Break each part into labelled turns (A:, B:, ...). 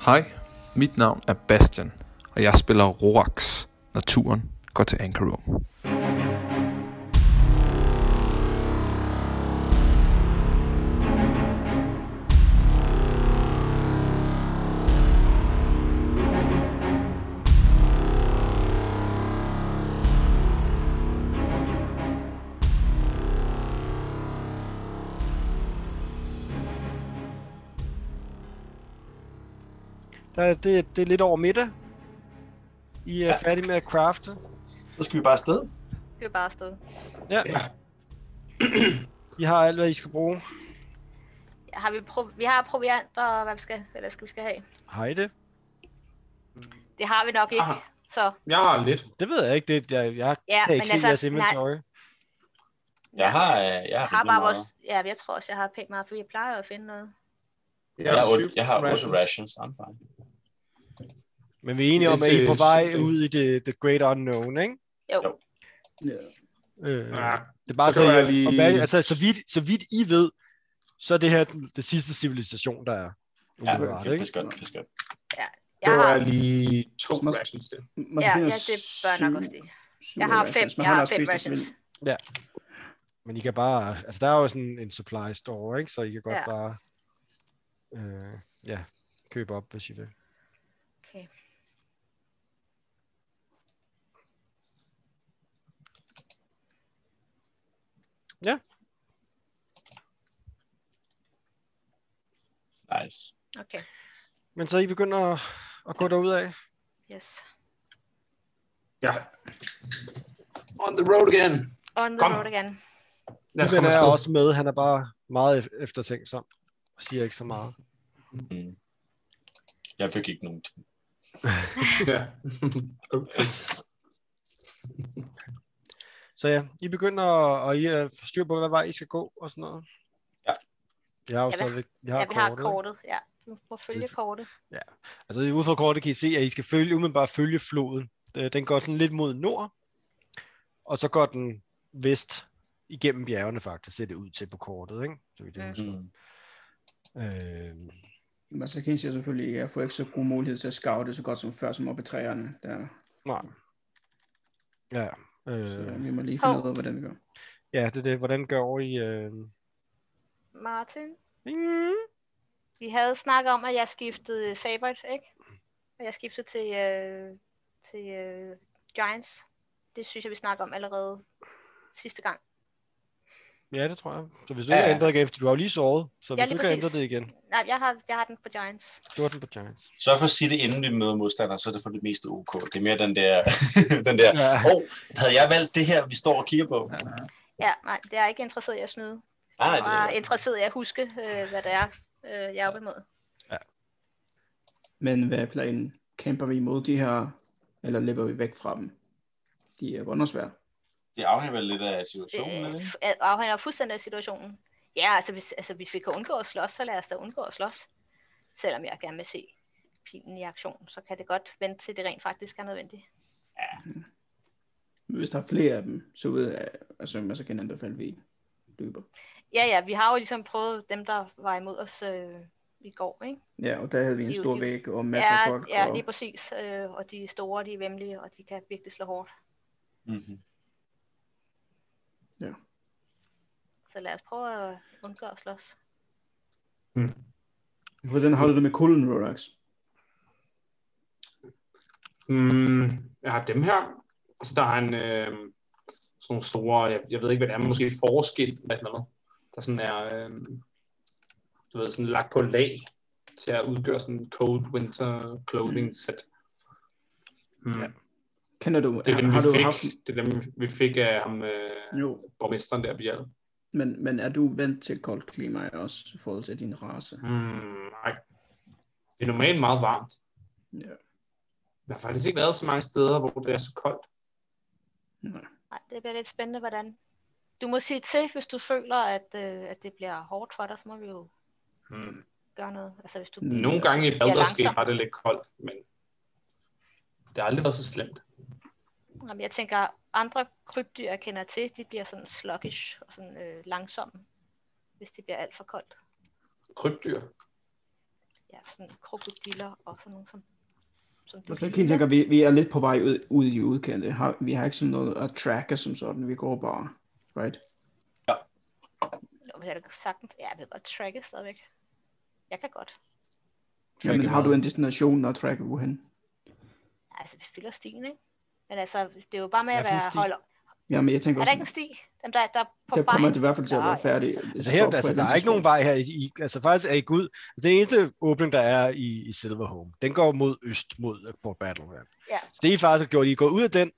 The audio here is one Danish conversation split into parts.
A: Hej, mit navn er Bastian, og jeg spiller Rorax. Naturen går til Ankarum.
B: Der, er- det, det er lidt over middag. I er ja.
C: Ja.
B: færdige med at crafte.
C: Så skal vi bare afsted.
D: Det er bare afsted.
B: Ja.
C: Ja.
B: I har alt, hvad I skal bruge.
D: Har vi, pro- vi har proviant og hvad vi skal, eller skal vi skal have.
B: Har I det?
D: Det har vi nok ikke.
C: Aha.
D: Så
C: Jeg har lidt.
B: Det ved jeg ikke. Det, jeg, jeg
D: ja,
B: kan ikke se altså, jeres
D: nej,
B: inventory.
E: Jeg har, øh, jeg
D: jeg
E: har,
D: har
E: rimelig
D: bare
E: meget.
D: vores, ja, men jeg tror også, jeg har pænt meget, for jeg plejer at finde noget.
E: Jeg har, otte, jeg har otte rations. I'm fine.
B: Men vi er enige
C: Det er
B: om, at I er
C: til
B: på vej
C: syv dage.
B: ud i det the great unknown, ikke?
D: Jo,
E: Jo.
B: Øh,
C: Ja.
B: det er bare
C: så
B: så,
C: kan
B: så,
C: jeg lige-
B: lige... altså, så, vidt, så vidt I ved, så er det her den, det sidste civilisation, der er.
E: Ja,
B: Umiddelbart,
E: det, det
B: ikke?
E: er skønt. Det er skønt.
D: jeg har,
C: Det var lige to rations til.
D: ja, ja, det bør nok også det. Jeg har fem, jeg har fem versions.
B: Men I kan bare, altså der er jo sådan en supply store, ikke? Så I kan godt
D: Ja.
B: bare, øh, ja, købe op, hvis I vil.
D: Okay.
E: Nice.
D: okay,
B: Men så I begynder at, at gå derud af.
D: yes.
C: Ja. On the road again.
D: On the
C: Kom.
D: road again.
C: Lad os
B: Den
C: komme
B: er
C: afsted.
B: også med, han er bare meget ef- eftertænksom. Og siger ikke så meget.
E: Jeg fik ikke nogen ting.
C: Ja.
B: Så ja, I begynder at, og I er styr på, hvad vej I skal gå og sådan noget.
E: Ja.
B: Jeg har jo
D: Ja, vi-
B: stadigvæk, jeg har,
D: Ja, vi har
B: kortet, ikke?
D: kortet, ja. Vi må følge kortet.
B: Altså ud fra kortet kan I se, at I skal følge, umiddelbart følge floden. Øh, Den går sådan lidt mod nord, og så går den vest igennem bjergene faktisk, ser det ud til på kortet, ikke? Så vidt jeg
D: Mm.
B: husker.
E: Mm.
B: Øh,
C: Mm.
F: Men så kan jeg selvfølgelig ikke, jeg får ikke så god mulighed til at scoute så godt som før, som oppe i træerne. Der.
B: nej. Ja,
F: Så
B: øh,
F: vi må lige finde
D: Hov.
F: ud af, hvordan vi gør.
B: ja, det er det. Hvordan gør I? Øh...
D: Martin,
B: Ding!
D: vi havde snakket om, at jeg skiftede favorite, ikke? Og jeg skiftede til, øh, til øh, Giants. Det synes jeg, vi snakker om allerede sidste gang.
B: Ja, det tror jeg. Så hvis du ikke
E: Ja.
B: har ændret igen, for du har jo lige såret, så hvis du
D: Ja, lige
B: ikke har
D: præcis.
B: ændret det igen,
D: Nej, jeg har, jeg har den på Giants.
B: du har den på Giants.
E: Så for at sige det, inden vi møder modstandere, så er det for det meste ok. Det er mere den der, den der,
B: Ja.
E: åh, oh, havde jeg valgt det her, vi står og kigger på?
D: Ja, nej, det er jeg ikke interesseret i at snyde.
E: Nej, nej,
D: Jeg
E: det
D: er
E: er
D: interesseret i at huske, øh, hvad det er, øh, jeg er oppe imod.
F: Men hvad er planen? Kæmper vi imod de her, eller løber vi væk fra dem? De er voldnosvære.
E: det afhænger vel lidt af situationen,
D: Det
E: eller?
D: Øh, f- al- afhænger fuldstændig af situationen. Ja, altså hvis, altså hvis vi kan undgå at slås, så lad os da undgå at slås. Selvom jeg gerne vil se pilen i aktion, så kan det godt vente til det rent faktisk er nødvendigt.
F: Men hvis der er flere af dem, så ud af, altså, så kan jeg anbefale, at vi løber.
D: Ja, ja, vi har jo ligesom prøvet dem, der var imod os øh, i går, ikke?
F: Ja, og der havde vi en
D: Jo,
F: stor
D: de-
F: væg og masser af
D: Ja,
F: folk.
D: ja,
F: og...
D: lige præcis. Øh, og de er store, de er vemmelige, og de kan virkelig slå hårdt.
E: Mm-hmm.
D: Så lad os prøve at undgå at slås.
F: Hvordan har du det med kulden, Rorax?
C: Mm, jeg har dem her. Og så der er en øh, sådan nogle store, jeg, jeg ved ikke, hvad det er, måske forskel eller et eller andet, der sådan er, øh, du ved, sådan lagt på lag til at udgøre sådan en cold winter clothing set. Mm.
B: Ja.
F: Kender du,
C: Det er dem,
F: har, har
C: vi
F: du
C: fik,
F: haft...
C: det er dem, vi fik af ham, øh,
F: Jo,
C: borgmesteren der, vi havde.
F: men, men er du vant til koldt klima også i forhold til din race?
C: Mm, nej. Det er normalt meget varmt.
F: Ja.
C: Jeg har faktisk ikke været så mange steder, hvor det er så koldt.
F: Nej.
D: Nej, det bliver lidt spændende, hvordan... Du må sige til, hvis du føler, at, øh, at det bliver hårdt for dig, så må vi jo
C: Mm.
D: gøre noget. Altså, hvis du...
C: Nogle gange i
D: er
C: Balderskæg
D: langsomt.
C: var det lidt koldt, men det har aldrig været så slemt.
D: Jamen, jeg tænker, andre krybdyr, jeg kender til, de bliver sådan sluggish og sådan øh, langsomme, hvis det bliver alt for koldt.
C: Krybdyr.
D: ja, sådan krokodiller og sådan nogle, som, som du
G: Og så
D: kan
G: kan jeg
D: lide.
G: tænke, at vi, vi er lidt på vej ud, ud i udkanten. Har, vi har ikke sådan noget at tracke som sådan. Vi går bare, right?
D: Nå, men jeg kan sagtens, ja, jeg vil godt tracke stadigvæk. Jeg kan godt.
G: Jamen,
H: Tracke
G: har
H: hvad?
G: du en destination, når tracker hvorhen?
D: Altså, vi fylder stien, ikke? Men altså, det er jo bare med
H: Ja,
D: at
H: for en
D: være
H: sti.
D: holde...
G: Jamen, jeg tænker
D: Er der
G: også,
D: ikke en sti? Dem der, der er på
G: der kommer
D: vejen?
G: det i hvert fald til at være
D: Nej.
G: færdig.
B: Altså her, altså, der er ikke nogen vej her. I, i- altså faktisk er I ud. Altså, den eneste åbning, der er i, i Silver Home, den går mod øst, mod øh, Port Battleground.
D: Ja.
B: Så det I faktisk har gjort, I er gået ud af den,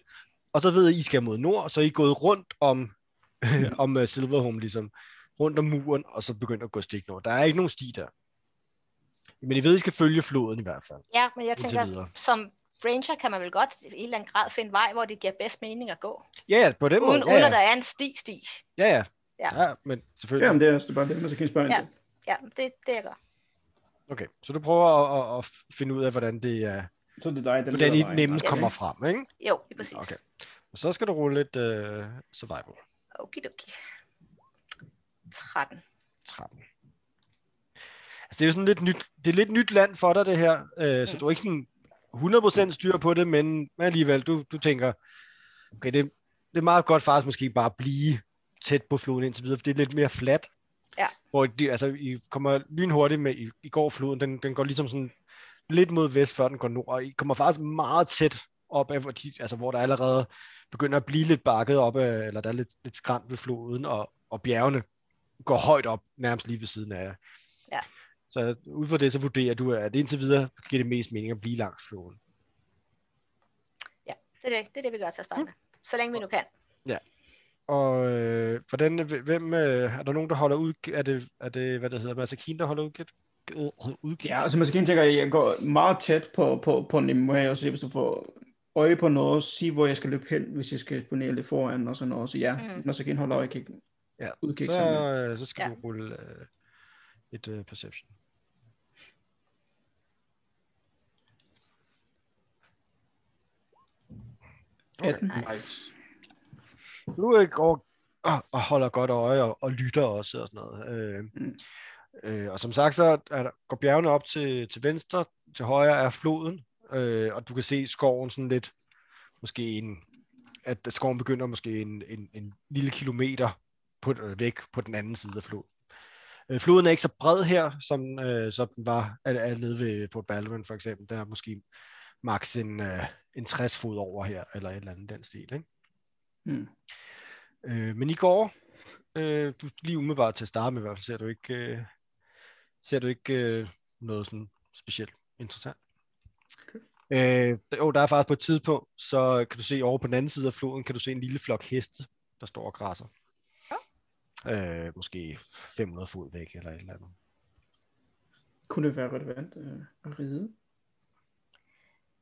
B: og så ved I, I skal mod nord, så I er gået rundt om, om øh, Silver Home, ligesom rundt om muren, og så begynder at gå stik nord. Der er ikke nogen sti der. Men I ved, I skal følge floden i hvert fald.
D: Ja, men jeg
B: Indtil
D: tænker,
B: videre.
D: som ranger kan man vel godt i en eller anden grad finde vej, hvor det giver bedst mening at gå.
B: Ja, ja, på den
D: Uden,
B: måde.
D: uden
B: Ja,
D: at der
B: ja.
D: er en sti-sti.
B: ja, ja.
D: Ja.
B: ja men selvfølgelig.
G: Jamen, det er også bare det, man så kan jeg spørge ind
D: Ja.
G: til.
D: Ja, det, det jeg gør.
B: Okay, så du prøver at, at, at finde ud af, hvordan det er,
G: Så det er dig, den
B: hvordan
G: leder
B: I
G: vejen.
B: nemmest
D: Ja.
B: kommer frem, ikke?
D: Jo, lige præcis.
B: Okay. Og så skal du rulle lidt uh, survival.
D: Okidoki. 13.
B: 13. Altså, det er jo sådan lidt nyt, det er lidt nyt land for dig, det her. Uh, så
D: Mm.
B: du er ikke sådan 100% styr på det, men men alligevel, du, du tænker, okay, det, det er meget godt faktisk måske bare at blive tæt på floden indtil videre, for det er lidt mere fladt.
D: Ja.
B: Hvor det, altså, I kommer lynhurtigt med, I, I går floden, den, den går ligesom sådan lidt mod vest, før den går nord, og I kommer faktisk meget tæt op af, hvor de, altså, hvor der allerede begynder at blive lidt bakket op, af, eller der er lidt, lidt skrænt ved floden, og, og bjergene går højt op, nærmest lige ved siden af jer.
D: Ja.
B: Så ud fra det, så vurderer du, at indtil videre giver det mest mening at blive langs floden.
D: Det er det, det, er det vi gør til
B: Mm.
D: at starte med. Så længe vi nu kan.
B: Og øh, hvordan, hvem, øh, er der nogen, der holder ud? Er det, er det hvad det hedder, Masakine, der holder udkig? udkig?
G: Ja, altså man skal tænker, at jeg går meget tæt på, på, på Nemo her, og se, hvis du får øje på noget, sige, hvor jeg skal løbe hen, hvis jeg skal eksponere lidt foran og sådan noget. Så ja,
D: Mhm.
G: mm. når så igen holder øje, kig,
B: Ja,
G: udkig så... sammen.
B: Så, øh, så skal
D: Ja.
B: ja. du rulle øh, et øh, perception. okay.
G: 18.
C: Nice.
B: du øh, går og, og holder godt øje og, og lytter også og sådan noget. Øh,
G: Mm.
B: mm. øh, og som sagt, så er der, går bjergene op til, til venstre, til højre er floden, øh, og du kan se skoven sådan lidt, måske en, at skoven begynder måske en, en, en lille kilometer på, øh, væk på den anden side af floden. Øh, floden er ikke så bred her, som, øh, som den var er, er nede ved, på Balvin for eksempel. Der er måske maks en, øh, en 60 fod over her, eller et eller andet i den stil. Ikke?
G: Mm.
B: Øh, men i går, øh, du, lige umiddelbart til at starte med i hvert fald, ser du ikke, øh, ser du ikke øh, noget sådan specielt interessant.
G: Okay.
B: Øh, der- jo, der er faktisk på et tidspunkt, så kan du se over på den anden side af floden, kan du se en lille flok heste, der står og græsser. Ja. Øh, måske 500 fod væk eller et eller andet.
G: Kunne det være relevant øh, at ride?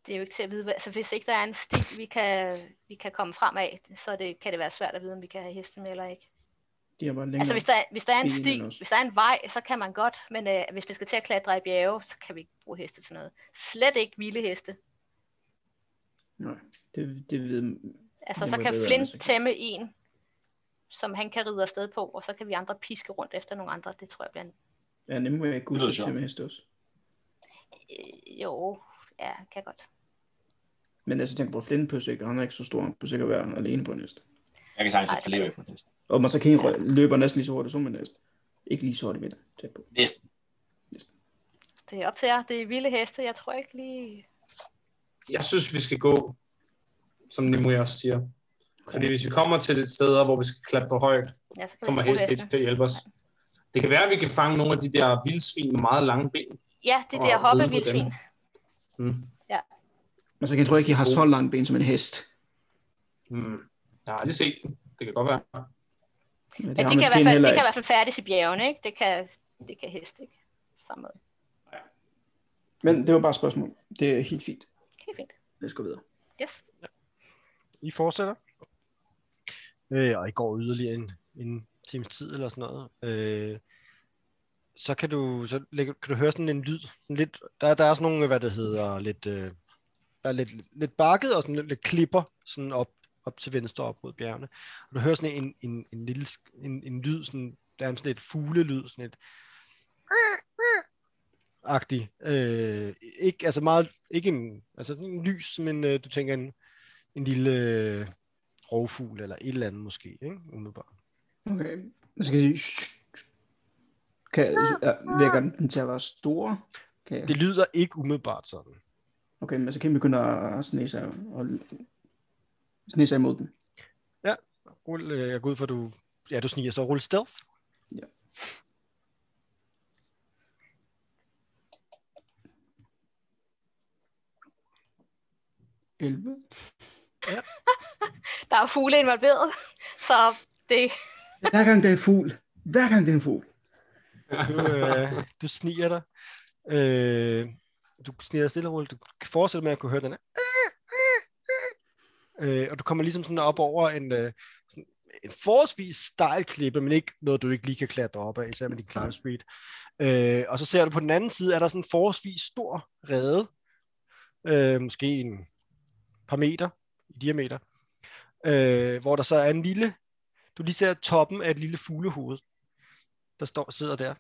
D: Det er jo ikke til at vide, hvad- altså hvis ikke der er en sti, vi kan, vi kan komme frem af, så det, kan det være svært at vide, om vi kan have heste med eller ikke.
G: De er bare længere.
D: Altså hvis der, hvis der er en
G: Det er
D: sti,
G: enig også.
D: hvis der er en vej, så kan man godt, men øh, hvis vi skal til at klatre i bjerge, så kan vi ikke bruge heste til noget. Slet ikke vilde heste.
G: Nej, det, det ved...
D: Altså
G: Det
D: så
G: må jeg
D: kan
G: bedre
D: Flint
G: undersøge.
D: tæmme en, som han kan ride afsted på, og så kan vi andre piske rundt efter nogle andre. Det tror jeg bliver en...
G: Ja, Nemo er god
H: Det lyder
G: til
H: sjovt.
G: med heste også.
D: Øh, jo, ja, kan jeg godt.
G: Men altså, tænk på Flintpøs, ikke? Han er ikke så stor. Han kunne sikkert være alene på en hest.
H: Jeg kan sagtens
D: Ej,
H: forleve ikke på næsten.
G: Og man så kan rø- løber næsten lige så hurtigt som en hest. Ikke lige så hurtigt, men tæt på.
H: Næsten.
D: Det er op til jer. Det er vilde heste. Jeg tror ikke lige...
C: Jeg synes, vi skal gå, som Nemo også siger. Fordi hvis vi kommer til et sted, hvor vi skal klatre højt,
D: Ja, så kan vi
C: kommer
D: ikke bruge
C: heste ikke til at hjælpe os. Det kan være, at vi kan fange nogle af de der vildsvin med meget lange ben.
D: Ja, de
C: og
D: der
C: ride på
D: hoppevildsvin.
C: dem. Mm.
G: Men så kan jeg tror ikke, de har så lange ben som en hest.
C: Mm. Jeg har aldrig set dem. Det kan godt være.
G: Men det,
D: Ja, det,
G: har
D: kan i
G: måske
D: hvert fald,
G: heller
D: det kan i
G: ikke.
D: hvert fald færdes i bjergene, ikke? Det kan, det kan heste, ikke? Samme måde.
G: Men det var bare et spørgsmål. Det er helt fint.
D: Helt fint.
G: Lad os gå videre.
D: Yes.
B: I fortsætter. Øh, og I går yderligere en, en times tid eller sådan noget. Øh, så kan du, så lægger, kan du høre sådan en lyd. Sådan lidt, der, der er sådan nogle, hvad det hedder, lidt, øh, der er lidt, lidt bakket og sådan lidt, lidt klipper sådan op, op til venstre op mod bjergene. Og du hører sådan en, en, en lille sk- en, en lyd, sådan, der er sådan et fuglelyd, sådan et agtig øh, ikke, altså meget, ikke en, altså sådan en lys, men øh, du tænker en, en lille øh, rovfugl eller et eller andet måske, ikke? umiddelbart.
G: Okay. Jeg skal sige... Kan, øh, virker den- den til at være stor? Kan jeg?
B: Det lyder ikke umiddelbart sådan.
G: Okay, men så kan vi begynde at snige sig, og snige sig imod den.
B: Rul, øh, jeg går ud for, at du, ja, du sniger, så rul stealth.
G: Elve.
D: Der er fugle involveret, så det...
G: Hver gang det er en fugl. Hver gang det er en fugl.
B: Du, øh, du sniger dig. Øh, du sniger dig stille og roligt. Du kan fortsætte med at kunne høre den her. "Ah, Øh, og du kommer ligesom sådan op over en, øh, sådan en forholdsvis stejl klippe, men ikke noget, du ikke lige kan klatre op af, især med din climb speed. Øh, og så ser du på den anden side, er der sådan en forholdsvis stor rede, øh, måske en par meter i diameter, øh, hvor der så er en lille, du lige ser toppen af et lille fuglehoved, der står, sidder der.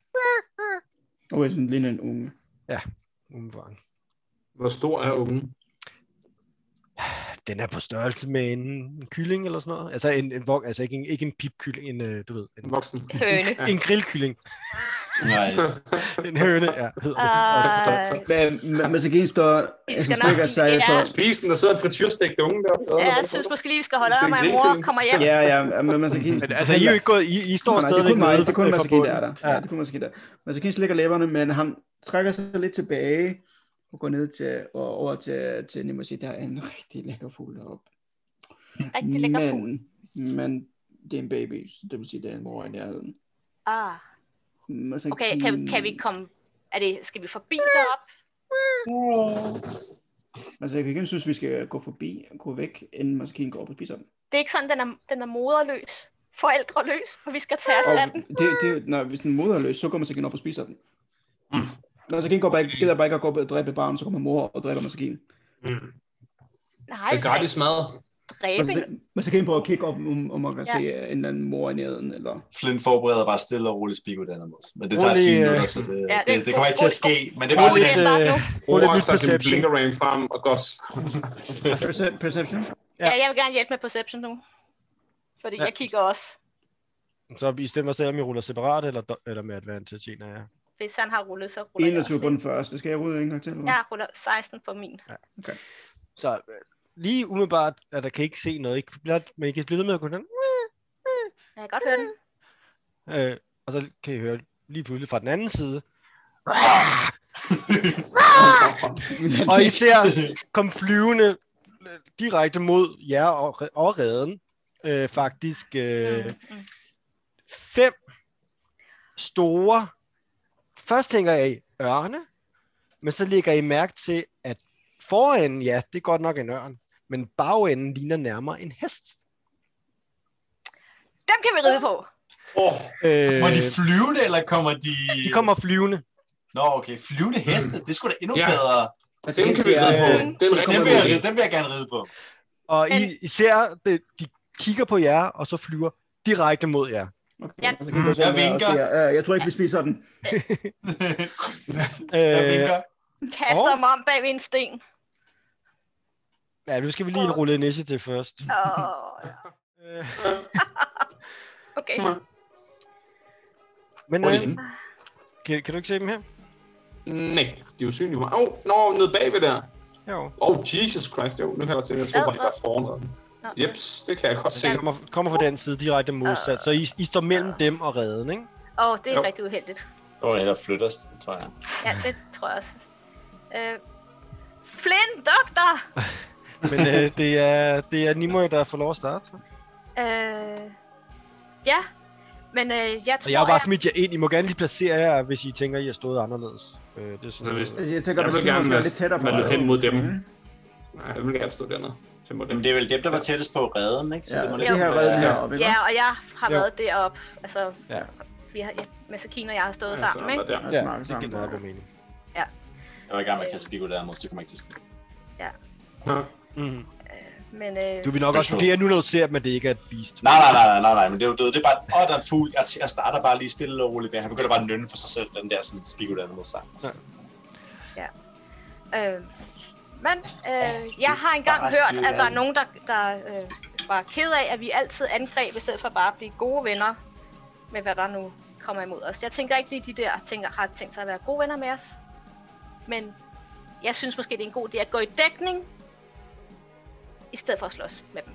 G: Okay, sådan ligner en unge.
B: umiddelbart.
C: Hvor stor er ungen?
B: Den er på størrelse med en, en kylling eller sådan noget. Altså, en, en vok, altså ikke, en, ikke en pipkylling, en, øh, du ved, en,
C: En voksen.
D: Høne.
C: Ja.
B: en grillkylling.
H: Nice.
B: En høne, ja, hedder det.
D: Øh,
G: Men, men, men så kan I stå... Altså,
D: skal
G: så
D: nok-
G: ikke sig
D: ja.
G: efter...
C: Spis den, der sidder en frityrstegt unge deroppe.
D: ja, jeg synes måske lige, vi skal holde
C: Hvis det
D: øje med,
C: er en
D: at mor
C: grillkylling.
D: kommer hjem.
G: Ja, ja, men man skal give...
B: Men, altså, I er jo ikke gået, I, I står
G: Nej,
B: stadigvæk
G: det er kun mig,
B: nede
G: det er kun
B: fra
G: Masakine, der
B: bunden.
G: er der. Ja.
B: Ja.
G: ja, det er kun Masakine der. Masakine slikker læberne, men han trækker sig lidt tilbage og går ned til, og over til, til Nemo og siger, der er en rigtig lækker fugl deroppe.
D: Rigtig lækker fugl.
G: Men, men det er en baby, så det vil sige, det er en mor i nærheden.
D: Ah,
G: Masakine,
D: okay, kan, kan vi komme... Er det, skal vi forbi derop?
G: Altså, jeg kan ikke synes, vi skal gå forbi og gå væk, inden Masakine går op og spiser den.
D: Det er ikke sådan, den er, den er moderløs, forældreløs, og vi skal tage os af
G: Og
D: den.
G: det, det, når, hvis den er moderløs, så går Masakine op og spiser den. Masakine går bare, ikke- gider bare ikke at gå op og dræbe barnet, så kommer mor og dræber Masakine.
C: Mm.
D: Nej,
C: Det
D: vi
C: er gratis mad.
D: skal ikke dræbe
G: Altså,
D: den.
G: det- Man skal gå ind på at kigge op, om, om man kan
D: Ja.
G: ja. se øh, en eller anden mor i nærheden, eller...
H: Flint forbereder bare stille og roligt Spigo den måde. Men det tager
B: Rolig,
H: 10
B: øh,
H: minutter, så det,
D: Ja,
H: ja,
D: det
H: det,
D: er
H: det, kommer ikke til at ske. Men det er bare
B: Rolig,
H: sådan,
D: Roligt,
B: øh,
D: nu.
B: rolig nyt
C: Rolex har sin
B: perception.
C: blinkerang frem og gos.
G: Perce- Perception?
D: Ja, jeg vil gerne hjælpe med perception nu. Fordi
B: Ja.
D: jeg kigger også,
B: Så I stemmer selv, om I ruller separat, eller, do- eller med advantage, en af jer.
D: hvis han har rullet, så ruller jeg også
G: 21 på
D: lidt.
G: den første. Skal jeg rydde en gang til? eller hvad?
D: Jeg ruller 16 på min.
B: Så øh, lige umiddelbart, at der kan I ikke se noget, ikke, blot- men I kan blive ved med at gå den.
D: Jeg kan godt høre den.
B: Øh, og så kan I høre lige pludselig fra den anden side,
D: Ah!
B: og I ser kom flyvende øh, direkte mod jer og, re- og redden. Øh, faktisk øh,
D: Mm, mm.
B: fem store. Først tænker jeg i ørne, men så lægger I mærke til, at forenden, ja, det er godt nok en ørn, men bagenden ligner nærmere en hest.
D: Dem kan vi ride på.
C: Åh,
B: Øh,
H: Må de flyvende, eller kommer de...
B: de kommer flyvende.
H: Nå, okay. Flyvende heste, det skulle sgu da endnu
C: Ja.
H: bedre.
G: Altså,
C: den
G: jeg
C: kan vi
G: siger,
C: ride på.
G: øh,
C: Den
H: Den
C: rigtig
H: vil, jeg,
C: god idé.
H: den vil jeg gerne ride på.
B: Og
D: Men-
B: I, I ser, det, de kigger på jer, og så flyver direkte mod jer.
G: Okay,
D: Ja.
G: så kan vi gå
H: Jeg
G: sådan her og
H: vinker.
G: siger, "Øh, Jeg tror ikke, vi spiser den.
H: jeg
B: Øh,
H: vinker.
D: Kaster
B: og-
D: mig om bag ved en sten.
B: ja, nu skal vi lige rulle initiativ først.
D: Åh,
B: Øh,
D: okay.
B: men
C: Hvor er de
B: øh,
C: henne?
B: kan, kan du ikke se dem her?
C: Nej, de er usynlige. Åh, oh, nå, nede bagved der.
B: Jo.
C: Åh, oh, Jesus Christ, jo. Nu kan jeg godt tænke, jeg tror bare, de var foran.
D: Nå.
C: Jeps, det kan jeg godt se.
B: Den kommer, kommer fra den side direkte modsat. Så I, I står mellem dem og redden, ikke?
D: Åh, oh, det er
C: Jo.
D: rigtig uheldigt.
H: Så må jeg hellere flytte os, tror jeg.
D: Ja, det tror jeg også. Øh, Flynn, doktor!
B: Men øh, det, er, det er Nimoy, der får lov at starte.
D: Øh, ja, men øh, jeg tror,
B: Og jeg har bare smidt jer ind. I må gerne lige placere jer, hvis I tænker, I har stået anderledes. Øh, det er sådan,
C: Så hvis
B: noget.
G: Altså, Jeg tænker,
C: Jeg
G: at
C: vil
G: vi
C: gerne
G: skal være
C: være-
G: lidt tættere på
C: være Mm. lidt hen mod dem.
G: Mhm.
C: Nej, jeg vil gerne stå dernede. Tæt mod dem.
H: Jamen, det er vel dem, der var tættest på redden, ikke? Så
G: Ja,
H: det må
G: det
H: næsten
G: her
H: være-
G: redde den
C: Ja.
G: her oppe, ikke?
D: Ja, og jeg har
B: Jo.
D: været deroppe. Altså,
B: Ja.
D: ja. vi har, ja, Masakine og jeg har stået
C: Ja,
D: ja,
C: så
D: sammen,
C: er
D: ikke?
C: der der.
B: Ja,
G: Ja, snakke
B: det giver meget god
G: sammen.
B: mening.
H: Jeg var i gang med at kaste Spigo der mod, så det kommer ikke til at ske.
C: Ja.
B: Mm.
D: Men øh,
B: Du vil nok
H: Det er
B: også
H: sjovt.
B: vurdere nu, når du ser, at det ikke er et beast.
H: Nej, nej, nej, nej, nej, nej, men det er jo død. Det er bare, åh, oh, der er en fugl. Jeg, jeg starter bare lige stille og roligt med. Han begynder bare at nynne for sig selv, den der sådan Spigo der mod sang.
D: Øh, men øh, jeg har engang
H: Bare
D: hørt,
H: styr
D: at der er
H: verden.
D: nogen, der, der øh, var ked af, at vi altid angreb, i stedet for bare at blive gode venner med, hvad der nu kommer imod os. Jeg tænker ikke lige, de der tænker, har tænkt sig at være gode venner med os. Men jeg synes måske, det er en god idé at gå i dækning, i stedet for at slås med dem.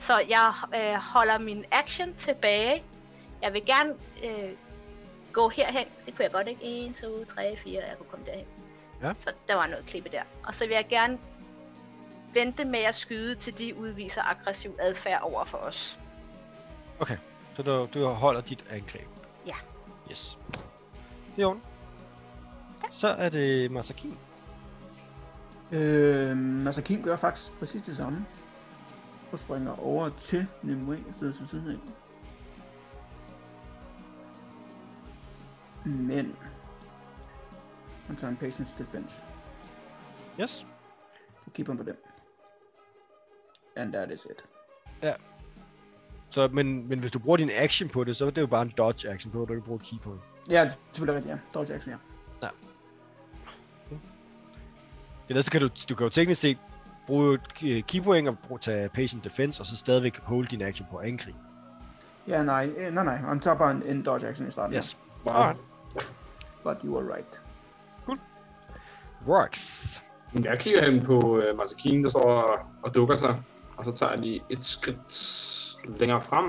D: Så jeg øh, holder min action tilbage. Jeg vil gerne øh, gå herhen. Det kunne jeg godt, ikke? 1, 2, 3, 4. Jeg kunne komme derhen.
B: Ja.
D: Så der var noget klippe der. Og så vil jeg gerne vente med at skyde, til de udviser aggressiv adfærd over for os.
B: Så du, du holder dit angreb?
D: Ja.
B: Yes. Jo. Så er det Masaki.
G: Øh, altså Kim gør faktisk præcis det samme. Og springer over til Nimue i stedet for siden af. Men... Han tager en patience defense.
B: Yes.
G: Du keeper på den. And that is it.
B: Så, men, men hvis du bruger din action på det, så er det jo bare en dodge action på, du kan bruge et key point.
G: Ja, det er selvfølgelig rigtigt, ja. Dodge action, ja.
B: Det der, så kan du, du kan jo teknisk set bruge et øh, key point og bruge, tage patient defense, og så stadigvæk holde din action på at angribe.
G: Ja, nej, øh, nej, nej. Han tager bare en, en dodge action i starten.
B: Yes.
C: Wow.
B: Alright.
G: But you are right.
B: Works.
C: Men Jeg kigger hen på øh, Masakine, der står og, og dukker sig, og så tager jeg lige et skridt længere frem.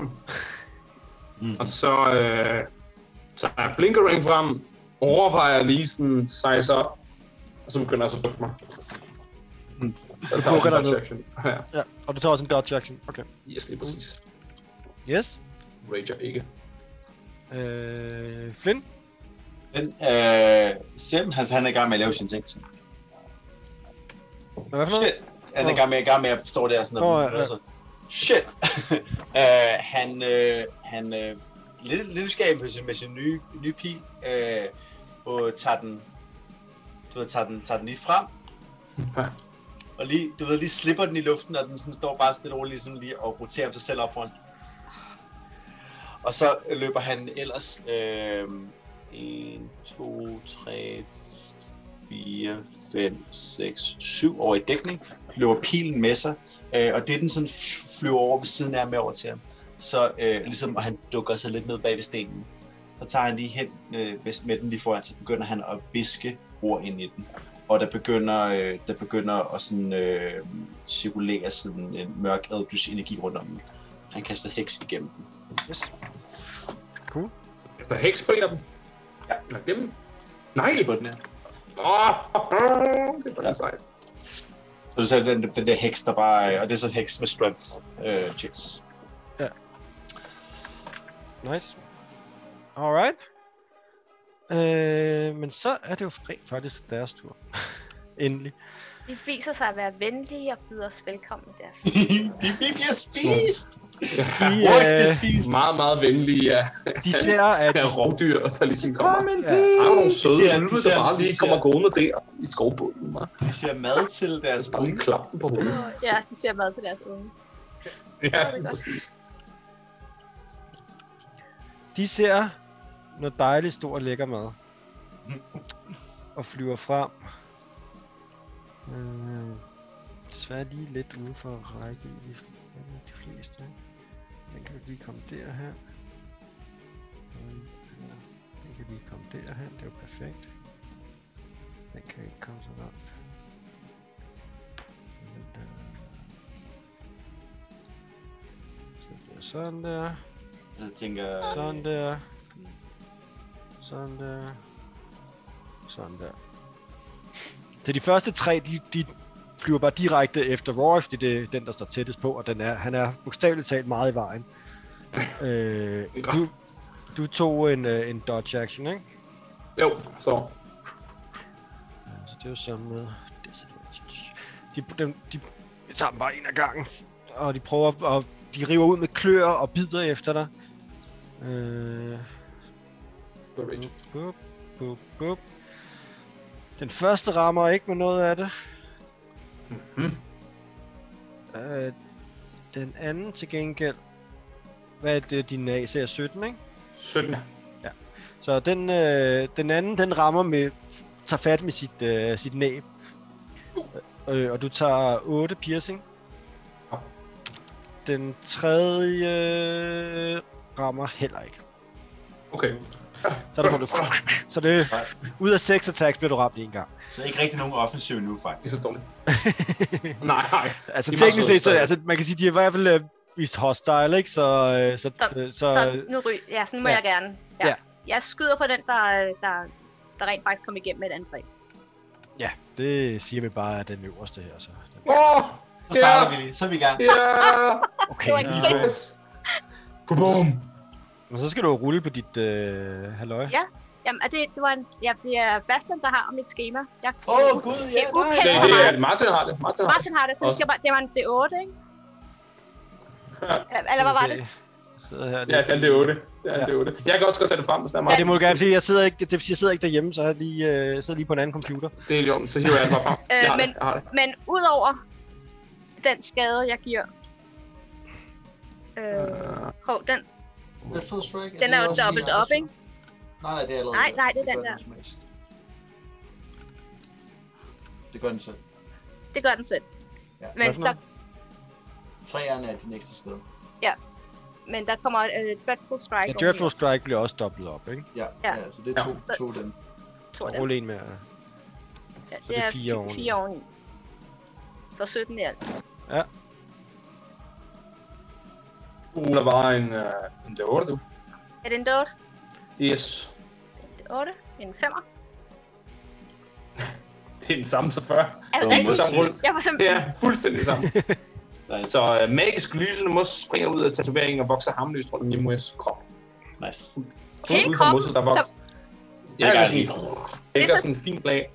H: Mm.
C: Og så øh, tager jeg blinkering frem, overvejer lige sådan, size op, og så begynder jeg så at dukke mig.
H: Mm.
C: Så tager jeg
B: Dukker
C: også
B: dig
C: en
B: ned.
C: dodge action. Ja,
B: Ja, og du tager også en dodge action. Okay.
C: yes, lige præcis.
B: Yes.
C: Rager ikke.
B: Øh, Flynn?
H: Men øh, Sim, han, han er i gang med at lave sin ting. sådan.
B: Hvad for noget?
H: Shit! Han er i gang med, i gang med at stå der sådan
B: Nå,
H: noget.
B: ja, ja.
H: Altså, shit! øh, han, øh, han øh, lidt, lidt nysgerrig med sin, med sin nye, nye pil, øh, og tager den, du ved, tager den, tager den lige frem,
C: Ja.
H: og lige, du ved, lige slipper den i luften, og den sådan står bare stille og roligt sådan lige og roterer sig selv op foran. Og så løber han ellers øh, 1, 2, 3, 4, 5, 6, 7 over i dækning, løber pilen med sig, øh, og det er den sådan flyver over ved siden af med over til ham. Så øh, ligesom, og han dukker sig lidt ned bag ved stenen. Så tager han lige hen øh, ved- med den lige foran, så begynder han at viske ord ind i den og der begynder, øh, der begynder at sådan, øh, cirkulere sådan en mørk eldritch energi rundt om den. Han kaster heks igennem den.
B: Yes.
C: Efter heks på en af dem. Ja. Eller dem. Nej!
H: På den her.
C: Åh, det er fucking sejt.
H: Så du ser den, den der heks, der bare... øh, Og det er så heks med strength øh, checks.
B: Nice. Alright. Øh, men så er det jo rent faktisk deres tur. Endelig.
D: De viser sig at være venlige og byder os velkommen i deres
H: de vi bliver spist!
C: Ja,
B: De,
H: Vores bliver
B: øh,
H: spist!
C: meget, meget venlige af,
B: de ser, at...
C: af rovdyr, der ligesom kommer.
G: Kom
B: Ja,
C: Der er nogle
H: De
C: søde
H: ser- de
C: ulve, der
H: ser-
C: bare
H: de
C: lige
H: ser-
C: kommer gående der i skovbunden. hva'?
H: De ser mad til deres
C: Altså bare lige
H: unge.
C: klappe dem på hovedet.
D: Ja, de ser mad til deres unge.
C: Ja,
D: det er godt.
C: præcis.
B: De ser noget dejligt stor lækker mad. Og flyver frem. Øh, desværre lige lidt uden for række i de fleste. ikke? Den kan lige komme derhen. Øh, Den kan lige komme derhen, det er jo perfekt. Den kan ikke komme så langt. Den der. Så bliver sådan der.
H: Så jeg tænker
E: øh,
H: jeg...
B: Sådan der. Sådan der. Sådan der. Så de første tre, de, de flyver bare direkte efter Roy, fordi det er den, der står tættest på, og den er, han er bogstaveligt talt meget i vejen. øh, du, du tog en, øh, en dodge action, ikke?
C: Jo, så.
B: Så det er jo sammen med disadvantage. De, de, de tager dem bare en af gangen, og de prøver at, de river ud med klør og bider efter dig. Øh,
C: Det var Rachel.
B: Bup, bup, bup, bup. Den første rammer ikke med noget af det.
C: Mhm.
B: Øh, den anden til gengæld. Hvad er det, din AC er 17, ikke?
C: 17.
B: Så den, øh, den anden, den rammer med tager fat med sit, øh, sit næb. Øh, og du tager 8 piercing.
C: Ja.
B: Den tredje øh, rammer heller ikke.
C: Okay.
B: Så, er det, du, så det, ud af 6 attacks bliver du ramt en gang.
E: Så ikke rigtig nogen offensiv nu,
C: Det
E: faktisk.
C: er så dårligt. nej, nej.
B: Altså
C: Det er meget
B: teknisk set, så,
C: sødt.
B: altså, man kan sige, de er i hvert fald øh, vist hostile, ikke? Så, øh, så,
D: Så-
B: øh, så,
D: Så nu ry- ja, så nu må
B: Ja.
D: ja. jeg gerne. Ja.
B: Ja.
D: ja. Jeg skyder på den, der, øh, der, der rent faktisk kom igennem med et angreb.
B: det siger vi bare er den øverste her. Så.
C: Åh!
E: Så starter vi lige. Så er vi i gang.
C: Ja!
B: Okay,
D: Det var ikke
B: så,
C: Yes! Boom!
B: men så skal du jo rulle på dit øh, halløj.
D: Ja. Jamen, er det, det, var en, ja, det er Bastian, der har mit schema. Jeg,
E: Åh, oh, gud,
D: Det
E: ja,
D: er
E: nej.
D: ukendt
C: Det,
D: for
C: det
D: mig.
C: er Martin har det. Martin har det.
D: Martin har det, så det,
C: Også.
D: skal bare, det var en D8, ikke?
C: Ja.
D: Eller- Eller hvad var det?
B: Jeg sidder her.
C: Ja, det er det 8. Det er det 8. Jeg kan også godt tage det frem, hvis der er
B: Ja, det
C: Martin.
B: må du gerne sige. Jeg sidder ikke, det, vil sige, jeg sidder ikke derhjemme, så jeg lige, øh, sidder lige på en anden computer.
C: Det er i orden. Så hiver jeg det bare frem.
D: Øh,
C: Jeg har det.
D: men-
C: Jeg har det.
D: Men udover den skade, jeg giver... Øh, hov, den,
H: Red Fed Strike,
D: Den
H: det
D: er jo
H: også en
D: dobbelt
H: angrib,
D: op,
H: så?
D: ikke?
H: Nej, nej, det er allerede
D: Nej,
H: der.
D: nej, det er
H: gør
D: den
H: den automatisk. Det gør den selv.
D: det gør den selv.
H: Ja.
D: Men,
B: Hvad for
D: der,
H: Træerne er din ekstra skade.
D: men der kommer et uh, Dreadful Strike.
B: Ja,
D: oveni
B: Dreadful
D: også.
B: Strike bliver også dobblet op, ikke?
H: Ja,
D: Ja.
H: ja. ja så det er to,
D: Ja.
H: to dem.
D: To af dem.
B: Rul en mere.
D: Ja,
B: det
D: det
B: er
D: er
B: fire
D: fire,
B: oveni.
D: fire oveni. Så 17 i alt.
C: Du ruller bare Uh, en, øh, en D8, du.
D: Er det en dot?
C: Yes.
D: 8? En 5'er?
C: Det er den samme så før.
D: Er det
E: Nå,
D: rigtigt?
C: Samme rulle.
D: Jeg var
C: Det
D: simpelthen...
C: er fuldstændig samme.
E: Nice.
C: Så øh, magisk lysende mos springer ud af tatoveringen og vokser hamløst rundt om Nimues krop.
E: nice.
D: Hele
C: Ud fra
D: kroppen?
C: mosset, der vokser. Ja, det er sådan, det er sådan en fin blag.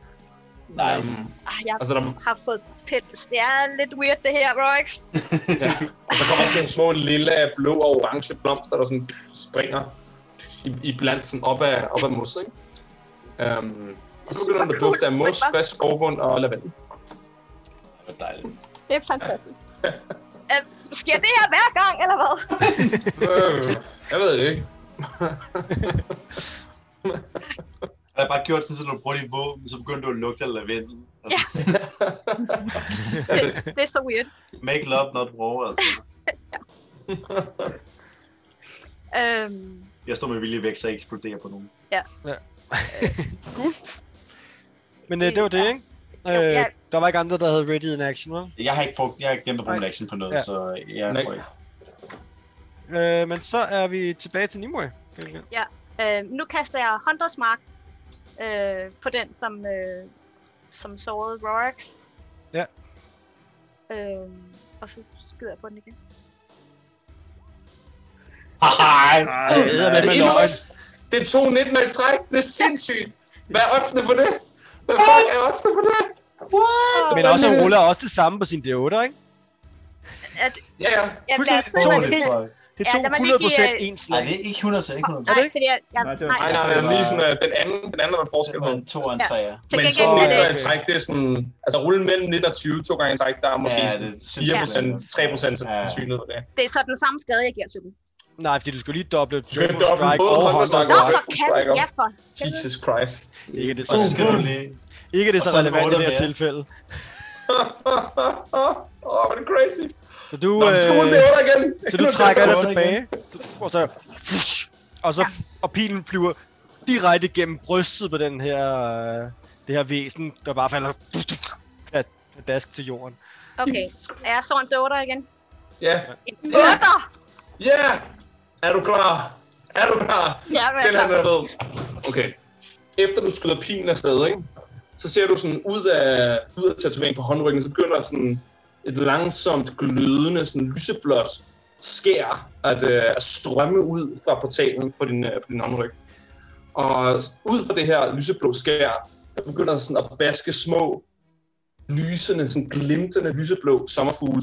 E: Nice.
D: Ah, jeg
C: Og så er der
D: har fået pels. Det er lidt weird, det her, Rox.
C: Ja. Og der kommer også nogle små lilla, blå og orange blomster, der sådan springer i, i blandt sådan op ad, op ad mos, ikke? Um, og så begynder den at dufte af mos, frisk skovbund og lavendel.
E: Det var dejligt.
D: Det er fantastisk. Øh, Sker det her hver gang, eller hvad?
C: Øh, jeg ved det ikke.
E: Jeg har bare gjort sådan, at du bruger dit våben, så begyndte du at lugte af lavendel. Altså,
D: Ja. Det, det er så weird.
E: Make love, not war, altså.
D: Øhm,
E: Jeg står med vilje væk, så jeg ikke eksploderer på nogen.
B: Men øh, det var det, ikke? Øh,
D: Jo, ja.
B: der var ikke andre, der havde ready in action, hva'?
E: Jeg har ikke brugt, jeg har ikke glemt at bruge en action på noget,
B: Ja.
E: så jeg
C: Nej.
E: tror ikke.
B: Øh, men så er vi tilbage til Nimue. Mikkel.
D: øh, nu kaster jeg Hunters Mark øh, på den, som, øh, som sårede Rorax.
B: Ja.
D: Øh, og så skyder jeg på den igen.
E: Hej!
B: Ej, det er med
C: det,
B: løgn.
C: er, det er to 19 med et træk. Det er sindssygt. Hvad er oddsene for det? Hvad fuck er oddsene for det?
D: Åh,
B: Men også hun ruller også det samme på sin D8, ikke?
C: Ja, ja.
D: jeg bliver
B: fuldstændig-
E: To
B: Tog
D: simpelthen
E: lidt
D: helt
E: for.
B: Det
D: Ja,
B: tog
D: lad mig lige
B: 100 procent
D: give, øh,
B: en
E: Nej,
B: slag.
E: det er ikke 100 til, ikke 100
B: Er det
D: Nej,
B: ikke?
D: fordi jeg... jeg
F: Nej,
D: nej,
F: det var-
C: Nej, nej,
D: nej.
C: nej. Lige sådan, øh, den anden, den anden er der forskel
E: Det
C: på.
E: var en to og en tre, ja.
D: Til
C: Men to
D: gengæld er
B: øh,
D: det...
C: gange i træk, det er sådan... Altså, rulle mellem 19 og 20, to gange i træk, der er måske
E: Ja,
C: sådan
E: det synes jeg.
C: 4%, 3%
E: Ja.
C: sandsynlighed for det.
D: Det er så den samme skade, jeg giver til dem.
B: Nej, fordi du skulle lige doble
C: skal
B: Dreadful
C: doble
B: Strike
C: både
B: og Hunters
C: Hunters Mark
D: Nå,
C: og
B: Mark.
D: for
C: Dreadful Strike
D: katten,
C: op.
D: ja for helvede.
C: Jesus Christ.
B: Ikke det
E: Og
B: så,
E: så skal du lige...
B: ikke det
E: og
B: så
E: så er det
B: relevant i det
E: otte
B: her
E: mere.
B: tilfælde.
C: Åh, oh, hvor er det crazy.
B: Så du, øh,
C: Nå, men skolen det er under igen.
B: så du
C: Ikke
B: trækker
C: noget,
B: dig
E: otte
B: tilbage, og så, og så og pilen flyver direkte gennem brystet på den her, øh, det her væsen, der bare falder af- dask til jorden.
D: Okay, er jeg så en døder igen?
C: Ja.
D: En døder!
C: Ja! Er du klar? Er du klar?
D: Ja, men
C: Den her
D: altså,
C: er ved. Okay. Efter du skyder pilen afsted, ikke? så ser du sådan ud af, ud af tatoveringen på håndryggen, så begynder sådan et langsomt glødende, sådan lyseblåt skær at, øh, at strømme ud fra portalen på din, øh, på din håndryg. Og ud fra det her lyseblå skær, der begynder sådan at baske små, lysende, sådan glimtende lyseblå sommerfugle.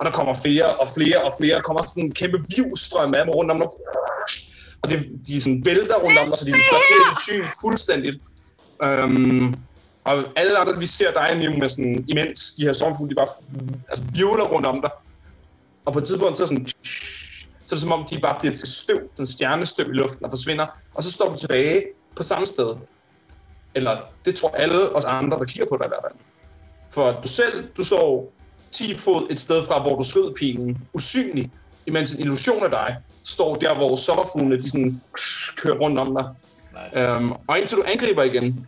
C: Og der kommer flere og flere og flere. Der kommer sådan en kæmpe vivstrøm af dem rundt om dig. Og det, de sådan vælter rundt om dig, så de blokerer dit syn fuldstændigt. Øhm, og alle andre, vi ser dig Nemo, med sådan, imens de her stormfugle, de bare altså, bjøler rundt om dig. Og på et tidspunkt, så er, sådan, så er det som om, de bare bliver til støv, sådan stjernestøv i luften og forsvinder. Og så står du tilbage på samme sted. Eller det tror alle os andre, der kigger på dig i hvert fald. For du selv, du står 10 fod et sted fra, hvor du skød pilen, usynlig, imens en illusion af dig står der, hvor sommerfuglene de sådan, kører rundt om dig.
H: Nice.
C: Øhm, og indtil du angriber igen,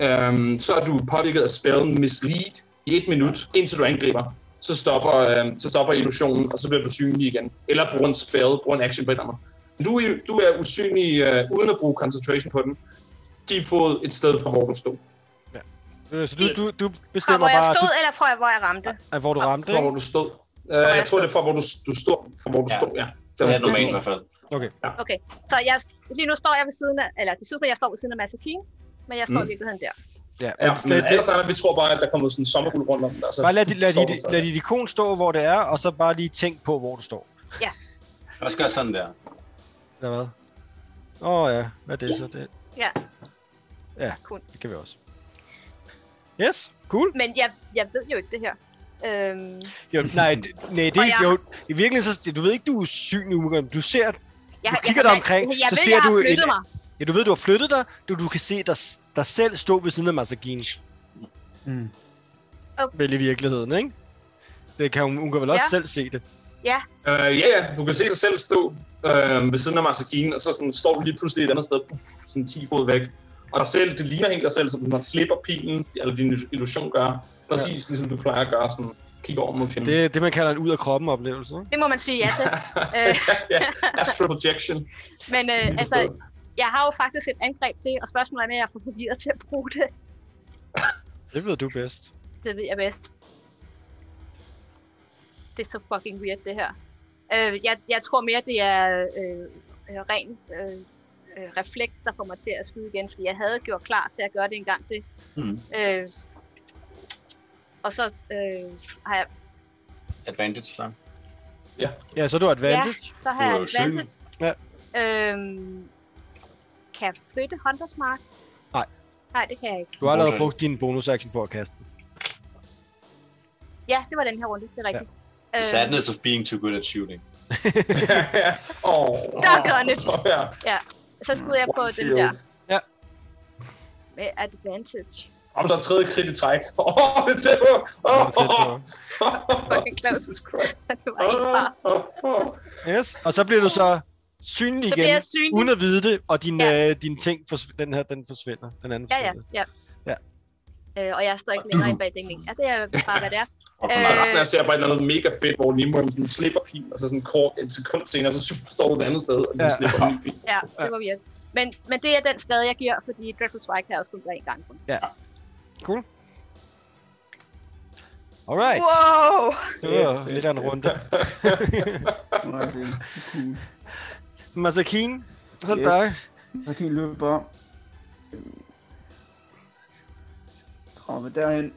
C: øhm, så er du påvirket af spillet Mislead i et minut, indtil du angriber. Så stopper, øhm, så stopper illusionen, og så bliver du synlig igen. Eller bruger en spell, bruger en action på et nummer. Men Du, er jo- du er usynlig øh, uden at bruge concentration på den. De har fået et sted fra, hvor du stod.
B: Øh, Så du, du, du
D: Fra
B: bestemmer
D: hvor jeg
B: bare,
D: stod,
B: du,
D: eller fra hvor jeg ramte?
B: at, hvor du ramte,
C: Fra, hvor
B: ikke?
C: du stod. Øh, jeg tror, det er fra, hvor du, du stod. Fra, hvor du
H: Ja.
C: stod, ja. Der, hvor
H: Det er
C: du
H: normalt i
C: stod.
H: hvert fald.
D: Okay, så jeg, lige nu står jeg ved siden af, eller det synes jeg, jeg står ved siden af Master King, men jeg står mm.
C: Mm.
D: i virkeligheden der.
B: Ja,
C: Ja,
B: men
C: men
B: lad,
C: alle andre, vi tror bare, at der kommer sådan en sommerfugl rundt om dig. og så
B: bare lad, dit- lad,
C: står
B: dit,
C: du så.
B: lad dit ikon stå, hvor det er, og så bare lige tænk på, hvor du står.
H: Lad os gøre sådan der.
B: Eller hvad? Åh oh, ja, hvad er det så? Det,
D: Ja.
B: Ja,
D: Cool.
B: det kan vi også. Yes, cool.
D: Men jeg, jeg ved jo ikke det her. Øhm,
B: Jo, nej, det, nej, det
D: Og
B: er
D: jeg-
B: jo... I virkeligheden, så, du ved ikke, du er usynlig umiddelbart. Du ser...
D: jeg,
B: Du kigger dig omkring,
D: jeg, jeg
B: så
D: ved,
B: ser
D: jeg
B: du
D: har
B: en-
D: flyttet mig.
B: Ja, du ved, du har flyttet dig. Du, du kan se dig, s- dig selv stå ved siden af Masagini.
G: Mm.
D: Okay.
B: Vel i virkeligheden, ikke? Det kan hun, hun kan vel også
D: Ja.
B: selv se det.
C: Øh, ja, ja, du kan se dig selv stå øh, ved siden af Masakine, og så sådan, står du lige pludselig et andet sted, puff, sådan 10 fod væk. Og dig selv, det ligner helt dig selv, så du når slipper pilen, eller din illusion gør, præcis ja. ligesom du plejer at gøre, sådan kigge over mod fjenden.
B: Det er det, man kalder en ud-af-kroppen-oplevelse. ikke?
D: Det må man sige ja til. øh,
C: ja, astral projection.
D: men øh,
C: Lige
D: altså,
C: sted.
D: jeg har jo faktisk et angreb til, og spørgsmålet er, om jeg er for forvirret til at bruge det.
B: Det ved du bedst.
D: Det ved jeg bedst. Det er så fucking weird, det her. Øh, jeg, jeg tror mere, det er øh, øh, ren øh, øh, refleks, der får mig til at skyde igen, fordi jeg havde gjort klar til at gøre det en gang til.
B: Mhm.
H: Mm.
D: Øh, og så øh, har jeg,
H: Advantage så.
B: Ja, så er du advantage.
D: så har jeg
H: Du er jo syg.
D: advantage.
B: Ja.
D: Øhm, kan jeg flytte Hunters Mark?
B: Nej.
D: Nej, det kan jeg ikke.
B: Du har allerede
H: Modtaget.
B: brugt din bonus-action på at kaste den.
D: Ja, det var den her runde, det er rigtigt. Øhm, Ja.
H: The sadness of being too good at shooting.
C: ja, ja. Oh,
D: Der gør det.
C: Ja.
D: Så skulle jeg på den
C: One
D: der.
B: Ja.
D: Med advantage.
C: Om der er tredje krit i træk. Åh, oh, det er tæt på.
B: Det
C: Åh,
B: er tæt på.
D: Fucking close.
C: Jesus Christ.
D: Så det var ikke
C: Åh,
D: bare.
C: åh, åh.
B: Yes, og så bliver du så synlig
D: Så
B: igen,
D: bliver jeg synlig.
B: uden at vide det, og din,
D: Ja.
B: ja. øh, din ting, forsv- den her, den forsvinder. Den anden
D: Ja, ja,
B: forsvinder.
D: ja.
B: Ja.
D: Øh, og jeg står ikke længere i bagdækning. Ja, det er bare, hvad det er.
H: Og
D: Øh,
H: øh,
C: Så resten af ser bare et eller andet mega fedt, hvor Nemo han sådan slipper pilen, og så sådan kort en sekund senere, så står du et andet sted, og lige
B: Ja.
C: slipper en ny pil.
D: Ja, det var weird. Men, men det er den skade, jeg giver, fordi Dreadful Strike har jeg også kun en gang. kun.
B: Alright,
D: Wow!
B: det var lidt af en runde.
G: Nu har jeg set. Cool.
B: Masakin, så er det
G: Yes.
B: dig.
G: Så kan I løbe bare... 30 derhen.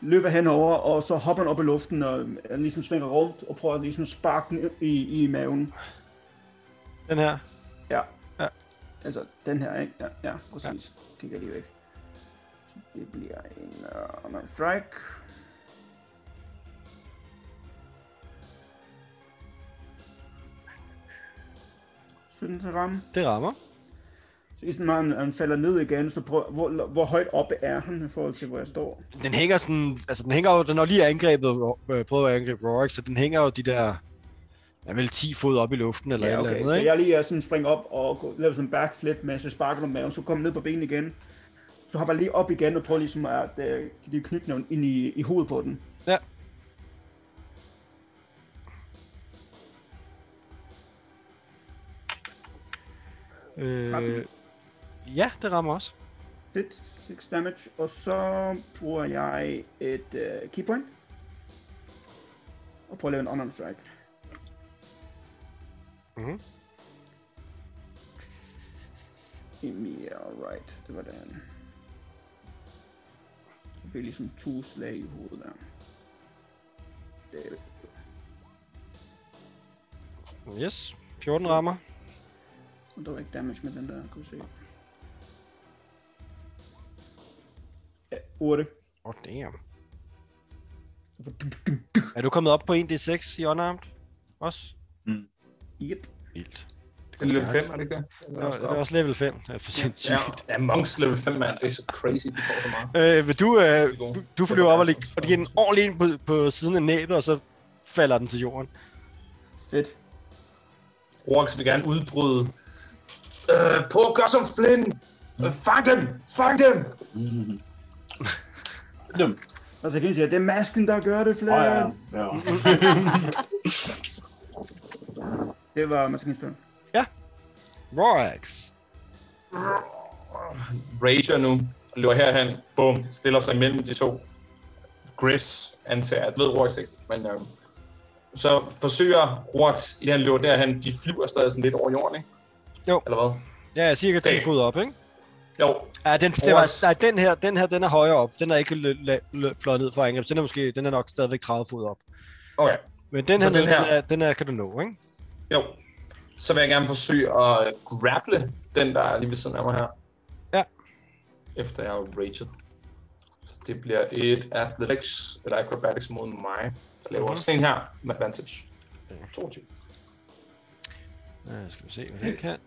G: Løber henover, og så hopper han op i luften, og øh, ligesom svinger rundt, og prøver ligesom at sparke den i, i maven.
B: Den her.
G: Ja.
B: Ja.
G: Altså, den her, ikke? Ja, ja præcis. Ja. Kigger lige væk. Så Det bliver en uh, no strike. Sådan til ramme.
B: Det rammer.
G: Så ligesom når han, han falder ned igen, så prøv, hvor, hvor højt oppe er han i forhold til, hvor jeg står?
B: Den hænger sådan, altså den hænger jo, den har lige angrebet, øh, prøvet at angribe Rorik, så den hænger jo de der, ja, vel 10 fod op i luften, eller ja, okay. et eller andet,
G: Så
B: ikke?
G: jeg lige er sådan springer op og går- laver sådan en backflip, mens jeg sparker om maven, så kommer jeg ned på benene igen. Så hopper jeg lige op igen og prøver ligesom at øh, give knytnæven ind i, i hovedet på den.
B: Ja. Øh, ja, det rammer også.
G: Fedt, 6 damage, og så bruger jeg et øh, keypoint. Og prøver at lave en unarmed strike.
B: Mhm.
G: Emilia, alright, det var den. Det blev ligesom to slag i hovedet der. Det er
B: Yes, 14 rammer.
G: Så der var ikke damage med den der, kan vi se. Ja, 8.
B: Oh, damn. Er du kommet op på 1d6 i unarmed? Også?
G: Yep.
B: Vildt. Det
C: Det er level 5, er det ikke det?
B: Det var, det var også level 5. Ja, for sindssygt.
C: Ja, ja Monks level 5, mand. Det er så crazy, de får så meget.
B: Øh, vil du, øh,
C: Det er gode.
B: du flyver op og ligger og det giver den ordentlig ind på, på siden af næbet, og så falder den til jorden.
G: Fedt.
C: Rorax vil gerne udbryde. Øh, på at gøre som Flynn! Øh, fang dem! Fang dem!
H: Dem.
G: Og så kan I sige, det er masken, der gør det,
H: Åh, ja.
G: flere. Oh,
H: ja.
C: Mm.
G: Det var maskens tur.
B: Rorax.
C: Rager nu. Løber herhen. Bum. Stiller sig imellem de to. Griffs antager. Jeg Det ved Rorax ikke, men øh, så forsøger Rorax, inden han løber derhen, de flyver stadig sådan lidt over jorden, ikke?
B: Jo.
C: Eller hvad?
B: Ja, cirka 10
C: Damn.
B: fod op, ikke?
C: Jo,
B: Ja, den, det var,
C: Rorax.
B: nej, den her, den her, den er højere op. Den er ikke lø- la- lø- fløjet ned for angreb. Den er måske, den er nok stadigvæk 30 fod op.
C: okay.
B: Men den
C: Så
B: her, den,
C: den her?
B: Den, er, den her kan du nå, ikke?
C: Jo. Så vil jeg gerne forsøge at grapple den, der er lige ved siden af mig her.
B: Ja.
C: Efter jeg har raged. Så det bliver et athletics, eller acrobatics mod mig. Så laver også en her med advantage. 22.
B: Øh, skal vi se, hvad den kan.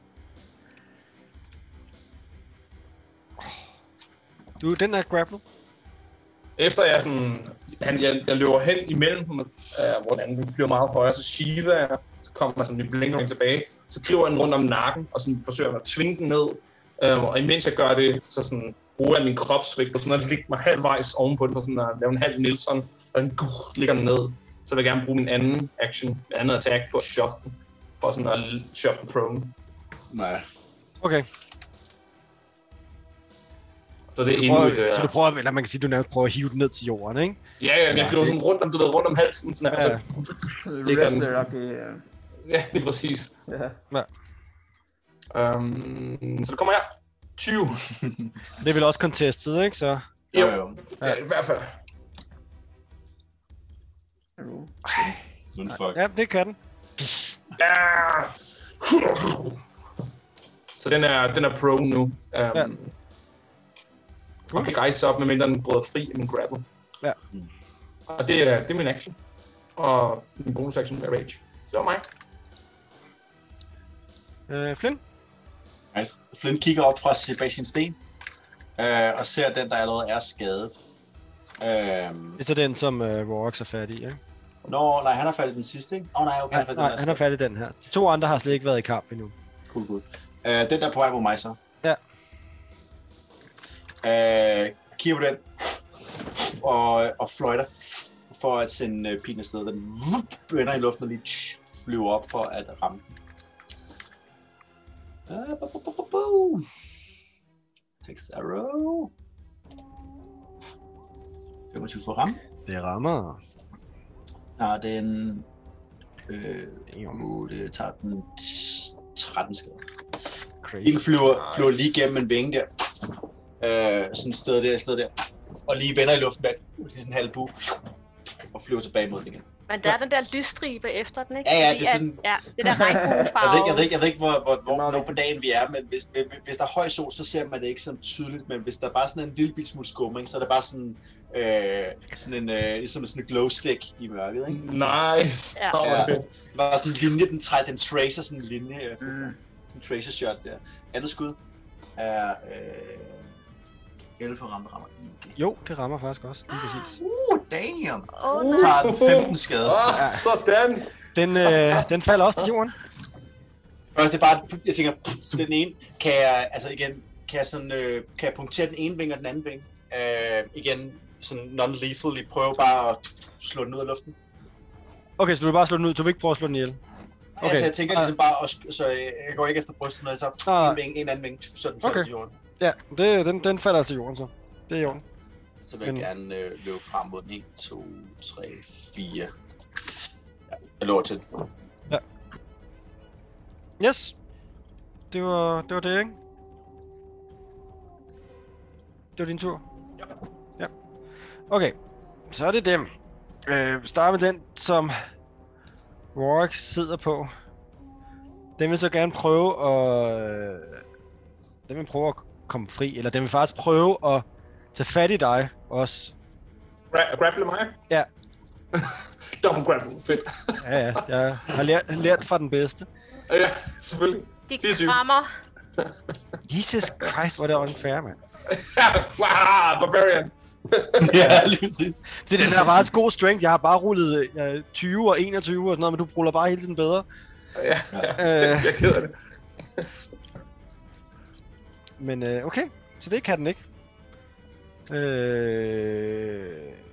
B: Du, den er grapplet.
C: Efter jeg sådan, han, jeg, jeg løber hen imellem dem, øh, hvor den anden den flyver meget højere, så shiver jeg, så kommer jeg sådan, vi blinker den tilbage, så griber jeg den rundt om nakken, og sådan forsøger jeg at tvinge den ned, øh, og imens jeg gør det, så sådan, bruger jeg min kropsvægt, og sådan at ligge mig halvvejs ovenpå den, for sådan at lave en halv Nielsen, og den guh, ligger den ned, så vil jeg gerne bruge min anden action, min anden attack på at shove den, for sådan at shove den prone.
H: Nej.
B: Okay,
C: Så det er endnu
B: prøver,
C: et, øh,
B: så du prøver, eller man kan sige, du nærmest prøver at hive den ned til jorden, ikke?
C: ja, ja, jeg flyver sådan rundt om, du ved, rundt om halsen, sådan altså, her,
B: Ja.
C: så, Det gør den
G: Wrestler-agtig, øh,
C: ja, lige præcis.
G: ja.
C: Um, så det kommer her. 20.
B: Det er vel også contestet, ikke? Så
H: Jo,
C: Jo.
H: jo.
C: Ja, i hvert fald.
H: Nu er det fuck.
B: ja, det kan den.
C: Ja. Så den er, den er pro nu. Um, ja. Og kan rejse sig op, medmindre den bryder fri af min grapple.
B: Ja.
C: Og det er, det er min action. Og min bonus action er rage. Så det var mig.
B: Øh, Flynn?
H: Nice. Flynn kigger op fra Sebastian Sten, øh, og ser den, der allerede er skadet. Øh,
B: Det er så den, som øh, Rorax er fat i, ikke?
H: nå, nej, han har faldet den sidste, ikke? Åh, oh, nej,
B: Ja,
H: okay, han har faldet
B: nej,
H: den
B: han har fat i den her. De to andre har slet ikke været i kamp endnu.
H: Cool, cool. Øh, den der er på vej på mig så.
B: Ja.
H: Øh, kigger på den. Og, og fløjter for at sende øh, pilen afsted. Den vup, bønder i luften og lige tsh, flyver op for at ramme den. Ah, bu- bu- bu- bu- bu. Hex arrow. 25 for ram.
B: Det rammer.
H: Har den... Øh, 8, tager den 13 skade.
B: Crazy.
H: Pilen flyver, flyver lige gennem en vinge der. Øh, sådan et sted der, et sted der. Og lige vender i luften bag. Lige sådan en halv bue. Og flyver tilbage mod den igen.
D: Men der er den der lysstribe efter den, ikke?
H: Ja, ja,
D: Fordi
H: det er sådan-
D: At, ja, det der
H: Jeg ved,
D: regnbuefarve.
H: ikke, jeg ved ikke, jeg ved ikke hvor, hvor, hvor, hvor på dagen vi er, men hvis, hvis der er høj sol, så ser man det ikke sådan tydeligt, men hvis der er bare sådan en lille bit smule skumring, så er det bare sådan, øh, sådan en, øh, ligesom sådan en glow stick i mørket, ikke?
C: Nice.
D: Ja.
C: Åh,
H: Ja.
C: okay.
H: Det var sådan en linje, den, træ, den tracer sådan en linje, øh, sådan,
G: Mm.
H: sådan en tracer shot der. Andet skud er øh, 11 for ramt rammer ikke.
B: Jo, det rammer faktisk også, lige præcis.
H: Uh, damn!
D: Åh,
H: Du
D: nej.
H: tager den 15 skade.
C: Ah,
B: Ja.
C: sådan.
B: Den, øh, den falder også til jorden.
H: Først det er bare, jeg tænker, pff, den ene, kan jeg, altså igen, kan jeg, sådan, øh, kan jeg punktere den ene vinge og den anden vinge? Øh, igen, sådan non-lethally, prøve bare at slå den ud af luften.
B: Okay, så du vil bare slå den ud. Du vil ikke prøve at slå den ihjel.
H: Okay. Altså, jeg tænker
B: Ah.
H: ligesom bare, at, sk- så jeg jeg går ikke efter brystet, når jeg tager
B: Nej, nej.
H: en vinge, en anden vinge, så er den faldet
B: Ah. Okay.
H: okay. til jorden.
B: Ja, det, den, den falder til jorden så. Det er i orden.
H: Så vil jeg
B: Men-
H: gerne øh, løbe frem mod den. 1, 2, 3, 4. Ja, jeg løber til. den.
B: Yes. Det var det, var det ikke? Det var din tur? Ja. Okay, så er det dem. Øh, vi starter med den, som Warwick sidder på. Den vil så gerne prøve at... øh, Den vil prøve at komme fri, eller den vil faktisk prøve at tage fat i dig også.
C: Gra- grapple mig?
B: Ja.
C: Double grapple. Fedt.
B: Ja, ja, jeg har lært, lært fra den bedste.
C: Ja, selvfølgelig.
D: De
C: 24.
D: krammer.
B: Jesus Christ, hvor er det unfair, mand.
C: Wow, Ah, barbarian.
H: ja, lige præcis.
B: Det er den her meget god strength. Jeg har bare rullet øh, 20 og 21 og sådan noget, men du ruller bare hele tiden bedre.
C: Ja,
B: Øh,
C: jeg keder det.
B: men øh, okay, så det kan den ikke. Øh,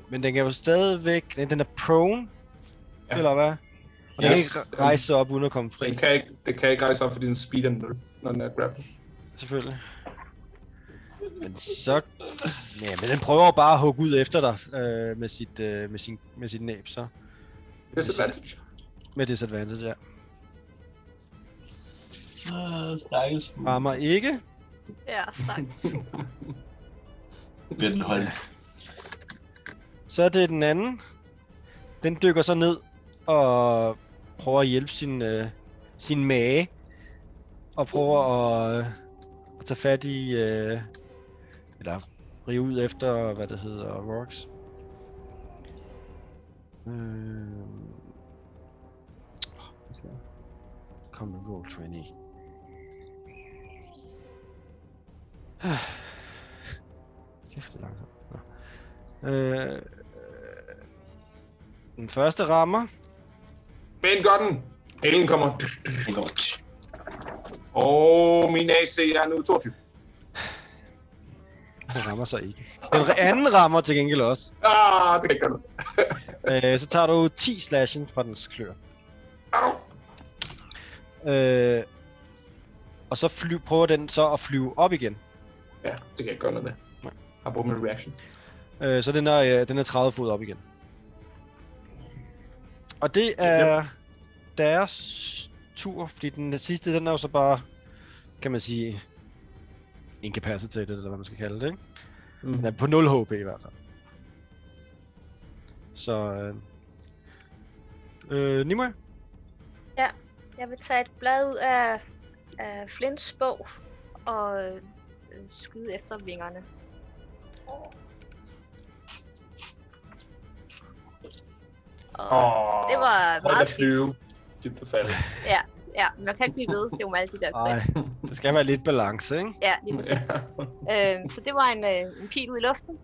B: men den kan jo stadigvæk... Den den er prone,
C: Ja.
B: ja. eller hvad? Og den
C: Yes.
B: kan ikke rejse sig op uden at komme fri,
C: Den kan ikke, det kan ikke rejse op, fordi den speed er 0, når den er grab.
B: selvfølgelig. Men så... Ja, men den prøver bare at hugge ud efter dig øh, med, sit, øh, med, sin, med sit næb, så.
C: Disadvantage.
B: Med disadvantage, ja.
H: Ah, Stakkels fugl.
B: Rammer ikke.
D: Ja, tak.
H: Bliver den holdt.
B: Så er det den anden. Den dykker så ned og prøver at hjælpe sin, øh, sin mage. Og prøver at, øh, at tage fat i... Øh, eller rive ud efter, hvad det hedder, Rox. Øh, kom nu, roll 20. Ah. Kæft, det er langsomt. Nå. Øh, den første rammer.
C: Men gør den. Halen kommer.
H: Den går. tsk.
C: Og min AC er nu 22.
B: Den rammer så ikke. Den re- anden rammer til gengæld også.
C: Ah, det kan ikke gøre noget.
B: Øh, så tager du 10 slashing fra dens klør.
C: Au.
B: Øh, og så fly, prøver den så at flyve op igen.
C: Ja, det kan ikke gøre noget med. Jeg har brugt min reaction.
B: Øh, så den er, øh, den er 30 fod op igen. Og det er deres tur, fordi den sidste, den er jo så bare, kan man sige, incapacitated, eller hvad man skal kalde det, ikke?
C: Mm.
B: Den er på 0 HP i hvert fald. Så... Øh, øh, Nimue?
D: Jeg vil tage et blad ud af, af Flints bog og øh, øh, skyde efter vingerne. Og
C: Åh,
D: det var
C: hold da
D: meget skidt.
C: flyve. Dybt at falde.
D: Ja, man kan ikke blive ved, det er jo med alle de der
B: Nej,
D: kvæl.
B: det skal være lidt balance, ikke?
D: Ja, lige
C: Ja.
D: Øh, så det var en, øh, en pil ud i luften,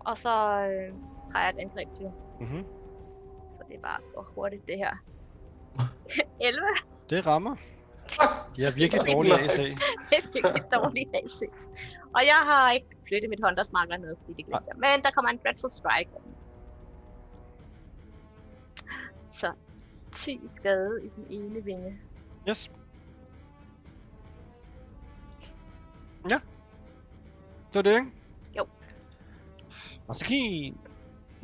D: og så øh, har jeg et angreb til.
B: Mm-hmm.
D: Så det er bare for hurtigt, det her. 11,
B: Det rammer. De har virkelig dårlig AC.
D: det fik et dårligt AC. Og jeg har ikke flyttet mit Hunters Marker ned, fordi det glemte jeg. Men der kommer en Dreadful Strike. Så 10 skade i den ene vinge.
B: Yes. Ja. Det var det, ikke?
D: Jo.
B: Maskin.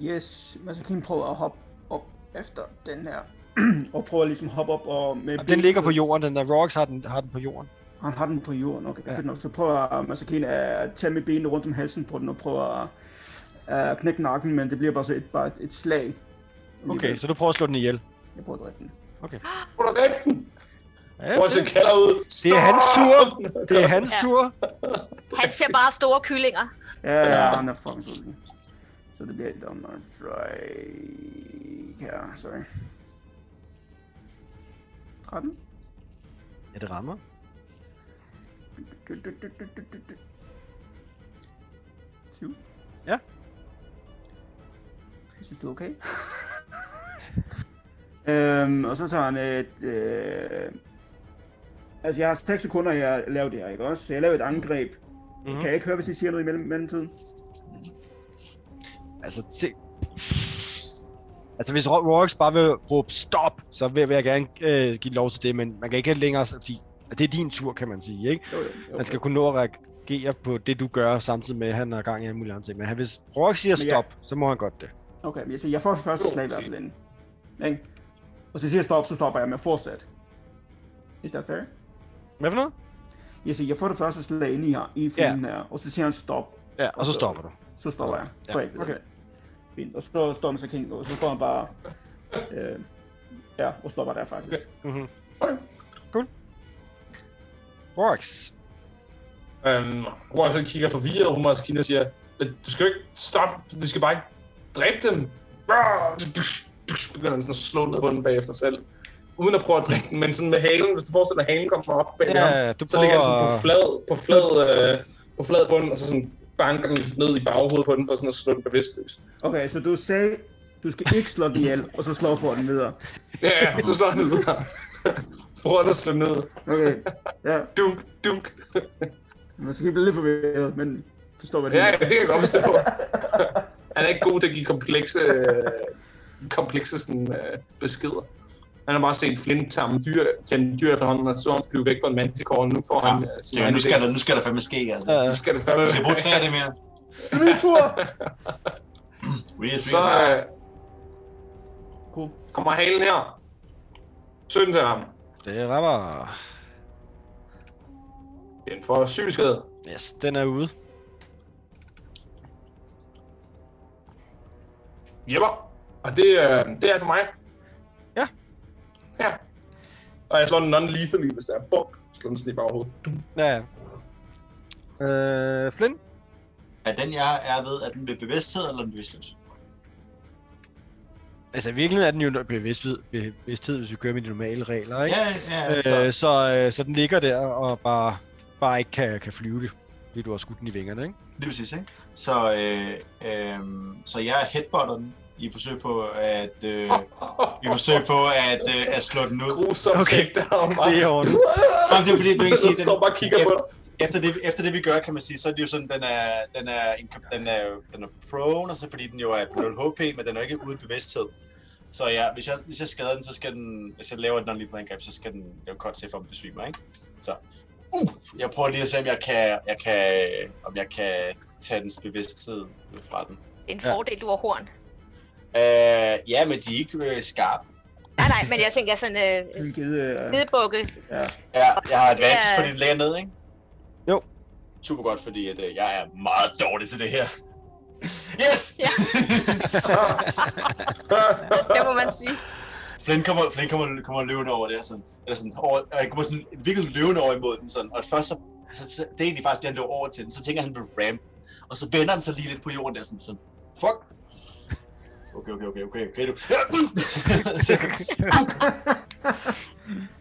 G: Yes, men så kan han prøve at hoppe op efter den her. og prøve at ligesom hoppe op og... Med
B: Den ligger på jorden, den der Rox har den, har den på jorden.
G: Han har den på jorden, okay.
B: Ja.
G: Ja. Nok. Så prøver Masakine at tage med benene rundt om halsen på den og prøver at at knække nakken, men det bliver bare så et, bare et slag.
B: Okay, så du prøver at slå den ihjel.
G: Jeg prøver at dræbe den.
C: Hvor er den?
B: Ja,
C: Hvor til kalder ud.
B: Det er hans tur. Det er hans
D: Ja.
B: tur.
D: Han ser bare store kyllinger.
G: Ja, ja, han er fucking dødelig. Så det bliver et om at strike her, sorry. 13?
B: Ja, det rammer.
G: Du, du, du, du, du, du, du. Syv.
B: Ja.
G: Jeg synes, det er okay. øhm, og så tager han et... Øh... Altså, jeg har 6 sekunder, jeg laver det her, ikke også? Så jeg laver et angreb.
B: Mhm.
G: Mm-hmm. Kan jeg ikke høre, hvis I siger noget i mellem- mellemtiden?
B: Altså, se. Altså, hvis Ro- Rolex bare vil råbe stop, så vil, vil jeg gerne øh, give lov til det, men man kan ikke have længere, fordi det er din tur, kan man sige, ikke?
G: Jo, jo, jo.
B: Man skal kunne nå at reagere på det, du gør, samtidig med, at han har gang i alle mulige andre ting. Men han- hvis Rolex siger
G: Men ja.
B: stop, så må han godt det.
G: Okay, men jeg, siger, jeg får første slag i hvert fald inden. Ikke? Og så siger jeg stop, så stopper jeg med fortsat. Is that fair?
B: Hvad for noget?
G: Jeg siger, jeg får det første slag ind i her, i filmen her, og så siger han stop,
B: Ja, og så stopper du.
G: Så stopper jeg.
B: Ja,
G: Ja, okay.
B: okay.
G: Fint. Og så står man så King, og så står han bare... Øh, ja, og stopper der faktisk.
B: Mm-hmm. Cool. Rolex.
C: Øhm, hvor jeg så kigger forvirret, og hun også kigger og siger, "Men du skal jo ikke stoppe, vi skal bare ikke dræbe dem. Brrr! Begynder han sådan at slå ned på den bagefter selv. uden at prøve at drikke den, men sådan med halen, hvis du forestiller dig, at halen kommer op bag
B: Ja,
C: ja, ham,
B: du
C: så ligger han
B: prøver
C: sådan på
B: at-
C: flad, på flad, øh, på flad bund, og så sådan banker den ned i baghovedet på den, for sådan at slå den bevidstløs.
F: Okay, så du sagde, du skal ikke slå den ihjel, og så slår for den videre.
C: Ja, ja, så slår han ned her. så prøver han at slå ned.
F: Okay, ja.
C: Dunk, dunk.
F: Man skal blive lidt forvirret, men forstår, hvad det
C: Ja,
F: er.
C: ja, det kan jeg godt forstå. han er ikke god til at give komplekse, øh, komplekse sådan, øh, beskeder. Han har bare set Flint tage en dyr, tage en dyr efterhånden, og så han flyve væk på en manticore, og nu får han... øh, sin
E: Ja,
C: egen
E: nu skal
C: idé.
E: der, nu skal der fandme ske, altså.
B: Ja,
C: Nu skal det fandme...
E: Vi skal bruge tre af det mere.
F: Det er min tur!
E: We are
C: Så
E: three.
C: øh,
F: Cool.
C: kommer halen her. 17 til ham.
B: det rammer.
C: Den får syv skade.
B: Yes, den er ude.
C: Jepper. Og det, øh, det er alt for mig.
B: Ja.
C: Ja. Og jeg slår den non-lethally, hvis der er bunk. Slår den sådan i baghovedet. Du.
B: Ja, ja. Øh, Flynn?
H: Er den, jeg er ved, er den ved bevidsthed eller den bevidstløs?
B: Altså, i virkeligheden er den jo bevidsthed, bevidsthed hvis vi kører med de normale regler, ikke?
H: Ja, ja, altså.
B: øh, så, øh, så den ligger der og bare, bare ikke kan, kan flyve det, fordi du har skudt den i vingerne, ikke?
H: Lige præcis, ikke? Så, øh, øh, så jeg headbutter den i et forsøg på at, øh, i et forsøg på at, øh, at slå den ud.
C: Grusom
B: Okay.
C: okay. takedown, man.
B: Det er ordentligt.
H: Nå, det er fordi, du kan
C: Den
H: sige,
C: står bare og kigger på dig.
H: efter det, efter det vi gør, kan man sige, så er det jo sådan, den er, den er, en, den er, jo- den er prone, og så fordi den jo er på 0 HP, men den er jo ikke uden bevidsthed. Så ja, hvis jeg, hvis jeg skader den, så skal den, hvis jeg laver et non-lethal angreb, så skal den lave kort til for, om den besvimer, ikke? Så, uh, jeg prøver lige at se, om jeg kan, jeg kan, om jeg kan tage dens bevidsthed fra den.
D: Det er en
B: Ja.
D: fordel, du har horn.
H: Øh, ja, men de er ikke øh, skarpe.
D: Nej, nej, men jeg tænker sådan øh,
F: Det er en gede, øh,
D: nedbukke.
H: Ja, jeg har advantage
D: Ja.
H: for din læger ned, ikke?
B: Jo.
H: Super godt, fordi at, øh, jeg er meget dårlig til det her. Yes!
D: Ja. Det må man sige.
H: Flynn kommer, Flynn kommer, kommer løvende over det her, sådan, eller sådan, over, og jeg kommer sådan virkelig løvende over imod den, sådan, og først så, så, så det er egentlig faktisk det, han løber over til den, så tænker han på ramp, og så vender han sig lige lidt på jorden der, sådan, sådan fuck, okay, okay, okay, okay, okay, du, så,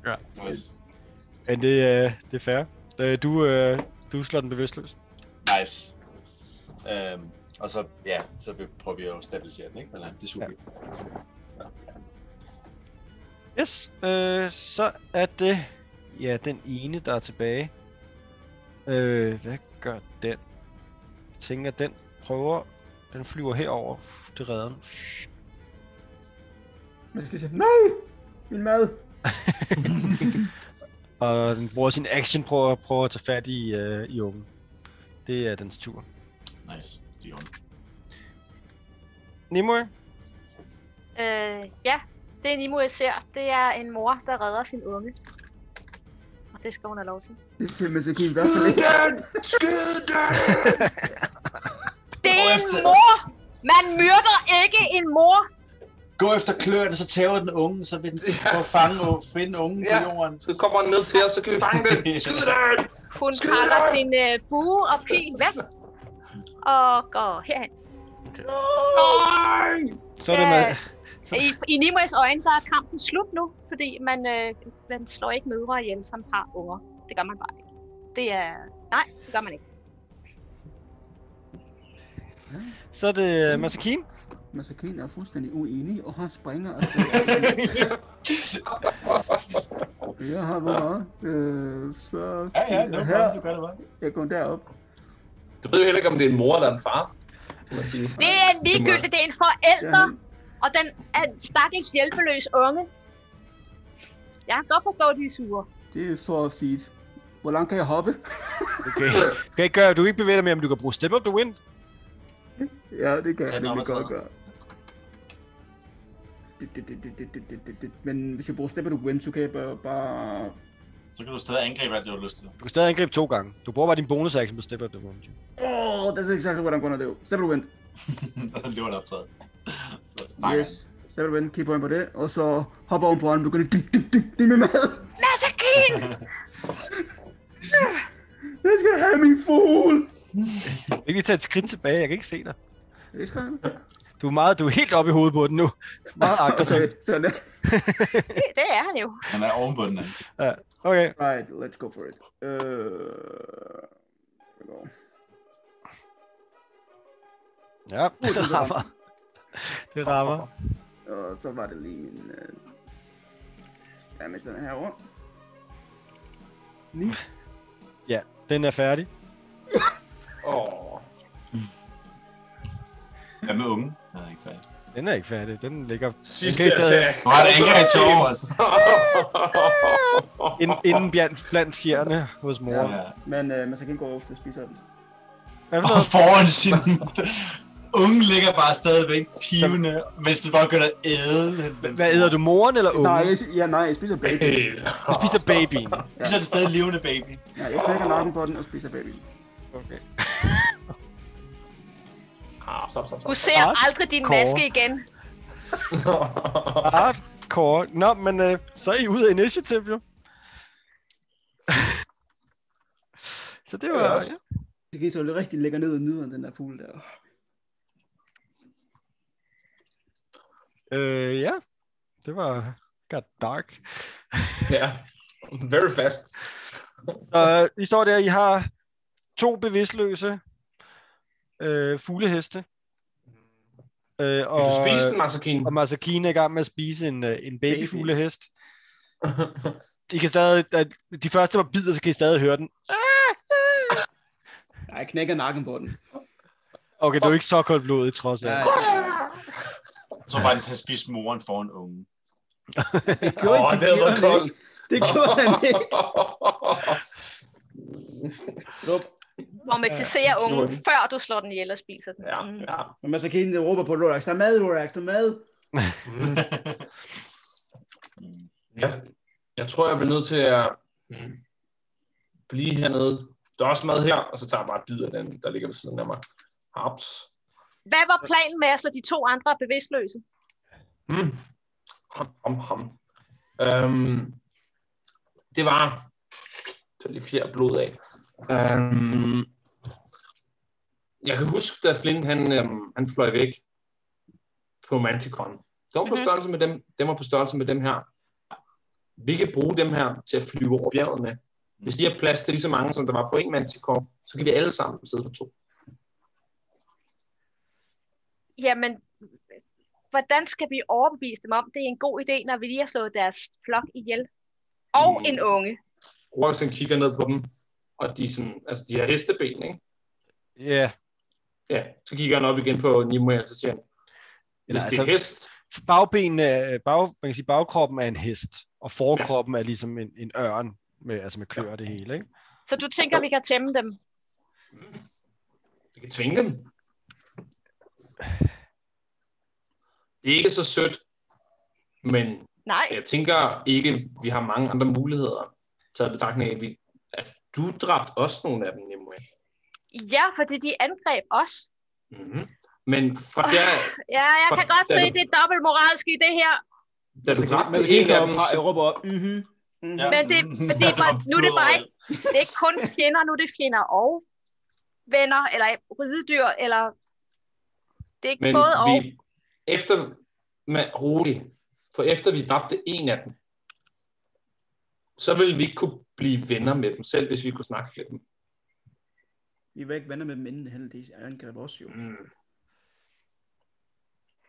B: Ja.
H: nice,
B: Men det, øh, det er fair. Øh, du, øh, du slår den bevidstløs.
H: nice. Øhm, og så, ja, så prøver vi at stabilisere den, ikke, men det er super,
B: Yes, øh, så er det ja, den ene, der er tilbage. Øh, hvad gør den? Jeg tænker, den prøver... Den flyver herover til redderen.
F: Man skal sige, nej! Min mad!
B: Og den bruger sin action på at prøve at tage fat i, øh, i ungen. Det er dens tur.
H: nice, det er ondt.
B: Nimue?
D: Øh, ja, det er Nimo, jeg ser. Det er en mor, der redder sin unge. Og det skal hun have lov til.
F: Det er simpelthen så kigge i hvert fald ikke.
D: Det er en
H: efter.
D: mor! Man myrder ikke en mor!
H: Gå efter kløerne, så tæver den unge, så vil den prøve at fange og finde ungen
C: Ja.
H: på jorden.
C: Så kommer han ned til os, så kan vi fange den. Skyd den!
D: Hun
C: Skyd
D: pakker
C: dig!
D: sin øh, bue og pil væk. Og går herhen.
C: Nej!
B: Så er det med...
D: Øh, I, i Nimoes øjne, der er kampen slut nu, fordi man, øh, man slår ikke mødre ihjel, som har unger. Det gør man bare ikke. Det er... Nej, det gør man ikke.
B: Så er det øh, Masakin.
F: Masakin er fuldstændig uenig, og han springer og Jeg har hvor meget? Øh, så
H: Ja, ja,
F: kigger
H: no
F: jeg
H: problem, du
F: her.
H: gør det bare.
F: Jeg går derop.
C: Du ved jo heller ikke, om det er en mor eller en far. kan man sige.
D: Det er ligegyldigt, det er en forælder,
F: Derhen.
D: og den er en stakkels hjælpeløs unge. Jeg kan godt forstå, at de er sure.
F: Det er for feet. Hvor langt kan jeg hoppe?
B: Okay. Du kan ikke gøre, du kan ikke bevæge dig mere, men du kan bruge Step Up the Wind.
F: Ja, det kan
H: Tag
F: jeg
H: den
F: nemlig
H: op ad
F: godt
H: træet.
F: gøre. Det- det- det- det- det- det- det- det- det. Men hvis jeg bruger step and win, så kan jeg bare... bare...
H: Så kan du stadig angribe alt, du har lyst til.
B: Du kan stadig angribe to gange. Du bruger bare din bonus action på Step Up the Wind.
F: Oh, that's exactly what I'm gonna do. Step and win.
H: Og løber det optaget. Så, nej.
F: Yes. Step and win. Keep point på det. Og så hopper ovenpå og begynder... Dik, dik, dik, det er min mad.
D: Masakin!
F: Jeg skal have min fugl.
B: Jeg kan lige tage et skridt tilbage, jeg kan ikke se dig.
F: Det skal jeg.
B: Du er, meget, du er helt oppe i hovedet på den nu. Meget aggressiv.
F: Okay, sådan der.
D: Det, det er han jo.
H: Han er ovenpå den anden.
B: Okay,
F: Right, let's go for it. Øh... Hvor?
B: ja, det rammer. Det rammer.
F: Og så var det lige min... Øh... Damage den her over.
B: Ja, den er færdig.
C: Åh,
H: Hvad med unge? Nej, ikke færdig.
B: Den er ikke færdig. Den ligger
C: sidste
B: Den kan I stadig-
C: attack.
H: Nu har der ikke engang til over os.
B: ind, inden blandt, blandt fjerne hos mor.
F: Ja.
B: Ja.
F: Men øh, man skal ikke gå over, hvis du spiser den.
B: Hvad for
H: Og
B: noget?
H: foran sin... Unge ligger bare stadigvæk pivende, mens det bare begynder at æde.
B: Hvad æder du, moren eller
F: Nej,
B: ungen?
F: jeg, ja, nej, jeg spiser baby.
B: Du spiser babyen.
H: Ja. Så er det stadig levende baby.
F: Ja, jeg knækker nakken på den og spiser baby.
B: Okay.
C: Ah, stop, stop,
D: Du
C: stop.
D: ser
B: Art,
D: aldrig din
B: Kåre.
D: maske igen.
B: Hardcore. Nå, men øh, så er I ude af initiativ, jo. så det var...
C: også.
B: Ja.
F: Det kan I så rigtig lægger ned og nyder den der pool der.
B: Øh, ja. Det var... Got dark.
C: Ja, very fast.
B: Så øh, I står der, I har to bevidstløse øh, fugleheste. Øh,
C: Vil
B: og,
C: du spise den, Masakine?
B: og Masakine er i gang med at spise en, øh, en babyfuglehest. I kan stadig, at de første, der bider, så kan I stadig høre den.
F: Ja, jeg knækker nakken på den.
B: Okay, det er jo ikke så koldt blodet, trods
F: Ja,
B: alt.
H: Så var det, at han spiste moren foran
F: det
H: unge.
C: Åh,
F: gjorde
C: oh,
F: ikke-
C: det havde været
F: gjorde han
C: koldt.
F: ikke. Det gjorde han ikke. Rup.
D: Romantiserer
C: Ja,
D: ungen,
C: sure.
D: før du slår den ihjel og spiser den.
C: ja,
D: Mm.
C: ja.
F: Men man så kan hende råber på Rorax. Der er mad, Rorax. Der er mad.
C: Jeg, jeg tror, jeg bliver nødt til at mm, blive hernede. Der er også mad her, og så tager jeg bare et bid af den, der ligger ved siden af mig. Haps.
D: Hvad var planen med at slå de to andre bevidstløse?
C: Mm. Ham, ham, ham. Øhm, det var... Det var lige fjerde blod af. Øhm, jeg kan huske, da Flink han, øhm, han fløj væk på Manticon. De var på
D: Mhm.
C: størrelse med dem. Dem var på størrelse med dem her. Vi kan bruge dem her til at flyve over bjerget med. Hvis de har plads til lige så mange, som der var på en Manticon, så kan vi alle sammen sidde på to.
D: Jamen, hvordan skal vi overbevise dem om, det er en god idé, når vi lige har slået deres flok ihjel? Og
C: Mm.
D: en unge.
C: Roxen kigger ned på dem, og de, er sådan, altså, de har hesteben, ikke?
B: Ja.
C: Ja, så kigger han op igen på Nimue, og så siger han, hvis
B: Eller,
C: det er
B: altså-
C: hest,
B: Bagbenene, er- bag, man kan sige, bagkroppen er en hest, og forkroppen er ligesom en, en ørn, med, altså med klør og det hele. Ikke?
D: Så du tænker, vi kan tæmme dem?
C: vi kan tvinge dem. Det er ikke så sødt, men
D: Nej,
C: jeg tænker ikke, vi har mange andre muligheder. Så i betragtning af, at vi, altså, du dræbte også nogle af dem, Nimue.
D: ja, fordi de angreb os.
C: Mm-hmm. Men fra der,
D: Ja, jeg kan
C: Sådan.
D: godt se, det er dobbelt moralsk i det her.
C: da du dræbte en af dem,
F: Jeg
C: så-
F: råber op. Mhm. mhm.
H: Ja.
D: Men det, fordi man, nu er det bare ikke, det er ikke kun fjender, nu er det fjender og venner, eller ridedyr, eller det er ikke
C: men
D: både og.
C: vi, efter, men rolig, for efter vi dræbte en af dem, så ville vi ikke kunne blive venner med dem, selv hvis vi kunne snakke med dem.
F: Vi var ikke venner med dem inden han de angreb os jo.
C: Mm.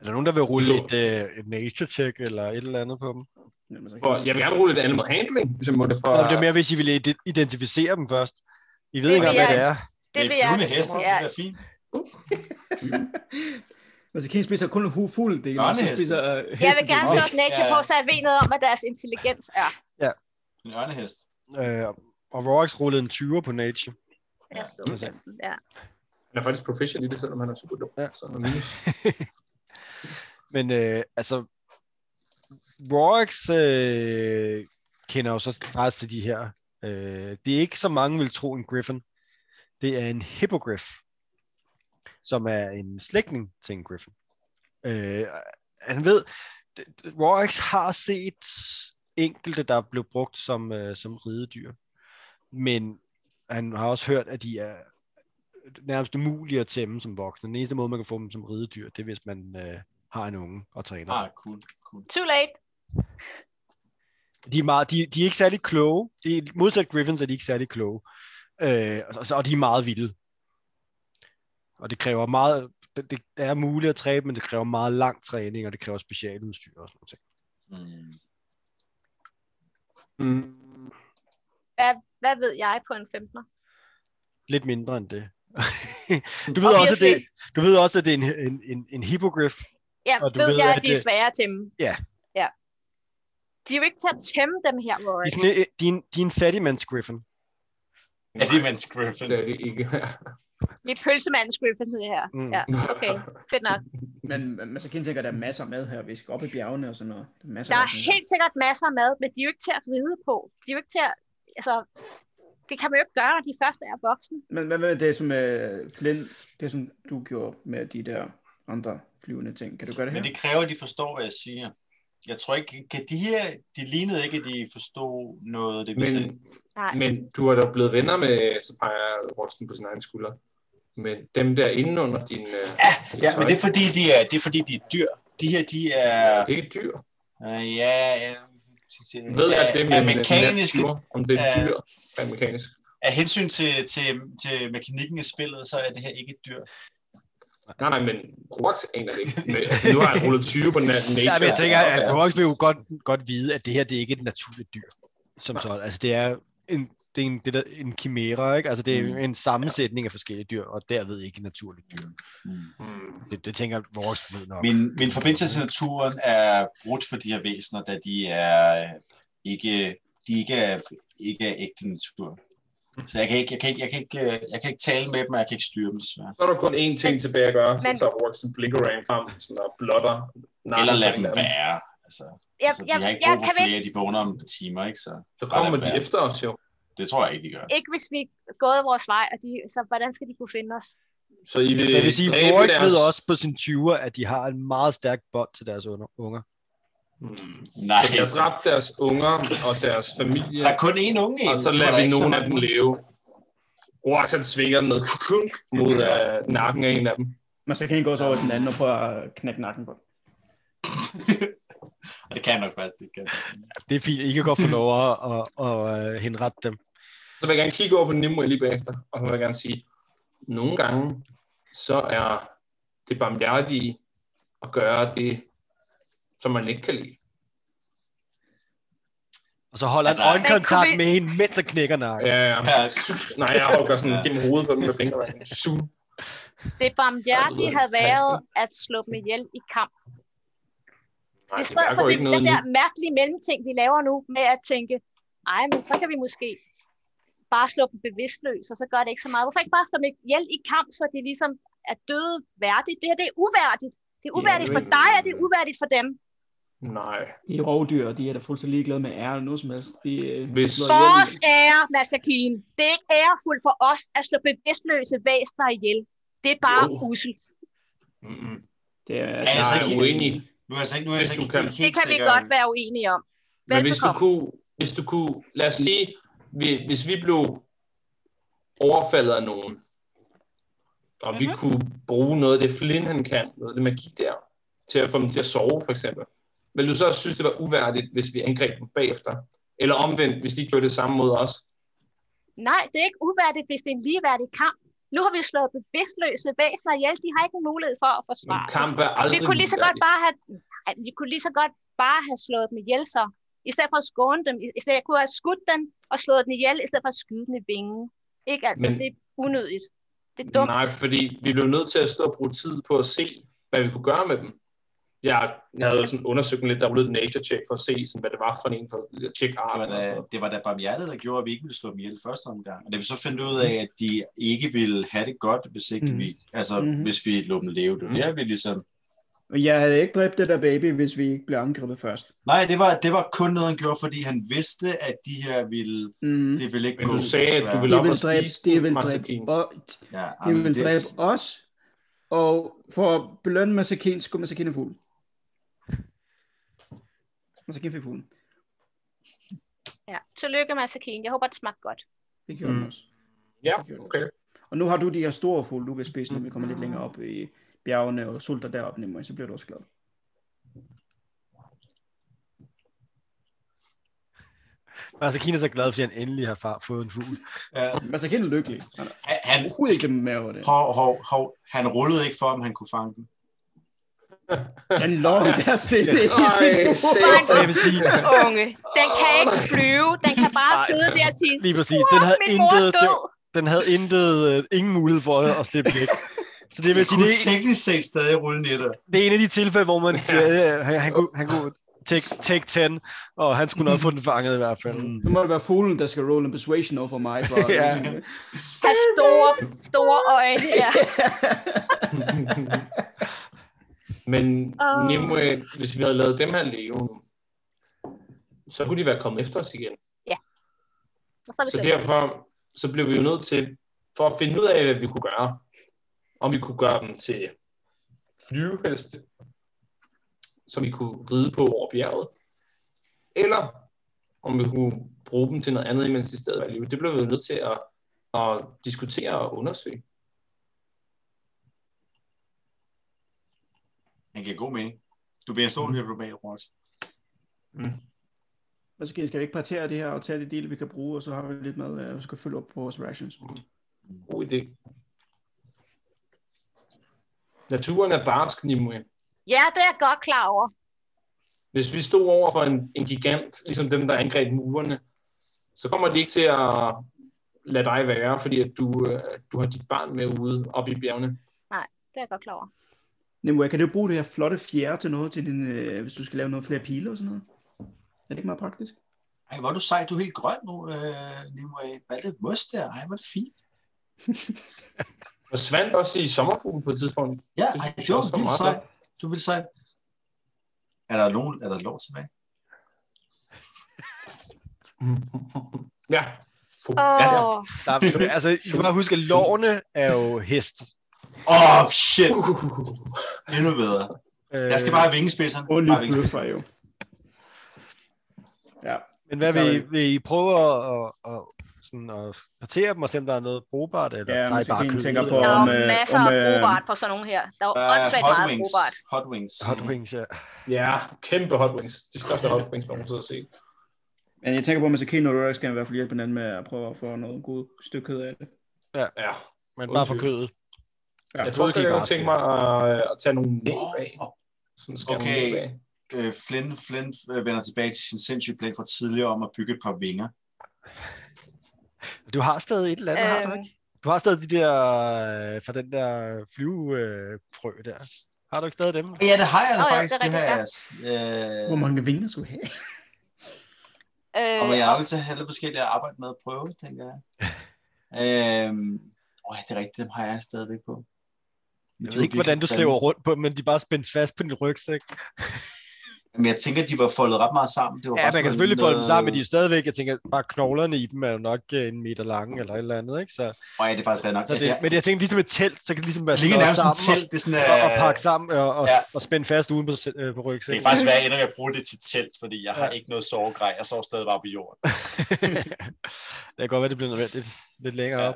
B: Er der nogen, der vil rulle
C: Jo.
B: et, øh, et nature check eller et eller andet på dem?
F: Men så
C: For, jeg vil gerne rulle lidt animal handling, hvis jeg må det for...
B: Nå, det er mere, hvis I vil ide- identificere dem først. I ved
D: Det
B: ikke,
D: vil
B: hvad
D: jeg
B: det er.
H: Det er
D: vil jeg-
H: flyvende heste,
D: Ja,
H: det er fint.
F: Men så kan I spise kun hu- fugledelen. og så
H: Børneheste.
F: spiser øh,
D: jeg vil
F: hestedelen.
D: gerne slå et nature
H: Ja.
D: på, så jeg ved noget om, hvad deres intelligens er.
H: En ørnehest.
B: Øh, og Rorax rullede en 20'er på nature.
D: Jeg slår
B: Ja.
D: femten, Ja.
C: Han er faktisk proficient i det, selvom han er super dum.
B: Ja.
C: Ja. Så han er minus.
B: Men øh, altså, Rorax øh, kender jo så faktisk til de her. Øh, det er ikke så mange vil tro en griffin. Det er en hippogriff, som er en slægtning til en griffin. Øh, han ved, d- d- Rorax har set enkelte, der blev brugt som, øh, som ridedyr. Men han har også hørt, at de er nærmest umulige at tæmme som voksne. Den eneste måde, man kan få dem som ridedyr, det er, hvis man øh, har en unge og træner.
H: Ah, cool, cool.
D: Too late.
B: De er, meget, de, de er ikke særlig kloge. De, er- modsat Griffins er de ikke særlig kloge. Øh, og, så, og de er meget vilde. Og det kræver meget... Det, det er muligt at træne, men det kræver meget lang træning, og det kræver specialudstyr og sådan noget.
H: Mm.
C: Mm.
D: Hvad ved jeg på en 15'er?
B: Lidt mindre end det. du, ved også, at det, du ved også, at det er en, en, en, en hippogriff.
D: Ja,
B: Og du
D: ved,
B: ved,
D: jeg,
B: at
D: at de er
B: det-
D: svære at tæmme.
B: Ja.
D: ja. De er jo ikke til at tæmme dem her, Rory.
B: De er, sådan, en- de, er en, de er en fattigmandsgriffin.
H: Er det mens Griffin?
C: Det er det ikke.
D: Det er pølsemandens griffin, det her.
B: Mm.
D: Ja, okay. Fedt nok.
F: Men, men så kan sikkert, at der er masser med her. Vi skal op i bjergene og sådan noget. Der er, masser
D: Der
F: af
D: er
F: sådan
D: helt sikkert masser af mad, men de er jo ikke til at ride på. De er jo ikke til at... Altså, det kan man jo ikke gøre, når de først er voksne.
F: Men hvad med det som øh, Flynn, det som du gjorde med de der andre flyvende ting? Kan du gøre det her?
H: Men det kræver, at de forstår, hvad jeg siger. Jeg tror ikke, kan de her, de lignede ikke, at de forstod noget af det, vi
C: Men,
H: sagde.
D: Nej.
C: men du er da blevet venner med, så peger Watson på sin egen skulder. Men dem der inde under din... øh, dit
H: Ja,
C: tøj,
H: men det er fordi, de er, det er, fordi, de er dyr. De her, de er...
C: det er ikke et dyr.
H: Øh, ja, ja,
C: Jeg ved, at det er,
H: er
C: med
H: mekaniske.
C: mekaniske... Om det er et
H: Ja.
C: dyr, er mekanisk.
H: Af hensyn til, til, til mekanikken i spillet, så er det her ikke et dyr.
C: Nej, nej, men Roax aner det ikke. Men, altså, nu har han rullet 20 på den her nature.
B: Ja, men jeg tænker,
C: Ja,
B: at
C: ja.
B: Rox vil jo godt, godt vide, at det her det er ikke et naturligt dyr. Som sådan. Altså, det er en, det er en, det der, en chimæra, ikke? Altså, det er
H: Mm.
B: mm. en sammensætning af forskellige dyr, og derved ikke et naturligt dyr.
C: Hmm.
B: Det, det tænker Rox ved nok.
H: Min, min forbindelse til naturen er brudt for de her væsener, da de er øh, ikke, de ikke er, ikke er ægte natur. Så jeg kan, ikke, jeg, kan ikke, jeg, kan ikke, øh, jeg kan ikke tale med dem, og jeg kan ikke styre dem, desværre.
C: Så er der kun én ting tilbage at gøre, så
D: Men-
C: tager Roax en blinkerang frem, sådan og blotter. Nej,
H: Eller lad dem være. Altså,
D: Jeg,
H: altså,
D: jeg,
H: de har ikke
D: jeg
H: brug for
D: kan
H: flere, de vågner om et par timer, ikke? Så
C: Så kommer
H: Bare lad
C: de
H: være.
C: efter os jo.
H: det tror jeg ikke, de gør.
D: ikke, hvis vi er gået vores vej, og de, så hvordan skal de kunne finde os?
C: Så I
B: Så
C: vil,
B: Altså, jeg vil sige,
C: dræbe
B: Rox
C: deres-
B: ved også på sin 20'er, at de har en meget stærk bånd til deres under- unger.
C: Hmm.
H: Nej,
C: Så de har dræbt deres unger og deres familie,
H: der er kun én unge
C: og
H: endnu,
C: så
H: hvor
C: lader
H: der
C: vi
H: er ikke så
C: nogen af
H: mange.
C: dem leve. Roax han svinger med kunk mod øh, nakken af en af dem.
F: Men så kan I gå så over til den anden og prøve at knække nakken på.
H: Det kan jeg nok faktisk, det kan. jeg.
B: Det er fint. I kan godt få lov at, at, at, at henrette dem.
C: Så vil jeg gerne kigge over på Nimue lige bagefter, og så vil jeg gerne sige, nogle gange, så er det barmhjertige at gøre det, som man ikke kan lide.
B: Og så holder altså, han
H: Altså,
B: øjenkontakt
D: Men kunne vi-
B: med hende, mens han knækker nakken.
C: Ja, ja.
H: Ja,
C: Nej, jeg har jo gør sådan gennem hovedet på dem med fingrene. Zoom.
D: Det
H: Altså,
D: barmhjertige
C: Ej,
D: havde
C: det ved jeg ikke.
D: været at slå dem ihjel i kamp.
C: Nej,
D: I
C: det
D: stedet
C: mærker
D: for
C: jo
D: det,
C: ikke noget
D: den
C: nu.
D: der mærkelige mellemting, vi laver nu, med at tænke, ej, men så kan vi måske bare slå dem bevidstløs, og så gør det ikke så meget. Hvorfor ikke bare slå dem ihjel i kamp, så de ligesom er døde værdigt? Det her, det er uværdigt. Det er
C: Ja,
D: uværdigt for
C: men-
D: dig, og det er uværdigt for dem.
C: Nej.
G: De er rovdyr, og de er da fuldstændig ligeglade med ære eller noget som helst. De, øh,
C: Hvis-
G: slår ihjel.
D: Vores ære, Masakin. Det er ikke ærefuldt for os at slå bevidstløse væsener ihjel. Det er bare
C: Jo.
D: uselt.
C: Mm-mm.
G: Det er,
H: Ja,
C: Jeg
H: altså
C: er
H: ikke-
C: uenig.
H: Nu er jeg så ikke, nu er jeg
C: Hvis
H: så
C: du
H: ikke
C: kan.
H: helt
D: Det kan vi
H: sikker.
D: godt være uenige om.
C: Men hvis du,
D: Velbekomme.
C: kunne, hvis du kunne, lad os sige, vi- hvis vi blev overfaldet af nogen, og vi
D: Mhm.
C: kunne bruge noget af det Flynn han kan, noget af det magi der, til at få dem til at sove for eksempel, vil du så også synes, det var uværdigt, hvis vi angreb dem bagefter? Eller omvendt, hvis de gjorde det samme mod os?
D: Nej, det er ikke uværdigt, hvis det er en ligeværdig kamp. Nu har vi slået bevidstløse væsener ihjel. De har ikke en mulighed for at
C: Men
D: forsvare. sig.
C: kamp er aldrig
D: Vi kunne lige så godt
C: ligeværdigt.
D: bare have, Ej, vi kunne lige så godt bare have slået dem ihjel så. I stedet for at skåne dem. I stedet jeg kunne have skudt den og slået den ihjel, i stedet for at skyde den i vingen. Ikke altså,
C: Men-
D: det er unødigt. Det er dumt.
C: Nej, fordi vi blev nødt til at stå og bruge tid på at se, hvad vi kunne gøre med dem. Jeg, jeg havde jo sådan undersøgt dem lidt, der rullede et nature check for at se, sådan, hvad det var for en, for at tjekke
H: Det var, øh,
C: arten og sådan
H: da,
C: noget.
H: altså, det var da barmhjertet, der gjorde, at vi ikke ville slå dem ihjel i første omgang. Og da vi så fandt ud af, at de ikke ville have det godt, hvis, ikke
F: Mhm.
H: mm. vi, altså,
F: Mhm.
H: mm. hvis vi lå dem leve. Det var
C: Mhm.
H: der, vi ligesom...
F: Og jeg havde ikke dræbt det der baby, hvis vi ikke blev angrebet først.
H: Nej, det var, det var kun noget, han gjorde, fordi han vidste, at de her ville...
F: Mm.
H: Det ville ikke
C: Men
H: gå.
C: du sagde, at du
H: desværre.
C: ville
F: De
C: op
F: vil
C: og
F: dræbe,
C: spise
F: de vil
C: Masakin.
F: dræbe, og,
H: Ja,
F: de
H: jamen,
F: vil
H: det-
F: dræbe os. Og for at belønne Masakin, skulle Masakin have fuglen. Masakin fik fuglen.
D: Ja. Tillykke, Masakin. Jeg håber, det smagte godt.
F: Det gjorde mm.
C: Mm.
F: også.
C: Ja, okay. Mm.
G: Og nu har du de her store fugle, du kan spise, når vi kommer lidt længere op i bjergene og sulter deroppe nemmere, så bliver du også glad.
B: Masakine altså, er så glad, fordi han endelig har far, fået en fugl.
G: Men så kender lykkelig. Han er
H: Han, han,
G: overhovedet ikke med over det.
H: hov, hov, hov, han rullede ikke for, om han kunne fange den.
G: Den lå der stille i sin
C: Ej,
G: bord.
D: Fuck,
B: Og jeg vil sige,
D: unge. Den kan ikke flyve. Den kan bare sidde der og sige,
B: lige præcis,
D: "Mor,
B: den havde
D: min mor
B: intet,
D: er død.
B: den, den havde intet, øh, ingen mulighed for at, at slippe væk. Så det vil
H: Jeg
B: sige, det
H: kunne
B: er,
H: teknisk set stadig rulle netter.
B: det er en af de tilfælde, hvor man siger, øh, han, han, kunne, han kunne take, take 10, og han skulle nok få den fanget i hvert fald.
G: Nu må det være fuglen, der skal roll en persuasion over for mig. For ligesom,
B: Ja.
G: øh,
D: Har store, store øjne. Ja.
C: Men
D: Åh.
C: oh. Nimue, hvis vi havde lavet dem her leve nu, så kunne de være kommet efter os igen.
D: Og så er vi
C: Så
D: selv.
C: derfor så blev vi jo nødt til, for at finde ud af, hvad vi kunne gøre, om vi kunne gøre dem til flyveheste, som vi kunne ride på over bjerget, eller om vi kunne bruge dem til noget andet, imens de stadig var i live. Det blev vi jo nødt til at, at diskutere og undersøge.
H: Han giver god mening. Du bliver en
C: Mhm.
H: stor diplomat, Rox.
C: Mm.
G: Og så skal vi ikke partere det her og tage de dele, vi kan bruge, og så har vi lidt med, at vi skal følge op på vores rations.
C: God idé. Naturen er barsk, Nimue.
D: ja, det er jeg godt klar over.
C: Hvis vi stod over for en, en gigant, ligesom dem, der angreb murerne, så kommer de ikke til at lade dig være, fordi at du, øh, du har dit barn med ude oppe i bjergene.
D: Det er jeg godt klar over.
G: Nimue, kan du bruge det her flotte fjerde til noget, til din, øh, hvis du skal lave noget flere pile og sådan noget? Er det ikke meget praktisk?
H: Ej, hvor er du sej. Du er helt grøn nu, øh, Nimue. Hvad er det mos der? Ej, hvor er det fint.
C: Og svandt også i sommerfuglen på et tidspunkt.
H: Ja,
C: Det
H: ej,
C: synes
H: det
C: jeg
H: var
C: også var
H: vildt
C: meget
H: sejt. Du er vildt sejt. Er der, nogen, er der lov tilbage?
C: Ja. Fu-
D: Åh,
H: ja.
B: Der er, altså, I skal bare huske, at lårene er jo hest.
H: Åh, oh, shit.
C: Uh,
H: Endnu bedre.
B: Øh,
H: Jeg skal bare have vingespidserne.
G: Og
H: Bare
G: lige
H: vingespidserne.
G: sig jo. Ja,
B: Men hvad
G: tager
B: vil, I- vil I prøve at, at, at, sådan at partere dem, og se om der er noget brugbart, eller
G: Ja,
B: ja, tager I
G: måske
B: bare
G: kan I
B: kød?
G: tænke på,
D: der er
G: om,
D: jo
G: øh,
D: masser
G: om,
D: af
G: øh,
D: brugbart på sådan nogle her. Der er jo
H: Øh,
D: åndssvagt
H: hot
D: meget
H: wings.
D: brugbart.
H: Hot wings.
B: Hot wings, ja.
C: ja, kæmpe hot wings. De største hot wings, man har set.
G: men jeg tænker på, at Masakino og Rorik skal i hvert fald hjælpe hinanden med at prøve at få noget god stykke kød af det.
C: Ja.
B: Men bare for
C: Undskyld.
B: kødet.
G: Ja,
C: Jeg tror,
B: kødet
C: også,
B: kan
C: jeg
B: I
C: kunne
B: bare
C: tænke mig øh,
B: skære.
C: at, at tage nogle næb af.
H: Åh,
C: Sådan skal
H: Okay.
C: okay. Af.
H: øh, Flynn, Flynn øh, vender tilbage til sin sindssyge plan fra tidligere om at bygge et par vinger.
B: Du har stadig et eller andet, øh... har du
D: Øhm.
B: ikke? Du har stadig de der, øh, fra den der flyvefrø øh, frø der. Har du ikke stadig dem?
H: Ja, det har jeg da
D: Åh, ja,
H: faktisk.
D: det er
H: Det har jeg.
G: Hvor
H: Øh,
G: mange vinger skulle have?
D: Øh,
H: og jeg er nødt til at have lidt forskellige at arbejde med at prøve, tænker jeg. Øh, åh, det er rigtigt, dem har jeg stadigvæk på.
B: Jeg ved ikke, hvordan du slæver rundt på dem, men de er bare spændt fast på din rygsæk.
H: Men jeg tænker, de var foldet ret meget sammen. Det var
B: Ja, man
H: bare
B: kan
H: sådan øh,
B: selvfølgelig få dem sammen, men de er
H: noget-
B: jo stadigvæk, jeg tænker, bare knoglerne i dem er jo nok øh, en meter lange eller et eller andet, ikke? Så,
H: Åh, ja, det er faktisk ret nok.
B: så
H: Ja,
B: det,
H: det,
B: men jeg tænker, ligesom et telt, så kan det ligesom være
H: det ligner
B: slået
H: nærmest sådan
B: sammen
H: et telt. Det er sådan,
B: og, og,
H: øh,
B: pakke sammen og, og,
H: ja.
B: og spænde fast uden på, øh, på rygsækken.
I: Det kan faktisk være, at jeg ender med at bruge det til telt, fordi jeg har
B: Ja.
I: ikke noget sovegrej. Jeg sover stadig bare på jorden.
B: det kan godt være, det bliver nødvendigt lidt længere
I: Ja.
B: op.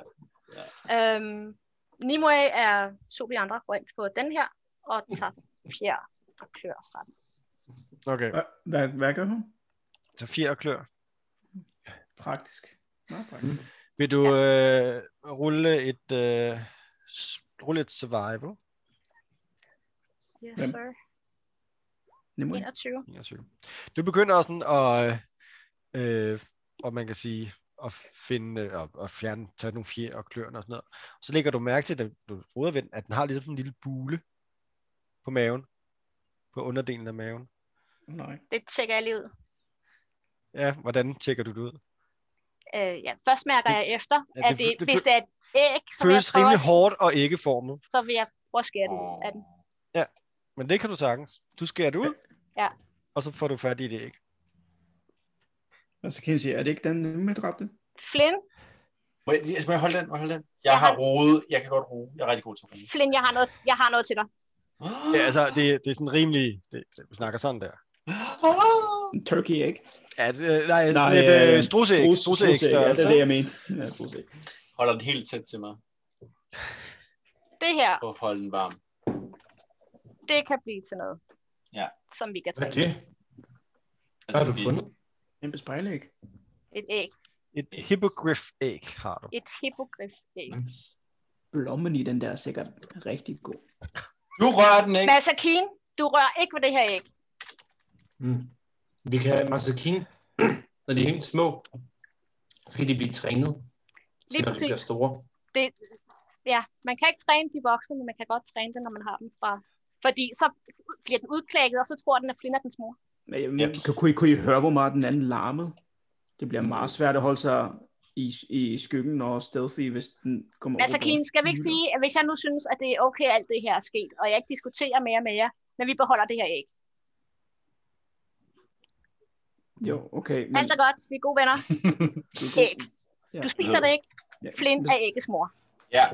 D: Øhm, Nimue er to vi andre går ind på den her, og tager fjer og klør fra den.
B: Okay,
G: Hvad, hvad, hvad gør hun?
B: så fjer og klør.
G: Praktisk. Meget praktisk.
B: Vil du øh, rulle et øh, s- rulle et survival?
D: Yes,
G: Hvem?
D: sir.
G: Nimue.
D: 21.
B: 21. Du begynder sådan at, øh, og man kan sige, at finde øh, og, og fjerne, tage nogle fjer og kløerne og sådan noget. Så lægger du mærke til, at du ruder ved den, at den har lidt sådan en lille bule på maven, på underdelen af maven.
G: Nej.
D: Det tjekker jeg lige ud.
B: Ja, hvordan tjekker du det ud?
D: Øh, ja. Først mærker jeg efter,
B: Ja,
D: at
B: det-
D: det,
B: det
D: hvis
B: fø-
D: det er et æg, så vil, jeg
B: Føles
D: prøve,
B: rimelig
D: at-
B: hårdt og ikke formet,
D: så vil jeg prøve at skære den ud af den.
B: men det kan du sagtens. Du skærer det ud,
D: Ja.
B: og så får du fat i det æg.
G: Og så kan jeg sige, er det ikke den øh, Nimue dræbte?
D: Flynn,
I: Må jeg, må jeg holde den? Må jeg holde den? Jeg har roet. Jeg kan godt roe. Jeg er rigtig god til at roe.
D: Flynn, jeg har noget, jeg har noget til dig.
B: Ja, altså, det, det er sådan rimelig... Det, det, vi snakker sådan der.
G: En turkey egg?
B: Ja, det, nej,
G: Nej,
B: sådan lidt
G: øh,
B: øh, strusæg.
G: Strus-
B: Strusæg,
G: strudseæg, Ja, det er det, jeg mente. Ja, strudseæg.
I: Holder den helt tæt til mig.
D: Det her,
H: for at holde den varm.
D: det kan blive til noget.
H: Ja.
D: Som vi kan
C: Hvad er
D: træne.
C: det? Hvad har du
H: Altså, vi-
I: Altså,
C: fundet?
F: Kæmpe spejlæg.
D: Et æg.
B: Et hippogriff æg har du.
D: Et hippogriff æg.
C: Nice.
G: Blommen i den der er sikkert rigtig god.
H: Du rører den ikke.
D: Masakine, du rører ikke ved det her æg.
C: Mm. Vi kan have masakin, når de er helt små. Så kan de blive trænet, til
D: Lige
C: når de
D: præcis.
C: bliver store.
D: Ja, man kan ikke træne de voksne, men man kan godt træne det, når man har dem fra... Fordi så bliver den udklækket, og så tror den, at Flynn er dens mor.
G: Men jeg,
H: Jeps.
G: kan, kunne, I, kunne I høre, hvor meget den anden larmede? Det bliver meget svært at holde sig i, i skyggen og stealthy, hvis den kommer
D: Altså, Keen, skal vi ikke sige, at hvis jeg nu synes, at det er okay, alt det her er sket, og jeg ikke diskuterer mere med jer, men vi beholder det her æg.
G: Jo, okay. Men,
D: Alt er godt, vi er gode venner. Æg. Du spiser det ikke.
G: Ja.
D: Flynn
G: Hvis-
D: er ægges mor.
H: Ja,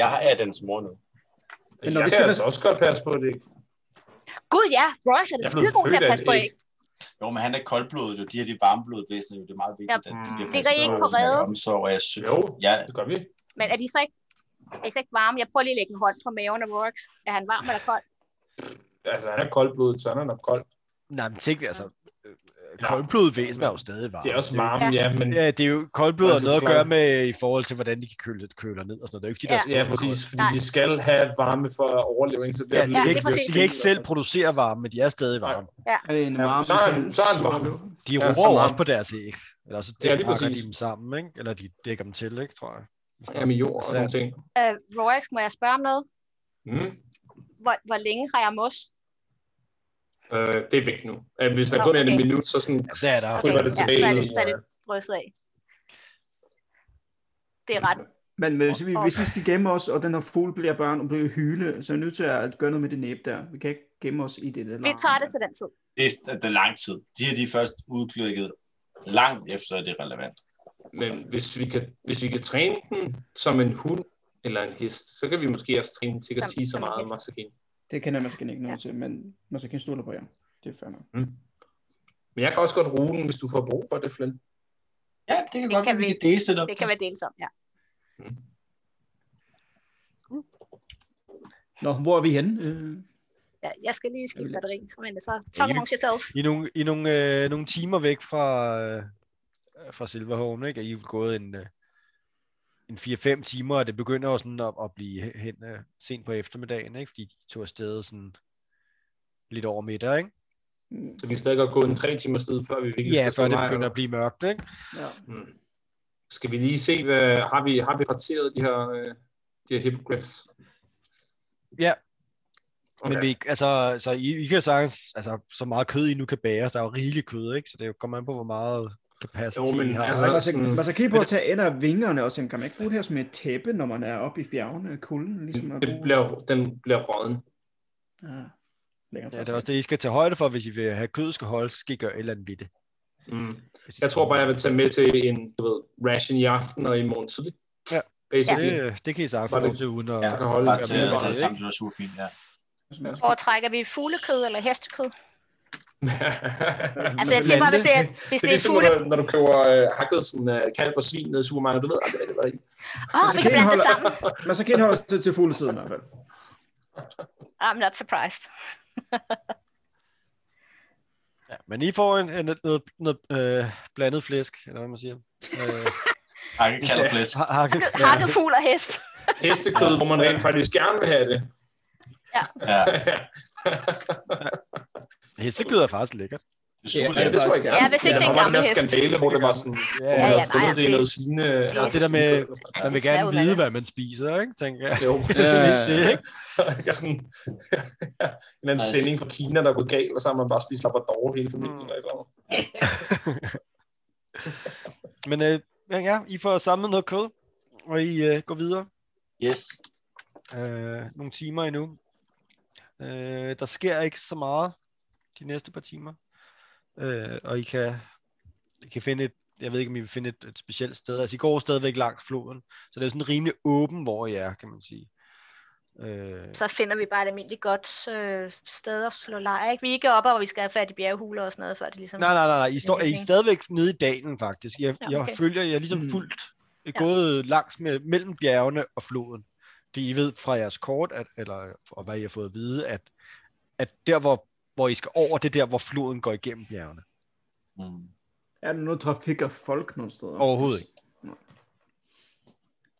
H: jeg har er dens mor nu.
C: Men
G: Men
C: når
G: når
C: jeg
G: vi
C: kan
G: skal-
C: altså også godt passe på det.
D: Gud ja, Royce er
C: Jeg
D: det
C: er
D: skide
C: blevet
D: god til
C: født
D: at
C: af
D: passe
C: et
D: på
C: æg.
D: æg.
H: Jo, men han er koldblodet, jo. De her de er varmblodet væsener, jo. Det er meget vigtigt, at de bliver
C: Ligger
H: passet
D: I ikke
H: på
D: på
H: med
D: rede?
H: omsorg, og jeg søger.
C: Jo,
H: Ja,
C: det gør vi.
D: Men er de så ikke, er de så ikke varme? Jeg prøver lige at lægge en hånd på maven af Royce. Er han varm eller kold?
C: Altså, han er koldblodet, så han er nok kold.
B: Nej, men tænk altså, øh,
C: Ja.
B: koldblodet væsen er jo stadig varmt.
C: Det er også varme, ja, men
B: Ja, det er jo koldblod har
C: Altså,
B: noget at
C: klar.
B: gøre med i forhold til, hvordan de kan køle, køler ned og sådan noget. Det er jo ikke de der
D: Ja.
B: store
C: ja, præcis,
B: kolde.
C: fordi de skal have varme for at overleve, ikke? Så
B: Ja, de,
D: Ja,
B: kan
D: det
B: ikke,
D: er præcis.
B: de kan ikke selv producere varme, men de er stadig varme.
G: Er det en
C: Ja,
G: varm,
C: så er han- så er han varm.
B: De
C: Ja, så
B: roer
C: meget.
B: også på deres æg. Eller så
C: Ja, lige
B: dækker de
C: præcis.
B: dem sammen, ikke? Eller de dækker dem til, ikke, tror jeg.
C: Ja, med jord og sådan nogle ting.
D: Øh, Royce, må jeg spørge om noget?
C: Mm.
D: Hvor, hvor længe har jeg mos?
C: Øh, det er væk nu. Øh, hvis der
D: Nå,
C: kun er
D: okay.
C: et minut, så sådan,
B: Ja, det er der.
C: Kryber det
D: ja,
C: tilbage
D: så er
C: i-
D: det, så er det drysset af. Det er ret.
G: Men hvis vi,
D: Og-
G: hvis vi skal gemme os, og den her fugl bliver børn og bliver hyle, så er vi nødt til at gøre noget med det næb der. Vi kan ikke gemme os i det der
D: Vi
G: larm.
D: tager det til den tid.
H: det er, det er lang tid. De her de er først udklykket langt efter, at det er relevant.
C: men hvis vi, kan, hvis vi kan træne den som en hund eller en hest, så kan vi måske også træne den til at
D: Som-
C: sige så
D: som en
C: meget om
D: hest.
C: Masakin.
G: Det kan jeg måske ikke noget til, men man kan stole på jer. Det er fair nok.
C: Men jeg kan også godt bruge den, hvis du får brug for det, Flynn.
H: Ja, det kan
D: Det
H: godt
D: kan
H: være, vi
D: vi-
H: kan dele det op.
D: Det kan være dels om, ja.
G: Nå, hvor er vi henne? Øh,
D: ja jeg skal lige skifte
G: Jamen.
D: batteri, men så talk
B: Ja,
D: amongst yourselves.
B: I er nogle, I er nogle, øh, nogle timer væk fra, øh, fra Silverhorn, ikke? Og I er gået en, øh, en 4-5 timer, og det begynder jo sådan at, at blive hen øh, sent på eftermiddagen, ikke? Fordi de tog afsted sådan lidt over middag, ikke?
C: Så vi kan stadig godt gå en tre timer sted, før vi virkelig
B: Ja,
C: stå
B: før det
C: lejr.
B: begynder at blive mørkt, ikke?
G: ja.
C: Mm. Skal vi lige se, hvad, har, vi, har vi parteret de her, øh, de her hippogriffs?
B: Ja.
C: Okay.
B: Men vi, altså, så I, I kan sagtens, altså, så meget kød I nu kan bære, der er jo rigeligt kød, ikke? Så det kommer an på, hvor meget kapacitet
C: Jo, men
B: I har.
C: altså,
B: ikke?
C: Ja,
G: Man
C: sådan-
G: skal, man skal kigge på at tage ender af vingerne og sådan, kan man ikke bruge det her som et tæppe, når man er oppe i bjergene, kulden, ligesom at
C: den,
G: bruge- Ah,
C: bliver, den bliver råden.
G: Ja, Længere
B: ja,
G: fra
B: det er også
G: sig.
B: det, I skal tage højde for, hvis I vil have kød, skal holde, skal I gøre et eller andet ved det.
C: Mm.
B: Hvis I
C: Jeg
B: skal-
C: tror bare, jeg vil tage med til en du ved, ration i aften og i morgen tidlig.
B: Ja.
C: Basically. Ja.
B: Det, det kan I sagtens få
C: Var det-
B: lov til, uden at...
H: Ja,
C: kan holde-
H: bare til
B: Ja,
H: at
B: det er
H: holde
B: det,
H: sammen, det var super fint, ja.
G: Det smager så godt.
D: Foretrækker vi fuglekød eller hestekød? Altså, jeg
G: men
D: tænker bare,
G: det-
D: hvis det er, hvis
C: Det
D: det
C: er
D: er
C: ligesom,
D: fugle...
C: når, du- når du køber øh, hakket sådan, øh, kalv for svin ned i supermarkedet. Du ved aldrig, rigtig, hvad der er i.
D: Åh,
G: Altså,
D: vi kan blande
G: Kane
D: det
G: holder-
D: sammen.
G: Men så kan jeg holde til, til fuglesiden i hvert fald.
D: I'm not surprised.
B: Ja, men I får en, en, noget, noget øh, blandet flæsk, eller hvad man siger. Øh,
H: Hakke kalder flæsk.
B: ha- hakket.
D: Hakket fugl og hest.
C: Hestekød, hvor man rent faktisk gerne vil have det.
H: Ja,
B: Hestekød er faktisk lækkert.
H: det er super
C: ja, det
H: lækkert.
C: tror jeg gerne.
D: Ja, hvis ikke
C: der
D: det er en
C: var den
D: gammel
C: der
D: hest.
C: skandale, hvor det var sådan,
B: Ja,
C: hvor man
D: ja,
C: havde fundet
D: nej,
C: det i
D: det-
C: noget svine.
D: det er
B: det der med- Man vil gerne
D: smager
B: vide,
D: udmærket.
B: hvad man spiser, ikke? Tænker jeg.
C: Jo, præcis.
B: Det er ikke?
C: Ja, sådan, en eller anden
H: Nice.
C: sending fra Kina, der går galt, og så har man bare spist labrador hele familien.
B: Mm.
C: eller et Eller andet.
B: Men øh, ja, ja, I får samlet noget kød, og I øh, går videre.
H: Yes.
B: øh, nogle timer endnu. Øh, der sker ikke så meget de næste par timer. Øh, og I kan, I kan finde et, jeg ved ikke, om I vil finde et, et specielt sted. Altså, I går stadigvæk langs floden, så det er sådan rimelig åben, hvor I er, kan man sige. Øh,
D: Så finder vi bare et almindeligt godt øh, sted at slå lejr. Ikke? Vi er ikke oppe, hvor vi skal have fat i bjergehuler og sådan noget, før det ligesom...
B: nej, nej, nej, nej. I, står, I er
D: Okay.
B: stadigvæk nede i dalen, faktisk. Jeg,
D: Ja,
B: jeg
D: okay.
B: følger, jeg er ligesom
G: Mm.
B: fuldt
D: Ja.
B: gået langs med, mellem bjergene og floden. det I ved fra jeres kort, at, eller, og hvad I har fået at vide, at, at der, hvor, hvor I skal over, det er der, hvor floden går igennem bjergene.
E: Mm.
G: Er der noget trafik af folk nogle steder?
B: Overhovedet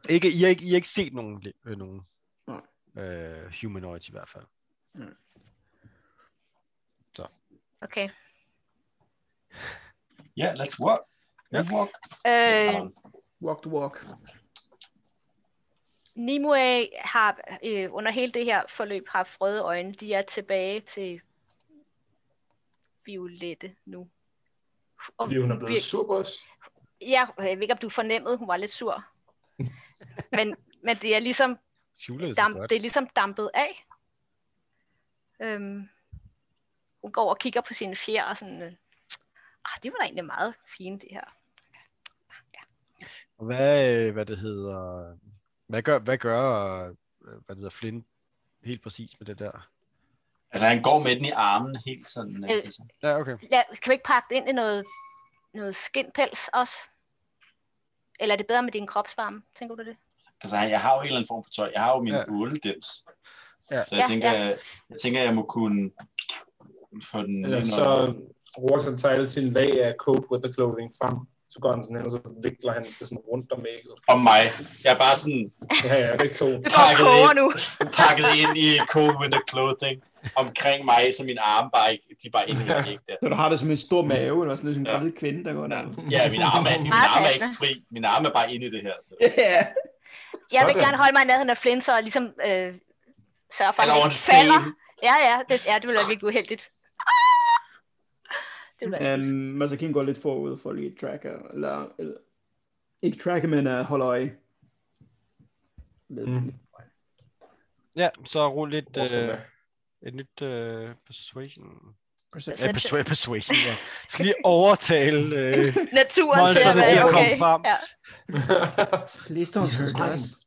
B: ikke. Ikke, I, har ikke, I har ikke set nogen, øh, nogen
G: Nej.
B: øh, humanoids i hvert fald.
D: Okay.
E: Yeah, let's walk.
B: Ja.
E: We walk.
D: Øh,
G: Walk to walk.
D: Nimue har øh, under hele det her forløb haft røde øjne. De er tilbage til violette nu. Og
C: Fordi hun er blevet
D: vir-
C: sur på os.
D: Ja, jeg ved ikke, om du fornemmede, hun var lidt sur. men, men det er ligesom
B: Julie er så
D: damp,
B: godt.
D: det er ligesom dampet af. Øhm, hun går og kigger på sine fjer og sådan, øh, ah, det var da egentlig meget fint det her.
B: Og Hvad, øh, hvad det hedder... Hvad gør, hvad gør øh, hvad det hedder, Flynn helt præcis med det der?
E: Altså, han går med den i armen helt sådan. Øh.
D: Øh.
E: til sig.
B: Ja, okay.
D: Ja, kan vi ikke pakke det ind i noget, noget skindpels også? Eller er det bedre med din kropsvarme? Tænker du det?
E: Altså, han- jeg har jo en eller anden form for tøj. Jeg har jo min
B: Ja.
E: ja. ulddims.
B: Ja.
E: Ja. Så jeg
D: Ja,
E: tænker,
D: ja.
E: ja. jeg tænker, jeg må kunne få den...
C: Eller
E: ind
C: Øh, så
E: under.
C: Rorax han tager alle sine lag af coat with the clothing frem. Så går han sådan hen, og så vikler han det sådan rundt om ægget.
E: Om mig. Jeg er bare sådan
C: Ja, ja, begge to.
D: Det går og
E: Pakket
D: koger
E: ind.
D: nu.
E: pakket ind i cold winter clothing omkring mig, så min arme bare ikke, de er bare indvendigt ikke der.
G: Så du har det som en stor mave, eller sådan noget, som en
E: Ja.
G: gravid kvinde, der går der.
E: Ja, min arme er, min arme er ikke fri. Min arme er bare inde i det her. Så.
G: Yeah.
D: Jeg vil
C: Sådan.
D: gerne holde mig i nærheden af Flint, så ligesom øh, sørge for, at
E: Eller
D: han
E: over
D: ikke
E: en
D: falder.
E: sten.
D: Ja, ja, det, ja, det ville være virkelig uheldigt. Ah! Det ville være
G: Um, Masakin går lidt forud for lige at tracke, eller, eller ikke tracke, men uh, holde øje. Lidt.
C: Mm.
B: Ja, så rul lidt
C: Hvor skal
B: øh,
C: man?
B: et nyt øh, persuasion.
G: Perception.
B: Ja, persuasion,
D: Perception.
B: persuasion ja. Jeg Skal lige overtale øh,
D: naturen til at,
B: monsterne til
D: være,
B: at
D: okay.
B: komme frem.
D: Ja.
G: Please don't
C: Jesus
G: hurt us.
C: Christ.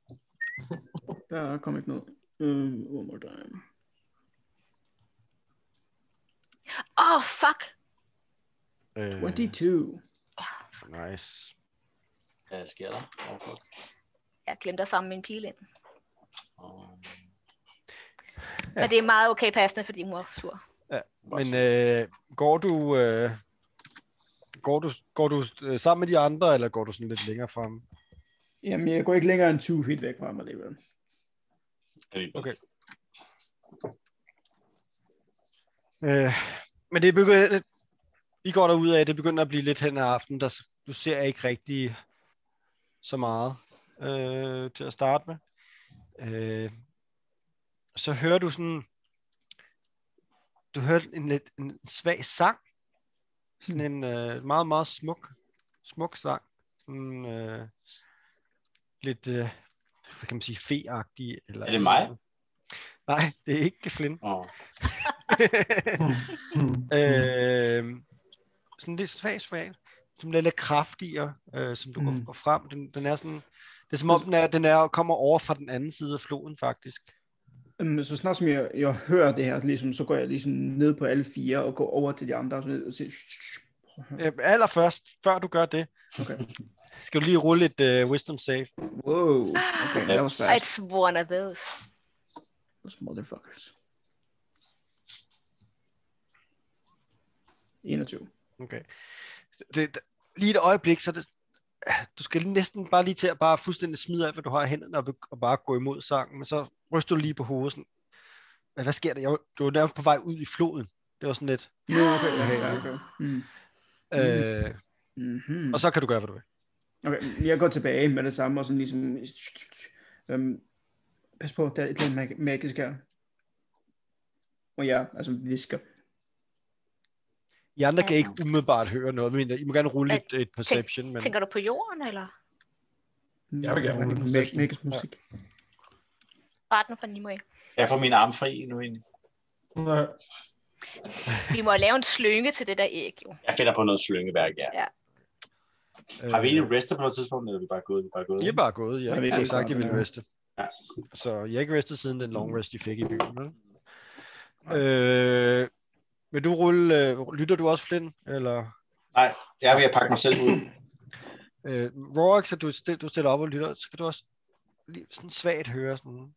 G: Der kom ikke noget. Um, one more time.
D: Åh, oh, fuck.
B: Øh,
G: 22.
B: nice.
E: Hvad sker der? Hvorfor?
D: Jeg glemte at samle min pil ind.
E: Åh,
D: Men det er meget okay passende, fordi hun var sur.
B: Men øh, går du... Øh, Går du, går du øh, sammen med de andre, eller går du sådan lidt længere frem?
G: Jamen, jeg går ikke længere end 20 feet væk fra ham alligevel.
E: alligevel.
B: okay. Øh, men det begynder... I går derude af, det begynder at blive lidt hen af aftenen, der s- du ser ikke rigtig så meget øh, til at starte med. Øh, så hører du sådan... Du hører en lidt en svag sang. Sådan en øh, meget, meget smuk, smuk sang. Sådan øh, lidt, øh, hvad kan man sige, feagtig. Eller
E: Er det mig?
B: Nej, det er ikke Flynn.
E: Åh.
G: Mm.
B: øh, sådan lidt svag, svag, som er lidt kraftigere, øh, som du mm. går,
G: Mm.
B: går frem. Den, den er sådan, det er som om, den, er, den er, kommer over fra den anden side af floden, faktisk.
G: Um, så snart som jeg, jeg hører det her, ligesom, så går jeg ligesom ned på alle fire og går over til de andre og sådan, og siger, "Shh, shh, shh, prøv at høre."
B: Øh, allerførst, før du gør det,
G: Mm. Okay.
B: skal du lige rulle et øh, wisdom save.
G: Wow. Okay, that was
D: It's
G: fast.
D: one of those.
G: Those motherfuckers. 21.
B: Okay. Det, det, lige et øjeblik, så det, du skal næsten bare lige til at bare fuldstændig smide af, hvad du har i hænderne, og, beg- og bare gå imod sangen, men så ryster du lige på hovedet sådan, "Hvad- hvad sker der? Jeg, var- du var nærmest på vej ud i floden. Det var sådan lidt.
G: Nå, okay, okay, ja, okay. Mm.
B: Øh,
G: Mm-hmm.
B: Og så kan du gøre, hvad du vil.
G: Okay, jeg går tilbage med det samme, og sådan ligesom... Øhm, pas på, der er et eller andet mag- magisk her. Og jeg, altså visker.
B: I andre kan
D: Ja.
B: ikke umiddelbart høre noget, men I må gerne rulle
D: Øh,
B: et, et perception. Men,
D: Tænker du på jorden, eller?
C: Jeg vil gerne rulle
G: Mag-
C: perception.
G: Magisk musik.
D: Retten fra Nimue.
E: Jeg får min arm fri nu egentlig.
C: Nej.
D: Vi må lave en slynge til det der æg, jo.
E: Jeg finder på noget slyngeværk, ja. Har vi egentlig restet på noget tidspunkt, eller er vi bare gået? Vi er bare gået.
B: øh, I er bare gået, ja.
G: Ja, vi er
B: Jeg har
G: gået
B: sagt, I
G: sammen,
B: ville
G: ja.
B: reste.
E: Ja. Mm.
B: Så jeg har ikke restet siden den long rest, I fik i byen. Vel? Øh, vil du rulle, øh, lytter du også, Flynn? Eller,
E: Jeg er ved at pakke mig selv ud.
B: øh, Rorax, at du, stil- du stiller op og lytter, så kan du også lige sådan svagt høre sådan,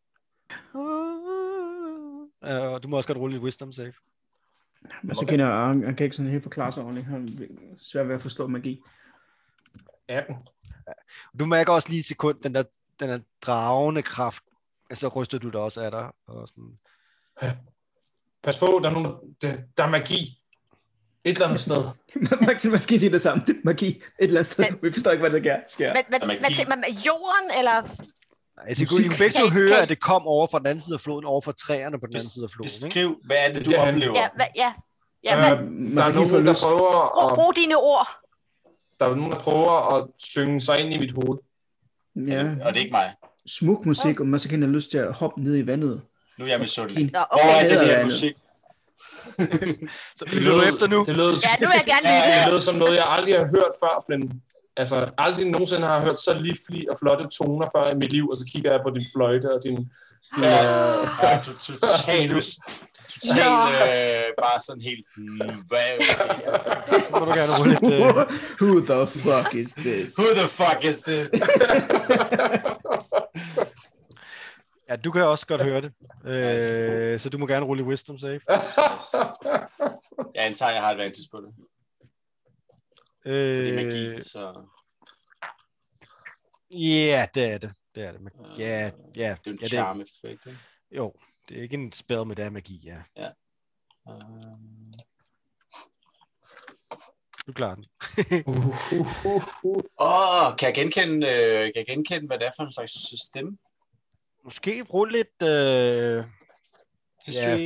B: Øh, og du må også godt rulle et wisdom save.
G: Men så kender jeg, han, han kan ikke sådan helt forklare sig ordentligt. Han er svær ved at forstå magi.
C: 18.
B: Du mærker også lige et sekund, den der, den der dragende kraft, altså ryster du dig også af dig. Og sådan.
C: Pas på, der er, nogen, der, der er magi et eller andet sted.
G: Maxim, man skal sige det samme. Magi, et eller andet sted. Vi forstår ikke, hvad der gør- sker.
D: Hvad, hvad,
E: Magi.
D: hvad tænker man? Jorden, eller?
B: Altså, I kunne I kunne begge to
D: Musik.
B: høre, at det kom over fra den anden side af floden, over fra træerne på den anden side af floden. Ikke?
H: Beskriv, hvad er det, du
C: Ja, han-
H: oplever?
D: Ja, hvad, ja. ja
C: Øh,
D: hvad,
C: Der er
G: Måske får
C: nogen, der
G: lyst.
C: prøver
D: brug,
C: at,
D: brug dine ord.
C: der er nogen, der prøver at synge sig ind i mit hoved.
G: Ja,
H: Og det er ikke mig.
G: smuk musik, og man så kan have lyst til at hoppe ned i vandet.
H: Nu er jeg misundelig.
G: Fint.
D: Nå,
H: Hvor
D: okay.
H: er den her
G: Andet.
H: musik?
B: Så lytter du efter nu.
C: Det lød,
D: Ja, nu vil jeg gerne
H: Ja,
D: lytte.
H: ja.
C: det lød som noget, jeg aldrig har hørt før, Flynn. Altså, aldrig nogensinde har jeg hørt så livlige og flotte toner før i mit liv, og så kigger jeg på din fløjte og din... din
H: Ja.
D: Ah.
C: øh,
H: Ja, to- totalt, totalt øh, bare sådan helt, hmm, hvad?
B: Så må du gerne rulle et... Øh,
G: Who the fuck is this?
H: Who the fuck is this?
B: ja, du kan også godt høre det. Øh, så du må gerne rulle et wisdom save.
H: Jeg antager, jeg har advantage på det. Det er magi,
B: Øh,
H: så
B: Ja, det er det. Det er det. Men- Ja, ja.
H: øh, det
B: ja,
H: er jo en ja,
B: det er,
H: charm effekt. ikke?
B: jo, det er ikke en spil, men det er magi, ja.
H: Øhm,
B: Du klarer den.
H: Åh, oh, kan jeg genkende, øh, kan jeg genkende, hvad det er for en slags stemme?
B: Måske brug lidt øh,
H: History?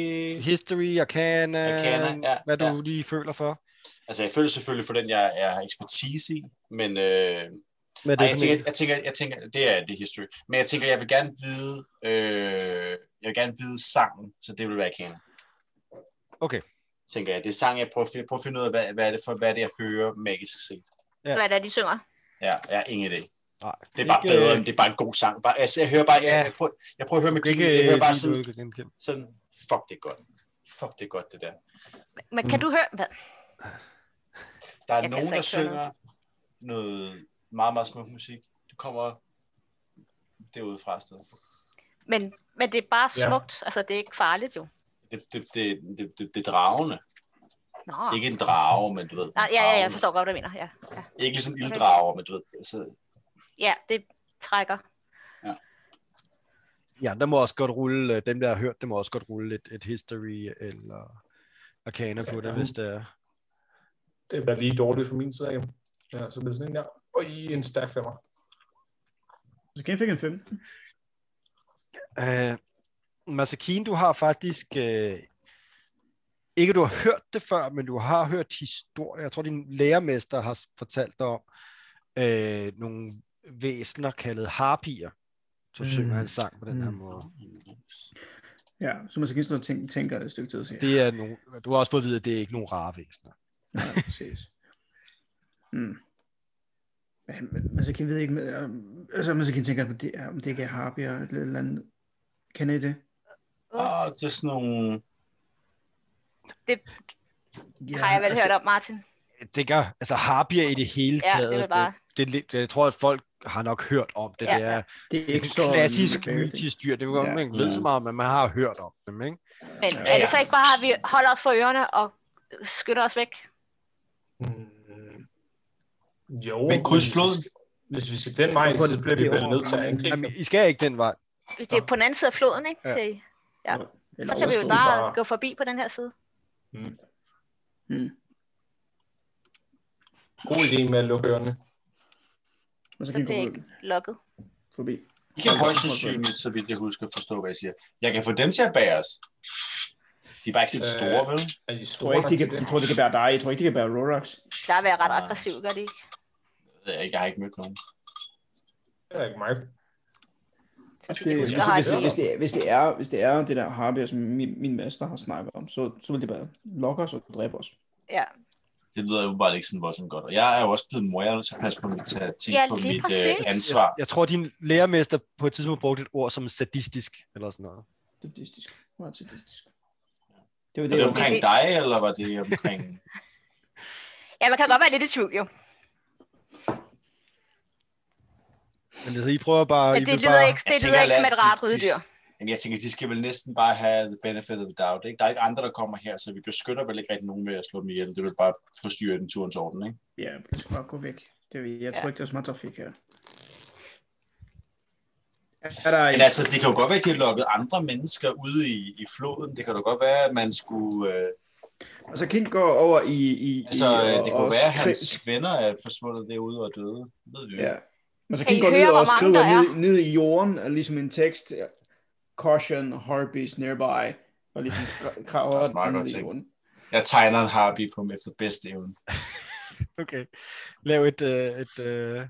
B: history, arcana,
H: Arcana, ja,
B: hvad du
H: ja.
B: lige føler for.
H: Altså, jeg føler selvfølgelig for den, jeg, jeg har ekspertise i, men øh,
B: Med
H: Ej, jeg, tænker, jeg, tænker, jeg tænker, det er det er history. Men jeg tænker, jeg vil gerne vide, øh, jeg vil gerne vide sangen, så det vil være kender.
B: Okay.
H: Tænker jeg, det er sang, jeg prøver, at fi- prøver at finde ud af, hvad, hvad, er det for, hvad er det, jeg hører magisk set.
B: Ja.
D: Hvad det er, de synger?
H: Ja, jeg har ingen idé.
B: Nej,
H: Det er bare
B: ikke,
H: bedre,
B: øh,
H: end det er bare en god sang. Bare, altså, jeg hører bare, jeg,
B: Ja.
H: jeg, prøver, jeg prøver at høre med
B: Ikke,
H: jeg hører bare
B: lige,
H: sådan,
B: du kan genkende.
H: sådan, fuck, det er godt. Fuck, det er godt, det der.
D: Men
C: Mm.
D: kan du høre? Hvad?
H: Der er
D: Jeg kan
H: nogen,
D: altså
H: der
D: ikke høre
H: synger noget meget, meget smuk musik. Det kommer derude fra stedet.
D: Men, men det er bare
C: Ja.
D: smukt. Altså, det er ikke farligt jo.
H: Det, det, det, det, det, det er dragende.
D: Nå.
H: Ikke en drage, men du ved.
D: Nej, Ah. ja, ja, jeg
H: dragen.
D: forstår godt, hvad du mener. Ja, ja.
H: Ikke ligesom ilddrager, men du ved. Altså,
D: ja det trækker.
B: Ja, der må også godt rulle, øh, dem der har hørt, det må også godt rulle et, et history eller arcana på det, hvis det er.
C: det var lige dårligt for min side. af. Ja, så det er sådan en der. Og i en stærk femmer.
G: Så kan jeg fik en 15.
B: Øh, Masakine, du har faktisk... Øh, ikke du har hørt det før, men du har hørt historier. Jeg tror, din lærermester har s- fortalt dig om øh, nogle væsener kaldet harpier. Så
G: Mm.
B: synger han sang på den her
G: Mm.
B: måde.
G: Ja, så man skal sådan tænke, tænker et stykke tid. Det...
B: Det er nogle, du har også fået at vide, at det er ikke nogle rare væsener.
G: Ja, præcis. Mm. Ja, men- men så kan jeg ved ikke, med, øhm, altså man så kan tænke, om det, om det ikke er harpier eller et eller andet. Kender I det?
H: åh, ah, det er sådan nogle...
G: Ja,
D: Ja, har jeg vel
G: altså,
D: hørt om, Martin?
B: Jeg tænker, altså harpier i det hele
D: Ja, det
B: taget,
D: er vel bare-
B: det, det, det, jeg tror, at folk har nok hørt om det.
D: Ja,
B: det er
G: Det er
B: et
G: ikke så
B: klassisk
G: en-
B: mytisk dyr. Det er jo godt,
G: Ja.
B: man ikke ved så meget, om, men man har hørt om dem, ikke?
D: Men
G: Ja,
D: er det
H: ja.
D: så ikke bare, at vi holder os for ørerne og skynder os væk?
C: Hmm. Jo.
H: Men kryds
C: hvis-
H: floden.
C: Hvis vi skal den vej,
G: Hvorfor er
C: så
G: det-
C: bliver vi
G: det er
C: vel nødt til at
G: overgangen?
C: angribe
B: Jamen,
C: dem.
B: I skal ikke den vej.
D: Det er på den anden side af floden, ikke?
B: Ja.
D: Ja. Det,
G: Eller
D: så kan altså, vi jo
G: overstået.
D: bare,
C: bare-
D: gå forbi på den her side.
G: Mm.
C: God idé med at lukke ørerne.
G: Og så
D: Så
G: kan
D: bliver
G: vi
D: jeg
G: gå
D: ikke lukket.
G: forbi.
H: I kan højst sandsynligt, så vidt jeg husker, forstå, hvad jeg siger. Jeg kan få dem til at bære os. De var ikke så store, vel?
C: Er de
G: Jeg tror, ikke,
C: store
G: de
C: nok til
G: kan, jeg
C: det?
G: tror, de kan bære dig. Jeg tror ikke, de kan bære Rorax.
D: Der vil jeg ret
H: Nej.
D: aggressiv, gør de ikke?
H: Jeg ved ikke, Jeg har ikke mødt nogen.
C: Det er ikke mig.
G: Altså,
D: Det
G: det,
D: er
G: hvis,
D: jo- Jeg har
G: hvis,
D: ikke-
G: hvis, det, er- hvis, det er, hvis det er det der harpier, som min, min master har snakket om, så, så vil det bare lokke os og dræbe os.
D: Ja,
H: Det lyder jo bare ikke sådan voldsomt godt. Og jeg er jo også blevet mor, jeg er nødt til at passe på mit, tage, tænke
D: Ja,
H: på
D: lige
H: mit øh,
D: præcis.
H: ansvar.
B: Jeg tror, din lærermester på et tidspunkt brugte et ord som sadistisk, eller sådan noget.
G: Sadistisk. Meget sadistisk. Det var
H: Var
G: det,
H: det
G: jeg
H: omkring dig, eller var det omkring...
D: ja man kan godt være lidt i tvivl, jo.
B: Men altså, I prøver bare...
D: Men
B: I
D: det
B: vil
D: lyder
B: altså, bare...
D: Altså, ikke, det lyder ikke som et rart ryddyr.
H: De, Jamen, jeg tænker, de skal vel næsten bare have the benefit of the doubt. Ikke? Der er ikke andre, der kommer her, så vi beskytter vel ikke rigtig nogen ved at slå dem ihjel. Det vil bare forstyrre den turens orden, ikke?
G: Ja, det skal bare gå væk. Det, jeg tror ikke, der er så meget trafik her. Er der
H: Men altså, det kan jo godt være, at de har lukket andre mennesker ude i, i floden. Det kan da godt være, at man skulle... Øh,
G: Altså, King går over i... i
H: altså,
G: i, og-
H: det kunne
G: og
H: være, at
G: skri-
H: hans venner er forsvundet derude og døde. Det ved vi jo.
G: Ja. Altså,
D: Kan
G: King
D: I
G: går ned
D: høre,
G: og
D: hvor mange
G: skriver
D: der
G: ned, ned i jorden, og ligesom en tekst, Caution, Harpies nearby, og ligesom skra-
H: Det er også
G: kraver
H: meget godt
G: den ned i
H: tænkt.
G: jorden.
H: Jeg tegner en harpy på dem efter bedste evne.
B: Okay. Lav et, øh, et øh, det ved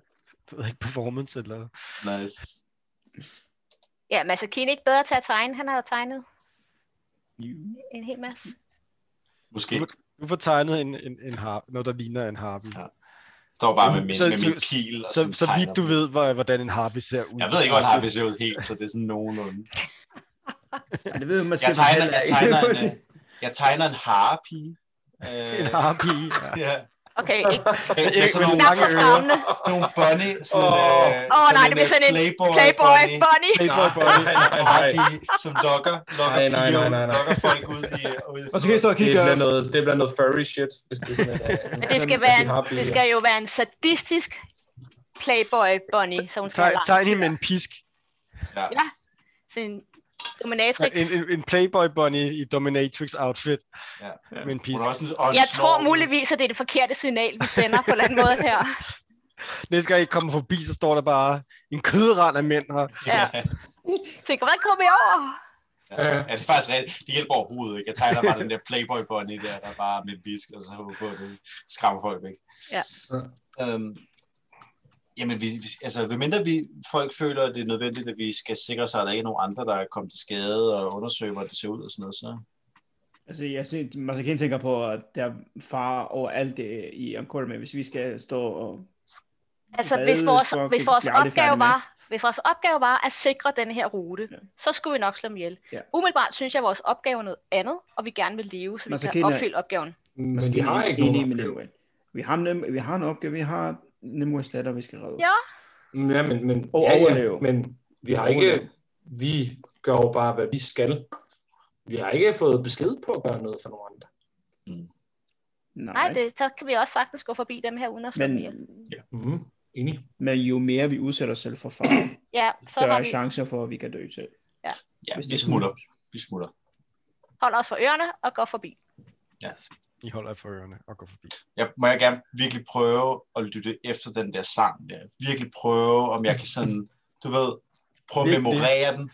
B: jeg ikke, performance eller...
H: Nice.
D: Ja, men altså, Keen er ikke bedre til at tegne. Han har jo tegnet en hel masse.
H: Måske.
B: Du får tegnet en, en, en har, noget, der ligner en harpe.
H: Ja, Står bare med min,
B: Så-
H: med min
B: så-
H: pil og
B: så,
H: sådan
B: så
H: tegner
B: vidt du
H: dem.
B: ved, hvor, hvordan en harpe ser ud.
H: Jeg ved ikke, hvordan harpy ser ud helt, så det er sådan nogenlunde.
G: Ja, det ved man måske
H: Jeg tegner,
G: heller
H: jeg
G: ikke.
H: tegner, en, øh, jeg tegner en harpy. Øh,
B: En harpe, ja.
H: ja.
D: Okay, ikke
H: Med, med sådan nogle,
D: knap så skræmmende.
H: sådan nogle bunny, sådan,
B: Åh.
H: øh,
D: Åh oh, nej,
H: sådan
D: det bliver sådan en
H: playboy,
D: Playboy
H: bunny.
D: Bunny.
B: Playboy Bunny.
C: nej, nej, nej.
H: Harpy, som lokker, lokker
C: Nej, nej,
H: piger
C: nej,
H: ud,
C: nej, nej.
H: lokker folk ud i, ud i
F: Og så kan I stå og
C: Det
F: kigge.
C: bliver,
F: øh,
C: noget, det bliver noget furry shit, hvis det er sådan en,
D: Men det skal, være en, det skal jo være en sadistisk Playboy Bunny, som hun skal
B: Teg,
D: være.
B: tegn hende med en pisk.
H: Ja.
D: Ja. Sådan en dominatrix.
B: En, en, en Playboy Bunny i Dominatrix outfit
H: Ja.
B: med en
H: Hun
B: pisk.
H: er også en, og en
D: Jeg tror
H: snor.
D: muligvis, at det er det forkerte signal, vi sender på den måde her.
B: Næste gang I kommer forbi, så står der bare en kødrand af mænd her.
D: Ja. Tænker, hvordan kommer vi over?
H: Ja. ja, det er faktisk rigtigt. Det hjælper overhovedet ikke. Jeg tegner bare den der playboy bunny der, der bare med en bisk, og så håber på, at det skræmmer folk væk.
D: Ja.
H: Øhm, jamen, vi, vi, altså, medmindre vi, folk føler, at det er nødvendigt, at vi skal sikre sig, at der ikke er nogen andre, der er kommet til skade og undersøge, hvordan det ser ud og sådan noget, så...
G: Altså, jeg synes, Masakin tænker på, at der er far over alt det i Ankor, men hvis vi skal stå og...
D: Altså,
G: Hvad
D: hvis vores,
G: fuck,
D: hvis
G: det
D: vores
G: bliver aldrig
D: opgave
G: færdigt med.
D: var, hvis vores opgave var at sikre den her rute,
G: Ja.
D: så skulle vi nok slå dem ihjel.
G: Ja.
D: Umiddelbart synes jeg, at vores opgave er noget andet, og vi gerne vil leve, så vi
G: Men så
D: kan
G: kender jeg-
D: opfylde opgaven.
B: øh,
C: Men de Altså, har
G: Måske
C: ikke
G: enig
C: nogen
G: med
C: opgave.
G: Nimue. Vi har, nem, vi har en opgave, vi har Nimue's datter, vi skal redde.
D: Ja.
C: Ja, men, men,
G: Og
C: ja, ja,
G: overleve.
C: men vi har
G: Overleve.
C: ikke... Vi gør jo bare, hvad vi skal. Vi har ikke fået besked på at gøre noget for nogen andre.
G: Nej,
D: Nej, det, så kan vi også sagtens gå forbi dem her uden at slå dem ihjel.
G: Men, Mhm.
C: Mm, enig.
G: men jo mere vi udsætter os selv for far,
D: Ja, så har
G: større
D: vi,
G: chancer for, at vi kan dø selv.
H: Ja,
G: Hvis
H: vi
G: det-
H: smutter. Vi smutter.
D: holder os for ørerne og går forbi.
B: I holder jer for ørerne og går forbi.
H: Jeg må jeg gerne virkelig prøve at lytte efter den der sang der. Virkelig prøve, om jeg kan sådan, du ved, prøve at
B: Virkelig.
H: memorere den.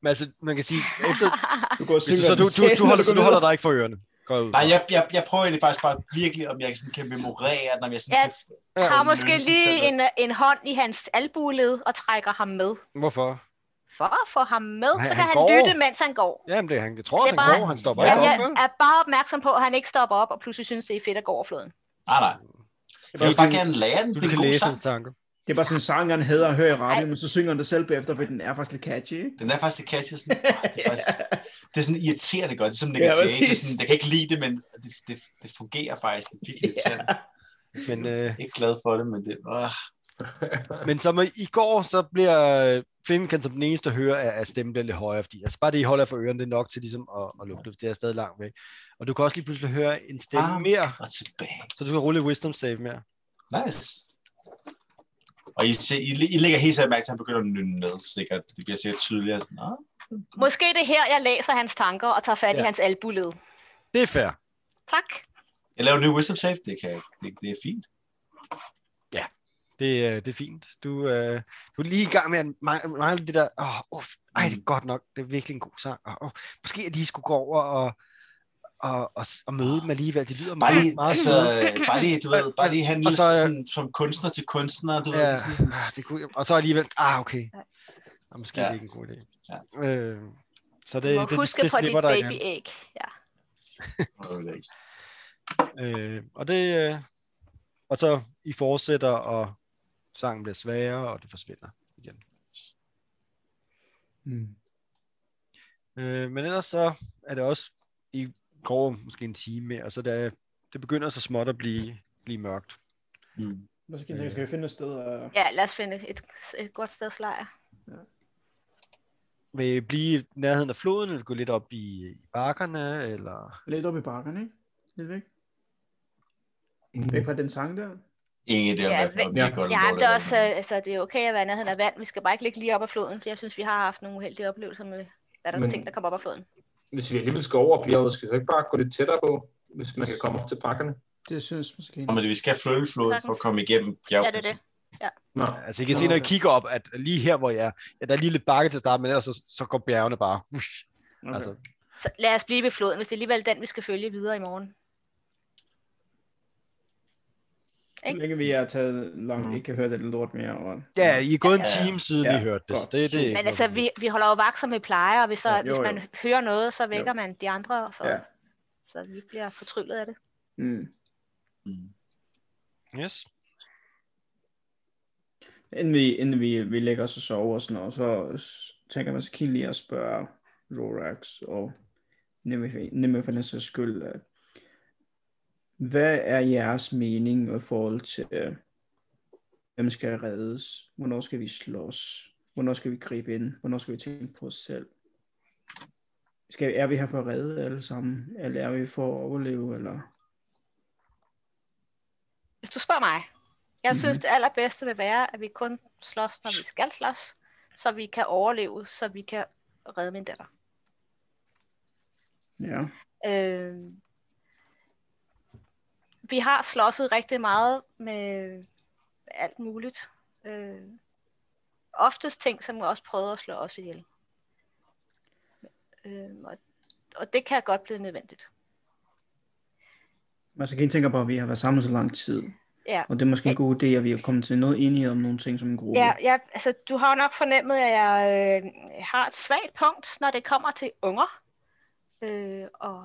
B: Men altså, man kan sige, efter,
G: Du går og synger
B: så du,
G: den
B: du,
G: selv,
B: du, holder,
G: når
B: så du
G: går
B: holder
G: videre.
B: dig ikke for ørerne. Går jeg ud.
H: Nej, jeg, jeg, jeg prøver egentlig faktisk bare virkelig, om jeg sådan kan memorere den, om jeg sådan
D: Ja.
H: kan...
B: Ja,
D: Har
H: men
D: måske
H: lykken
D: lige
H: selv.
D: en, øh, en hånd i hans albuled og trækker ham med.
B: Hvorfor?
D: For at få ham med,
B: Nej,
D: så kan
B: han
D: han
B: går.
D: lytte, mens han går.
B: Jamen, det, er han jeg tror,
D: Det
B: også,
D: er
B: han
D: bare-
B: går. Han stopper
H: Ja,
B: ikke
D: Men jeg
B: op, vel?
D: er bare opmærksom på, at han ikke stopper op og pludselig synes, det er fedt at gå over floden.
H: Nej, nej. Jeg vil bare gerne lære den.
B: Du
H: Det er
B: kan
H: en god
B: læse
H: sang.
B: hans tanker.
G: Det er bare sådan, sangeren hedder og hører i radioen, men så synger han det selv bagefter, fordi den er faktisk lidt catchy, ikke?
H: Den er faktisk lidt catchy. og Sådan, "Ah, det, er faktisk, det er sådan irriterende godt. Det er som Nick
G: Ja,
H: Jay. Det
G: præcis.
H: er sådan, jeg kan ikke lide det, men det, det, det fungerer faktisk. Det er virkelig irriterende.
B: Men, øh,
H: Jeg er ikke glad for det, men det... Øh.
B: men som i går, så bliver øh, Flynn kan som den eneste høre, at, at stemmen bliver lidt højere, fordi altså bare det, I holder for ørerne, det er nok til ligesom at, at lugte, det er stadig langt væk. Og du kan også lige pludselig høre en stemme
H: Ah.
B: mere,
H: Og tilbage.
B: så du kan rulle et wisdom save mere.
H: Nice. Og I, se, I, I lægger helt sikkert mærke til, at han begynder at nynne med, sikkert. Det bliver sikkert tydeligere. Sådan, ah,
D: Måske det er her, jeg læser hans tanker og tager fat ja.
B: Ja.
D: i hans albuled.
B: Det er fair.
D: Tak.
H: jeg laver en ny wisdom save. Det, kan jeg, ikke. det, det er fint.
B: Det, øh, det er fint. Du, øh, du er lige i gang med at man- mangle det der, åh, uff, ej,
H: Mm.
B: det er godt nok, det er virkelig en god sang. Og, og, måske at de skulle gå over og, og, og, og møde dem alligevel. Det lyder
H: Bare
B: meget,
H: lige,
B: meget
H: altså,
B: søde.
H: bare lige, du ved, bare lige have en
B: Og
H: lille
B: så, øh,
H: sådan, som kunstner til kunstner, du ved,
B: Ja,
H: sådan,
B: ah, det kunne, og så alligevel, ah, okay. Og måske
H: Ja.
B: ja. det er ikke en god idé.
H: Ja.
B: Øh, så
D: Det,
B: det,
D: må
B: det, det,
D: huske
B: det
D: på dit
B: slipper dig igen.
D: babyæg. Ja.
B: Øh, og, det, øh, og så I fortsætter, og sangen bliver sværere, og det forsvinder igen. Mm. Øh, men ellers så er det også, I går måske en time mere, og så det, er- det begynder så småt at blive, blive mørkt.
H: Mm.
G: Masakin tænker, skal vi finde et sted? Og...
D: ja, lad os finde et, et godt sted at slejre.
B: Vil I blive i nærheden af floden, eller gå lidt op i, i bakkerne, eller...
G: Lidt op i bakkerne, ikke? Lidt væk. Væk fra den sang der.
E: Ingen idé om,
D: Ja,
E: hvad for noget,
C: ja.
E: det er godt
D: Ja,
E: eller
D: men det er
E: dårligt.
D: også, øh, altså, det er okay at være i nærheden af vand. Vi skal bare ikke ligge lige op ad floden, for jeg synes, vi har haft nogle uheldige oplevelser med, hvad der er
C: Men-
D: ting, der kommer op ad floden.
C: Hvis vi alligevel skal over bjerget, skal vi så ikke bare gå lidt tættere på, hvis man kan komme op til bakkerne?
G: Det synes måske
H: Nå,
G: ikke.
H: men vi skal flytte floden for at komme igennem
D: Ja, det er
H: bjergpladsen.
D: det.
C: Nå,
B: Altså, I kan se, når I kigger op, at lige her, hvor jeg er, ja, der er lige lidt bakke til at starte med, ellers så, så går bjergene bare. Ush, okay. altså,
D: Så lad os blive ved floden, hvis det er alligevel den, vi skal følge videre i morgen.
G: Så længe vi har taget
C: Mm.
G: langt, ikke kan høre det lort mere. Og...
B: ja, I er gået en
D: Ja,
B: time siden,
G: ja,
B: I hørte det. så
G: godt.
B: det, det er ikke
D: Men
B: noget
D: altså,
B: problem.
D: vi, vi holder jo vagt, som vi plejer, og hvis, så,
G: Ja,
D: ja,
G: jo,
D: hvis man
G: jo.
D: hører noget, så vækker jo. man de andre, og så,
G: Ja.
D: ja. så vi ikke bliver fortryllet af det.
G: Mm.
B: Yes.
G: Inden, vi, inden vi, vi lægger os og sover og sådan noget, så s- tænker man så kan lige at spørge Rorax og nemme for den sags skyld. øh, Hvad er jeres mening i forhold til, øh, hvem skal reddes? Hvornår skal vi slås? Hvornår skal vi gribe ind? Hvornår skal vi tænke på os selv? Skal, er vi her for at redde alle sammen? Eller er vi for at overleve? Eller?
D: Hvis du spørger mig, jeg
G: Mhm.
D: synes, det allerbedste vil være, at vi kun slås, når vi skal slås, så vi kan overleve, så vi kan redde min datter.
G: Ja.
D: Øh, vi har slåsset rigtig meget med alt muligt. Øh, oftest ting, som også prøvede at slå os ihjel. Øh, og, og det kan godt blive nødvendigt.
G: Men så kan I tænke på, at vi har været sammen så lang tid.
D: Ja.
G: Og det er måske en god idé, at vi er kommet til noget enighed om nogle ting som en gruppe.
D: Ja, ja, altså du har jo nok fornemmet, at jeg øh, har et svagt punkt, når det kommer til unger. Øh, og,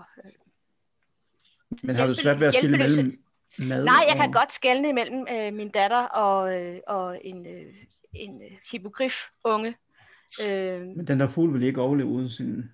G: Men har du svært ved at skille
D: Hjælpeløse.
G: mellem mad
D: nej, jeg
G: og...
D: kan godt skelne imellem øh, min datter og, øh, og en, øh, en øh, hippogrifunge. Øh,
G: Men den der fugl vil ikke overleve uden sin...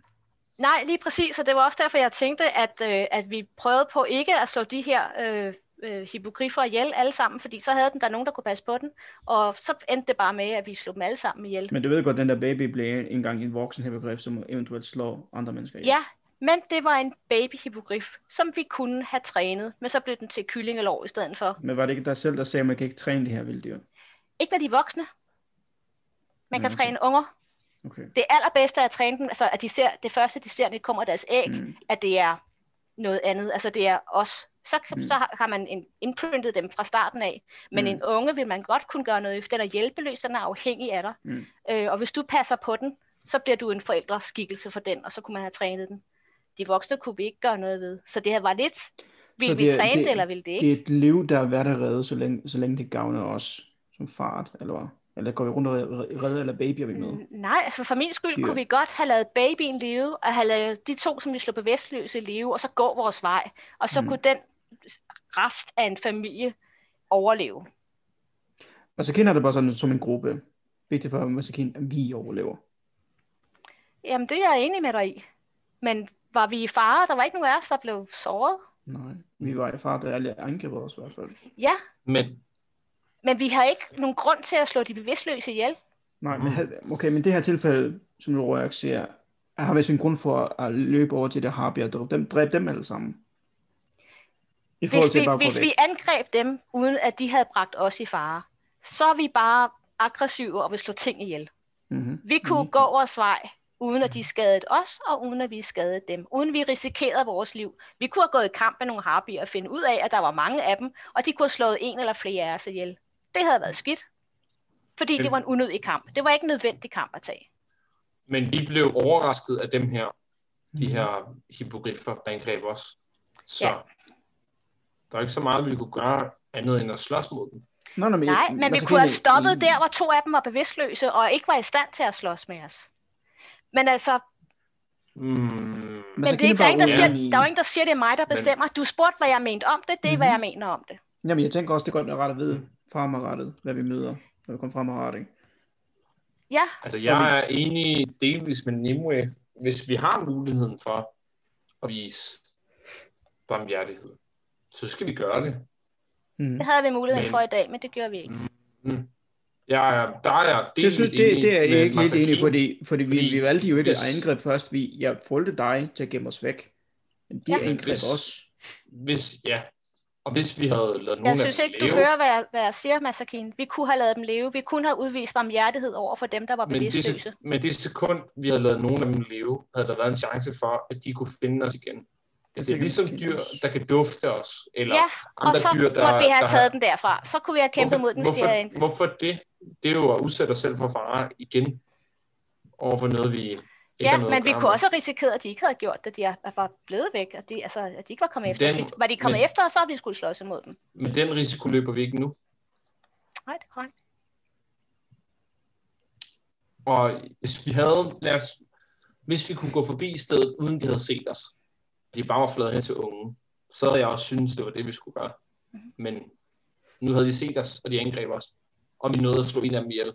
D: Nej, lige præcis, og det var også derfor, jeg tænkte, at, øh, at vi prøvede på ikke at slå de her øh, øh, hippogriffer ihjel alle sammen, fordi så havde den der nogen, der kunne passe på den, og så endte det bare med, at vi slog dem alle sammen ihjel.
G: Men du ved godt, at den der baby bliver engang en voksen hippogrif, som eventuelt slår andre mennesker ihjel.
D: Ja, men det var en babyhippogrif, som vi kunne have trænet, men så blev den til kyllingelov i stedet for.
G: Men var det ikke dig selv, der sagde, at man kan ikke træne det her vilde dyr?
D: Ikke når de er voksne. Man kan
G: Ja, okay.
D: træne unger.
G: Okay.
D: Det allerbedste er at træne dem, altså at de ser, det første, de ser, når de kommer af deres æg,
G: Mm.
D: at det er noget andet, altså det er os. Så, kan,
G: Mm.
D: mm. så har har man en, imprintet dem fra starten af. Men
G: Mm.
D: mm. en unge vil man godt kunne gøre noget, for den er hjælpeløs, den er afhængig af dig.
G: Mm.
D: Øh, og hvis du passer på den, så bliver du en forældreskikkelse for den, og så kunne man have trænet den. De voksne kunne vi ikke gøre noget ved. Så det her var lidt,
G: Så
D: vil
G: det
D: vi
G: er-
D: træne
G: det-
D: det, eller vil det ikke?
G: Det er et liv, der er værd at redde, så længe, så længe det gavner os som fart, eller hvad? Eller går vi rundt og redder, redder eller babyer vi med?
D: Mm, Nej, altså for min skyld
G: Ja.
D: yeah. kunne vi godt have lavet babyen leve, og have lavet de to, som vi slog bevidstløse leve, og så gå vores vej. Og så
G: Mm.
D: mm. kunne den rest af en familie overleve.
G: Og så kender det bare sådan som en gruppe. Vigtigt for Masakin, at vi overlever.
D: Jamen, det er jeg enig med dig i. Men var vi i fare? Der var ikke nogen af os, der blev såret.
G: Nej, vi var i far, der alle angrebet os i hvert fald.
D: Ja,
C: men
D: men vi havde ikke nogen grund til at slå de bevidstløse ihjel.
G: Nej, men, havde- okay, men det her tilfælde, som Lorik siger, har vist en grund for at løbe over til det harpie og dræbe dem, dræbe dem alle sammen. I forhold
D: Hvis
G: til
D: vi,
G: at bare at gå
D: hvis
G: væk.
D: vi angreb dem, uden at de havde bragt os i fare, så er vi bare aggressive og vil slå ting ihjel.
G: Mm-hmm.
D: Vi kunne
G: Mhm.
D: gå vores vej, uden at de skadede os, og uden at vi skadede dem. Uden vi risikerede vores liv. Vi kunne have gået i kamp med nogle harpier og finde ud af, at der var mange af dem, og de kunne have slået en eller flere af os ihjel. Det havde været skidt. Fordi det var en unødig kamp. Det var ikke en nødvendig kamp at tage.
C: Men vi blev overrasket af dem her, de
G: Mhm.
C: her hippogriffer, der angreb os. Så
D: Ja.
C: der er ikke så meget, vi kunne gøre andet end at slås mod dem.
G: Nå, nå, men, altså
D: Nej, men vi
G: Masakin
D: kunne have
G: er-
D: stoppet der, hvor to af dem var bevidstløse og ikke var i stand til at slås med os. Men altså,
C: Mm.
G: Masakin
D: men det er ikke, der, er
G: altså bare
D: ingen, der,
G: uenig
D: siger,
G: i-
D: der er jo ingen, der siger, det er mig, der
C: Men-
D: bestemmer. Du spurgte, hvad jeg mente om det. Det er, hvad jeg mener om det.
G: Jamen, jeg tænker også, det er godt at rette ved fremadrettet, hvad vi møder, når vi kommer fremadrettet. ikke?
D: Ja,
C: Altså, jeg er enig delvis med Nimue, hvis vi har muligheden for at vise barmhjertighed, så skal vi gøre det.
G: Mhm.
D: det havde vi muligheden
C: Men-
D: for i dag, men det gjorde vi ikke.
C: Mm. Jeg er, der er
G: Det, jeg synes, det, det er jeg ikke helt enig i,
C: for det.
G: fordi, fordi, fordi vi,
C: Fordi
G: vi valgte jo ikke
C: hvis-
G: at angribe først. Vi, jeg fulgte dig til at gemme os væk. Men de
D: Ja.
G: ja, angreb
C: Hvis-
G: os.
C: Hvis, ja. Og hvis vi havde lavet nogen
D: Jeg synes
C: af dem
D: ikke, du
C: leve,
D: hører, hvad jeg, hvad jeg siger, Masakin. Vi kunne have lavet dem leve. Vi kunne have udvist barmhjertighed over for dem, der var
C: men det,
D: bevidstløse.
C: se- men det sekund, vi havde lavet nogen af dem leve, havde der været en chance for, at de kunne finde os igen. Altså, det er
G: tænker,
C: ligesom
G: vi kan
C: dyr,
G: finde os.
C: der kan dufte os, eller
D: Ja, og
C: andre
D: så
C: dyr, der...
D: måtte vi have
C: der
D: taget den derfra. Så kunne vi have kæmpet mod
C: hvorfor,
D: den, hvis de havde
C: hvorfor,
D: angrebet.
C: hvorfor det? Det er jo at udsætte os selv for fare igen, over for noget, vi ikke
D: Ja,
C: har noget
D: men
C: at
D: vi
C: gøre
D: kunne
C: med.
D: også have risikeret, at de ikke havde gjort det. De er- var blevet væk, og de, altså, at de ikke var kommet efter
C: Den-
D: os. Hvis- Var de kommet
C: men-
D: efter os, så havde vi skulle slås imod dem.
C: Men den risiko løber vi ikke nu.
D: Nej, det er korrekt.
C: Og hvis vi havde, lad os, hvis vi kunne gå forbi stedet, uden de havde set os, og de bare var flade hen til unge, så havde jeg også syntes, det var det, vi skulle gøre. Men nu havde de set os, og de angreb os, og vi nåede at slå en af dem ihjel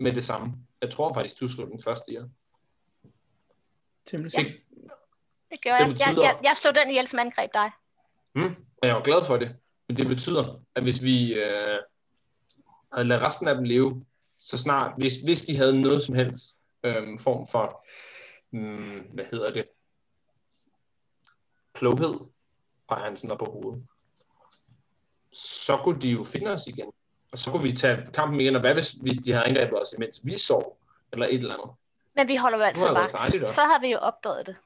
C: med det samme. Jeg tror faktisk, du slog den første ihjel.
G: Temmelig
C: Det,
G: sikkert.
D: Det gjorde
C: Det
D: jeg.
C: betyder-
D: Jeg, jeg, jeg slog den ihjel, som angreb dig.
C: og jeg var glad for det. Men det betyder, at hvis vi øh, havde ladet resten af dem leve, så snart, hvis, hvis de havde noget som helst øh, form for, mm, hvad hedder det, kloghed, peger han sådan op på hovedet, så kunne de jo finde os igen. Og så kunne vi tage kampen igen, og hvad hvis vi, de havde angrebet os, imens vi sov, eller et eller andet.
D: Men vi holder jo
C: Det havde
D: altid
C: været
D: vagt.
C: farligt også.
D: Så havde vi jo opdaget det.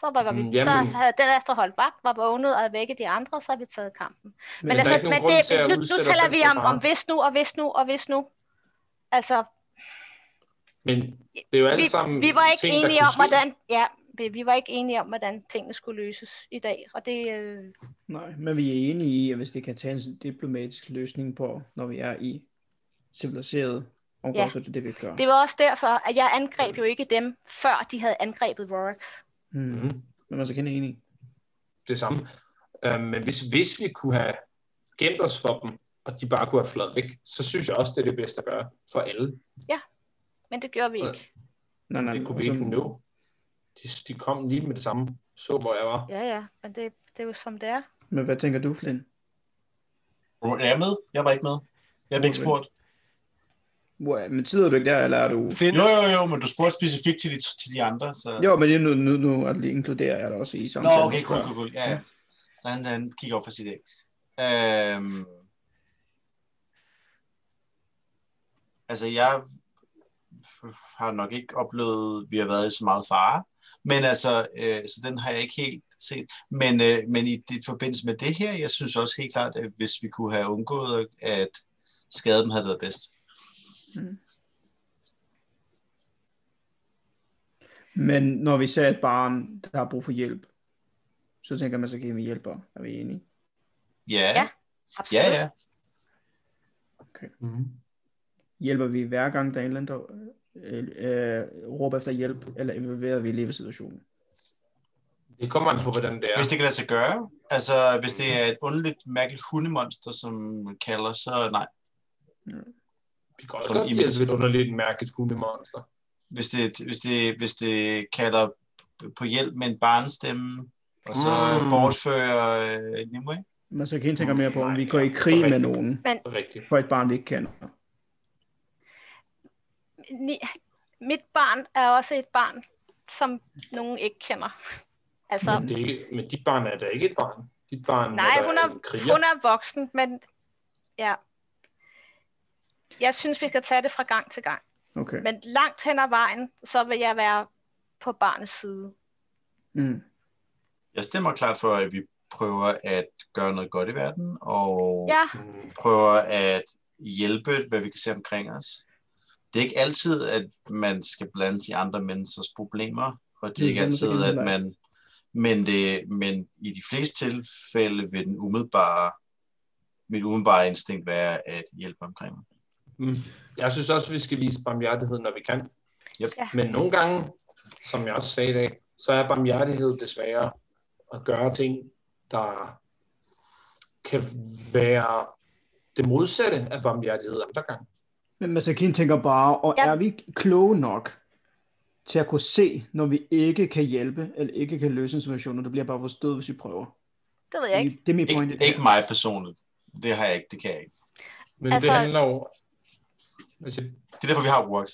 D: Så var, var vi.
C: Mm,
D: så
C: jamen-
D: havde den efter holdt vagt, var vågnet og havde vækket de andre, så havde vi taget kampen. Men,
C: der er
D: altså,
C: ikke nogen
D: men
C: grund til at
D: nu, nu
C: udsætte os
D: taler
C: selv
D: vi
C: for
D: om,
C: fare.
D: om hvis nu, og hvis nu, og hvis nu. Altså,
C: Men det er jo alt
D: vi,
C: sammen
D: vi var ikke
C: Mm, ting, der
D: enige
C: kunne
D: om,
C: ske.
D: hvordan, ja, vi, vi var ikke enige om, hvordan tingene skulle løses i dag. Og det, øh,
G: Nej, men vi er enige i, at hvis det kan tage en diplomatisk løsning på, når vi er i civiliseret områder,
D: Ja.
G: ja. så er det det, vi gør.
D: det var også derfor, at jeg angreb jo ikke dem, før de havde angrebet Rorax.
G: Mm.
C: Mhm.
G: Men man så kender enig.
C: det samme. Øh, men hvis, hvis vi kunne have gemt os for dem, og de bare kunne have flad væk, så synes jeg også, det er det bedste at gøre for alle.
D: Men det gjorde vi
C: Ja.
D: ikke.
G: Nej, nej,
C: det kunne vi
G: altså,
C: ikke nå. De, de kom lige med det samme, så hvor jeg var.
D: Ja, ja, men det, det er jo som det er.
G: Men hvad tænker du, Flynn?
H: Hmm. Er jeg med? Jeg var ikke med. Jeg blev ikke
G: Okay.
H: spurgt.
G: Wow, men sidder du ikke der, eller er du...
B: Find,
H: Jo, jo, jo, men du spurgte specifikt til de, til de andre, så...
G: Jo, men det er nu, nu, nu at lige inkluderer jeg dig også i
H: Nå,
G: samtalen.
H: okay, cool,
G: tror jeg.
H: cool, cool. Ja, ja. Så han, han kigger op for sit æg. Øhm, altså, jeg f- har nok ikke oplevet, at vi har været i så meget fare. Men altså, øh, så den har jeg ikke helt set. Men, øh, men i det, forbindelse med det her, jeg synes også helt klart, at hvis vi kunne have undgået at skade dem, havde det været bedst.
G: Men når vi ser et barn, der har brug for hjælp, så tænker man, så kan vi hjælpe. Er vi enige?
H: Ja,
D: Ja.
H: ja,
D: Absolut.
H: ja. ja. Mhm.
C: Mm-hmm.
G: Hjælper vi hver gang, der er en eller anden, der øh, øh, råber efter hjælp, eller involverer vi elever situationen?
C: Det kommer an på, hvordan det er.
H: Hvis det kan lade sig gøre. Altså, hvis det er et underligt, mærkeligt hundemonster, som kalder, så nej.
C: Vi kan også
H: Som
C: godt
H: imens.
C: blive altså et underligt mærkeligt hundemonster.
H: hvis det, hvis det, hvis det kalder på hjælp med en barnestemme, og så
C: Mm.
H: mm. bortfører øh, Nimue.
G: Man så kan tænke mere på, om vi
C: Nej,
G: går i krig
C: rigtigt.
G: med nogen
C: Det er rigtigt.
G: for et barn, vi ikke kender.
D: Ni, mit barn er også et barn, som nogen ikke kender. Altså,
C: Men, det er ikke, men dit barn er da ikke et barn. Dit barn
D: Nej,
C: er da
D: hun er-
C: en Øh, kriger.
D: hun er voksen, men ja. Jeg synes, vi kan tage det fra gang til gang.
G: Okay.
D: Men langt hen ad vejen, så vil jeg være på barnets side.
G: Mm.
H: Jeg stemmer klart for, at vi prøver at gøre noget godt i verden, og
D: Ja,
C: Mm,
H: prøver at hjælpe, hvad vi kan se omkring os. Det er ikke altid, at man skal blande sig i andre menneskers problemer, og det
G: Det er
H: er ikke
G: det, man
H: altid,
G: skal
H: at
G: gøre.
H: man... Men, det, men i de fleste tilfælde vil den umiddelbare, mit umiddelbare instinkt være at hjælpe omkring.
C: mm. Jeg synes også, vi skal vise barmhjertighed, når vi kan.
H: Yep.
D: Ja.
C: Men nogle gange, som jeg også sagde i dag, så er barmhjertighed desværre at gøre ting, der kan være det modsatte af barmhjertighed andre gange.
G: Men Masakin tænker bare, og
D: Ja.
G: er vi kloge nok til at kunne se, når vi ikke kan hjælpe, eller ikke kan løse en situation, og det bliver bare vores død, hvis vi prøver?
D: det ved jeg ikke.
G: Det er min pointe.
H: Ikke, ikke mig personligt. Det har jeg ikke, det kan jeg ikke.
C: Men altså,
D: Altså-
C: det handler jo Altså,
H: Det er derfor, vi har works.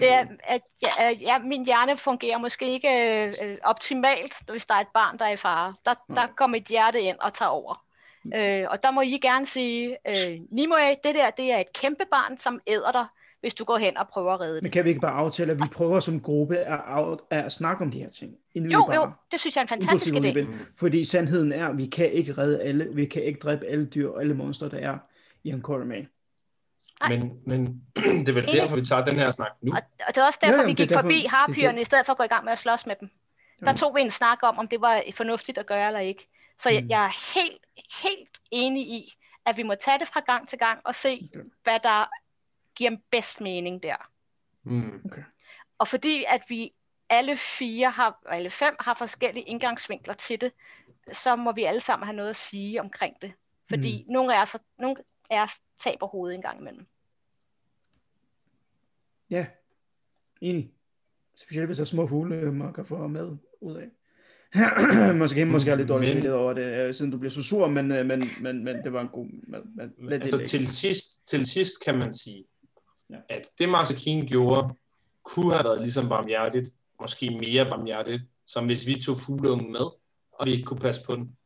D: Det er, at ja, øh, ja, min hjerne fungerer måske ikke øh, øh, optimalt, hvis der er et barn, der er i fare. Der, der går mit hjerte ind og tager over. Øh, og der må I gerne sige, øh, Nimue, det der det er et kæmpe barn, som æder dig, hvis du går hen og prøver at redde det.
G: Men kan vi ikke bare aftale, at vi prøver som gruppe at, af, at snakke om de her ting? Inden vi
D: Jo,
G: bare,
D: jo, det synes jeg er en fantastisk
G: inklusive
D: idé.
G: Oliven. Fordi sandheden er, at vi kan ikke redde alle, vi kan ikke dræbe alle dyr og alle monster, der er i en quarter man.
C: men, men det er vel
D: Enig.
C: derfor, vi tager den her snak nu.
D: Og, og det er også
G: Jo,
D: derfor,
G: jo,
D: vi
G: det er
D: gik
G: derfor-
D: forbi
G: det er
D: harpyrene,
G: det.
D: i stedet for at gå i gang med at slås med dem. Der
G: Jo.
D: tog vi en snak om, om det var fornuftigt at gøre eller ikke. Så
G: Mm.
D: jeg, jeg er helt, helt enig i, at vi må tage det fra gang til gang og se,
G: Okay.
D: hvad der giver bedst mening der.
C: Mm.
D: Og fordi at vi alle fire har, og alle fem har forskellige indgangsvinkler til det, så må vi alle sammen have noget at sige omkring det. Fordi mm. nogle, af os, nogle af os taber hovedet en gang imellem.
G: Ja, enig. Specielt hvis der er små fugle, man kan få mad ud af. måske måske er jeg lidt dårlig
C: Men-
G: samvittighed over det, øh, siden du blev så sur, men, øh, men, men, men det var en god mad. Men, lad det
C: Altså
G: ligge.
C: til sidst, til sidst kan man sige,
G: Ja.
C: at det Marcel King gjorde, kunne have været ligesom barmhjertigt, måske mere barmhjertigt, som hvis vi tog fugleungen med, og vi ikke kunne passe på den.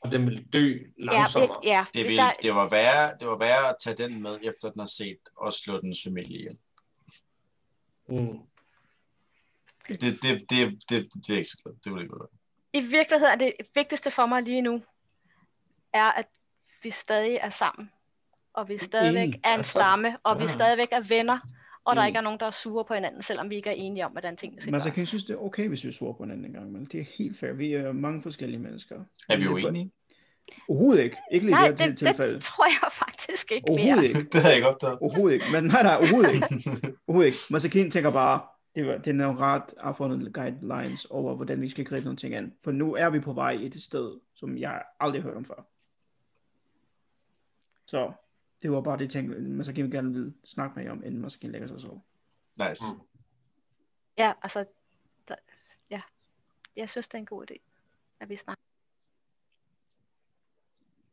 C: Og den ville dø langsommere.
D: Ja, ja,
H: Det,
D: ja.
H: vil,
D: Der,
H: det, var værre, det var værre at tage den med, efter den har set og slå den familie ihjel.
C: Mm.
H: Det, det, det, det, det, er ikke så godt. Det vil ikke godt være.
D: I virkeligheden er det vigtigste for mig lige nu, er, at vi stadig er sammen. Og vi stadigvæk
G: Enig.
D: er en
C: Altså,
D: stamme, og vi
C: ja.
D: stadigvæk er venner, og der
C: Enig.
D: ikke er nogen, der er sure på hinanden, selvom vi ikke er enige om, hvordan tingene skal
G: Men altså,
D: gøres.
G: kan jeg synes, det er okay, hvis vi er sure på hinanden en gang imellem. Det er helt fair. Vi er mange forskellige mennesker.
H: Er vi
G: Men-
H: uenige?
G: Overhovedet ikke. Ikke lige i
D: Nej,
G: det her
D: det,
G: tilfælde.
D: det tror jeg faktisk ikke mere.
G: Overhovedet ikke.
H: Det havde jeg ikke opdaget.
G: Overhovedet ikke. Men nej, nej, overhovedet ikke. Overhovedet ikke. Masakin tænker bare, det, var, det er nogle ret affundet guidelines over, hvordan vi skal gribe nogle ting an. For nu er vi på vej et sted, som jeg aldrig har hørt om før. Så det var bare det, jeg tænkte, Masakin gerne ville snakke med jer om, inden Masakin lægger sig og sover.
H: Nice.
B: Mm.
D: Ja, altså, der, ja. Jeg synes, det er en god idé, at vi snakker.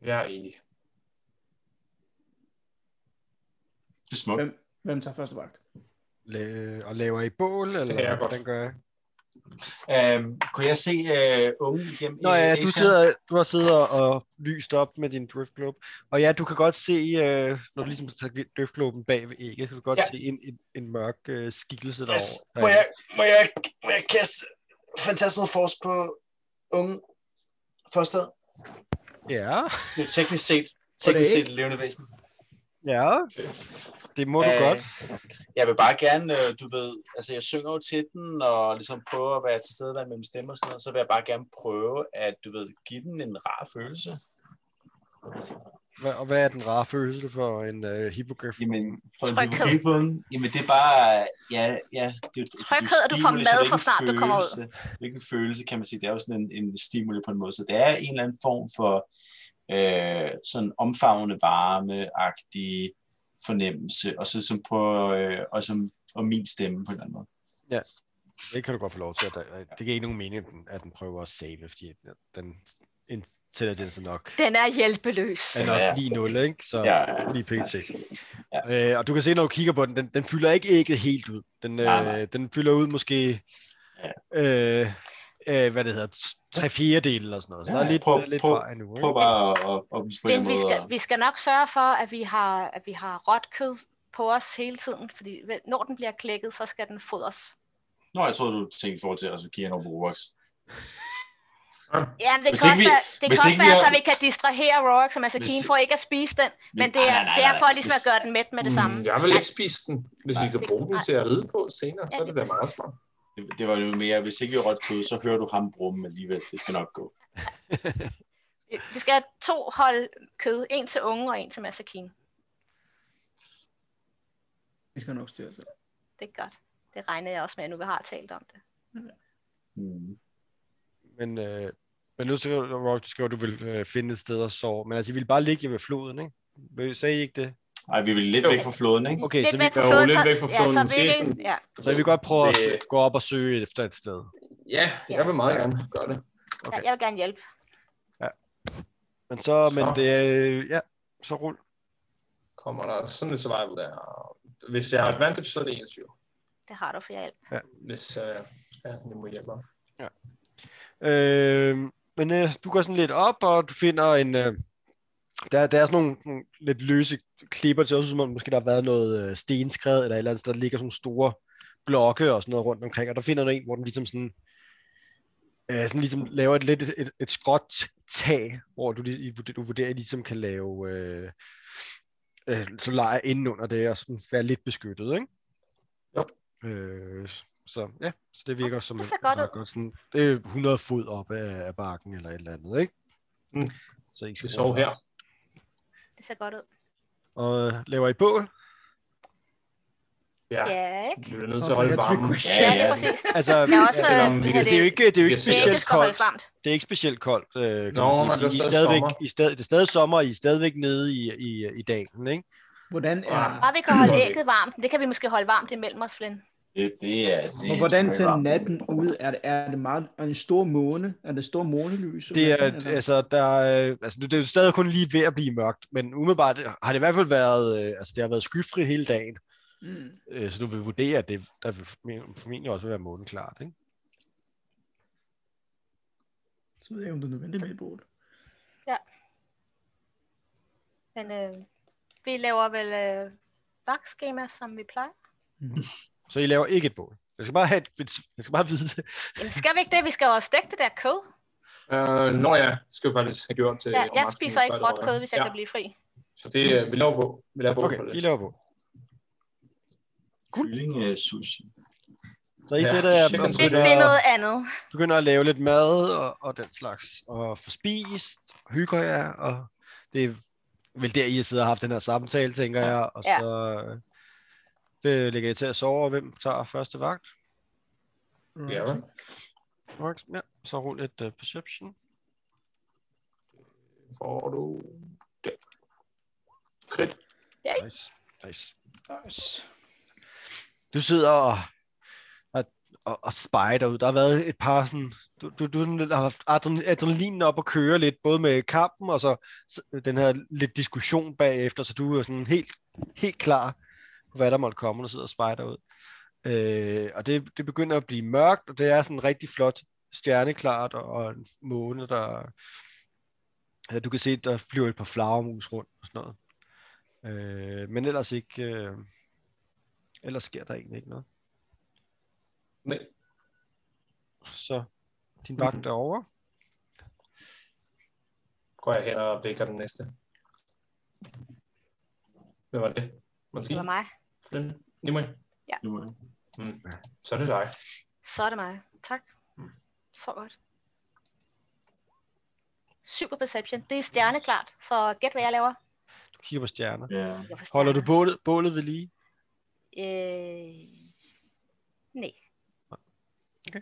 C: Jeg er enig.
H: Det er smukt.
G: Hvem, hvem tager første vagt?
B: La- og laver I bål, eller
C: kan jeg godt.
B: hvordan gør jeg?
H: Øhm, kunne jeg se øh, ungen igennem?
B: Nå ja, du,
H: Asia?
B: sidder, du har siddet og lyst op med din driftglobe. Og ja, du kan godt se, øh, når du ligesom tager driftgloben bag ved ægget, kan du godt
H: Ja.
B: ja. se en, en, en mørk øh, skikkelse
H: Yes.
B: derovre.
H: Må, jeg, må, jeg, må jeg kaste Fantasmal Force på ungen første?
B: Ja,
H: Det er jo teknisk set, teknisk
G: ikke?
H: set et levende væsen.
B: ja. Det må du
H: Øh,
B: godt.
H: Jeg vil bare gerne, øh, du ved, altså jeg synger jo til den, og ligesom prøver at være til stede der mellem stemmer og sådan noget, så vil jeg bare gerne prøve at, du ved, give den en rar følelse.
B: Hva, og hvad er den rare følelse for en øh, hippogriff?
H: Jamen, for en
D: Tryghed.
H: hypokalifon, jamen det er bare, ja, ja, det er jo det er jo
D: Tryghed, at du får
H: stimuli, så
D: mad,
H: det
D: så
H: er ikke en
D: snart du kommer ud.
H: følelse. Hvilken følelse, kan man sige, det er jo sådan en, en stimuli på en måde, så det er en eller anden form for øh, sådan omfavnende, varme-agtig fornemmelse, og så som på, øh, og som og min stemme på en eller anden måde.
B: Det kan du godt få lov til. At, at- det giver ikke nogen mening, at den, at den prøver at save, fordi den- den indsætter den så nok.
D: Den er hjælpeløs.
B: Er
H: Ja.
B: nok lige 0, ikke? Så
H: Ja,
B: ja.
H: ja.
B: lige pt.
H: Ja.
B: Øh, og du kan se, når du kigger på den, den, den fylder ikke ægget helt ud. Den,
H: Nej, nej.
B: øh, den fylder ud måske, øh, øh, hvad det hedder, t- tre fjerdedele eller sådan noget. Så
H: Ja,
B: der er lidt,
H: prøv-
B: der er lidt
H: prøv-
B: vej nu, ikke?
H: Prøv bare at, at, at vise på en
D: Men vi
H: måde.
D: skal, vi skal nok sørge for, at vi har, at vi har råt kød på os hele tiden, fordi ved- når den bliver klækket, så skal den fodres.
H: Nå, jeg tror du tænkte i forhold til, altså, at så kigger jeg over på Robux.
D: Ja, men det
H: Hvis
D: kan
H: ikke
D: også
H: vi-
D: være, det
H: hvis
D: kan også
H: ikke vi
D: være
H: har-
D: så vi kan distrahere Rorik, som altså
H: Hvis-
D: kine for ikke at spise den, men det er,
H: Ej, nej, nej,
D: det er
H: nej,
D: for
H: nej.
D: ligesom
H: Hvis-
D: at gøre den mæt med det samme. Altså,
C: Mm, Jeg vil ikke spise den. Hvis vi
H: Nej.
C: kan bruge den til at ride på senere, så er det da meget smart.
H: Det, det var jo mere, hvis ikke vi har rødt kød, så hører du ham brumme alligevel. Det skal nok gå.
D: Vi- Vi skal have to hold kød, en til unge og en til Masakine.
G: Vi skal nok styre sig.
D: Det er godt. Det regner jeg også med, at nu vi har talt om det.
H: Mm.
B: Men, øh, men nu skriver du, Rock, du skriver, at du vil øh, finde et sted at sove. Men altså, I ville bare ligge ved floden, ikke? Vil- Sagde I ikke det?
H: Ej, vi vil lidt
C: Jo.
H: væk fra flåden, ikke?
B: Okay,
D: lidt
B: så vi-
D: væk fra
C: Jo,
D: floden,
C: lidt
D: så-
C: væk fra floden.
D: Ja, så vi
C: Måske
D: ikke,
C: sådan-
D: ja.
B: Så vi kan godt prøve at
C: Øh,
B: sø- gå op og søge efter et sted.
C: Ja, jeg vil meget gerne gøre det.
D: Ja, jeg vil gerne hjælpe.
B: Men så, men
C: Så.
B: det er, ja, så rul.
C: Kommer der sådan et survival der? Hvis jeg har advantage, så er det 21.
D: Det har du for hjælp.
C: Hvis øh, ja, det må hjælpe. mig.
B: Øh, men øh, du går sådan lidt op, og du finder en... Øh, der, der er sådan nogle, nogle lidt løse klipper til, også som om måske der har været noget øh, stenskred, eller et eller andet, sted. der ligger sådan nogle store blokke og sådan noget rundt omkring, og der finder du en, hvor den ligesom sådan, øh, sådan ligesom laver et lidt et, et, et skråt tag, hvor du, lige- du vurderer, at I ligesom kan lave øh, øh, så lejer inden under det, og sådan være lidt beskyttet, ikke?
C: Jo.
B: Øh, så ja, så det virker som
D: Det
B: en-
D: ser godt
B: meget
D: ud.
B: godt sådan, det er 100 fod op af, af bakken eller et eller andet, ikke?
C: Mm.
B: Så I
C: Skal
B: skal
C: vi sove her?
D: Det ser godt ud.
B: Og øh, laver I bål?
C: Ja.
D: Ja, ikke?
C: Vi er nødt til at holde varmen.
D: Ja,
H: Ja,
D: det er
H: ja.
D: præcis.
B: Altså,
D: Jeg er også,
C: Ja, eller om
D: øh,
C: vi
D: det, her,
C: kan
B: det er jo
D: det,
B: ikke, det er jo
C: Vi
B: ikke
C: er
D: det,
B: specielt
D: det skal holdes
B: koldt.
D: varmt.
B: Det er ikke specielt koldt. Øh, kan
C: Nå,
B: man sige,
C: men det er
B: fordi I stadigvæk, I
C: stadig sommer.
B: er stadig, det er stadig sommer, og I er stadigvæk nede i, i, i dalen, ikke?
G: Hvordan
B: Ah.
G: er,
D: Bare vi kan holde
C: Okay.
D: ægget varmt. Det kan vi måske holde varmt imellem os, Flynn.
E: Det, det er... Det
G: og hvordan ser natten ud? Er det, er det meget, er det en stor måne? Er det stor månelys? om
B: Det
G: natten,
B: er,
G: eller?
B: altså, der, er- altså, det er jo stadig kun lige ved at blive mørkt, men umiddelbart har det i hvert fald været, øh, altså det har været skyfrit hele dagen,
G: Mm.
B: øh, så du vil vurdere, at det, der vil formentlig- formentlig også vil være måneklart, ikke?
G: Så ved jeg, ikke, om det er nødvendigt med et bål.
D: Men øh, vi laver vel øh, vagtskema, som vi plejer.
B: Så I laver ikke et bål. Jeg skal bare, have et, jeg skal bare vide det.
D: Jamen, skal vi ikke det? Vi skal jo også stegt det der kød.
C: Øh, nå ja, det skal vi faktisk have gjort til
D: Ja,
C: om
D: jeg
C: aftenen,
D: spiser
C: før
D: ikke
C: det
D: råt
C: rører.
D: kød, hvis jeg
C: ja.
D: kan blive fri.
C: Så det, øh, vi laver på. Vi laver på for
B: Okay, I
C: lidt.
B: laver bål.
E: Kylling øh, sushi.
B: Så I
C: Ja,
B: sætter jer
C: sikkert.
B: og
D: Det, det er
B: begynder,
D: noget andet.
B: begynder at lave lidt mad og, og den slags, og få spist, hygger jer, og det er vel der, I har siddet og haft den her samtale, tænker jeg, og
D: Ja.
B: så øh, det ligger I til at sove, og hvem tager første vagt?
C: Ja, vel?
B: Max, ja. Så rul et uh, perception.
C: Får du det. Krit.
B: Nice. nice.
G: Nice.
B: Du sidder og, og, og, og spejder dig ud. Der har været et par sådan... Du, du, du sådan lidt har haft adren- adrenalinen op og køre lidt, både med kampen og så s- den her lidt diskussion bagefter, så du er sådan helt, helt klar på, hvad der måtte komme, når du sidder og spejder ud. Øh, og det, det begynder at blive mørkt, og det er sådan rigtig flot stjerneklart, og, og en måne, der... Ja, du kan se, der flyver et par flagermus rundt og sådan noget. Øh, men ellers ikke... Øh, ellers sker der egentlig ikke noget.
C: Nej.
B: Så din vagt er over.
C: Går jeg hen og vækker den næste. Hvad var det?
D: Det
C: Måske.
D: var mig.
C: Flynn? Nimue?
D: Ja.
C: Nimue. Mm. Så er det dig.
D: Så er det mig. Tak. Så godt. Super perception. Det er stjerneklart, så gæt hvad jeg laver.
B: Du kigger på stjerner.
E: Ja.
D: Jeg får
B: Holder du
D: stjerner.
B: bålet, bålet ved lige?
D: Øh... Nej.
B: Okay.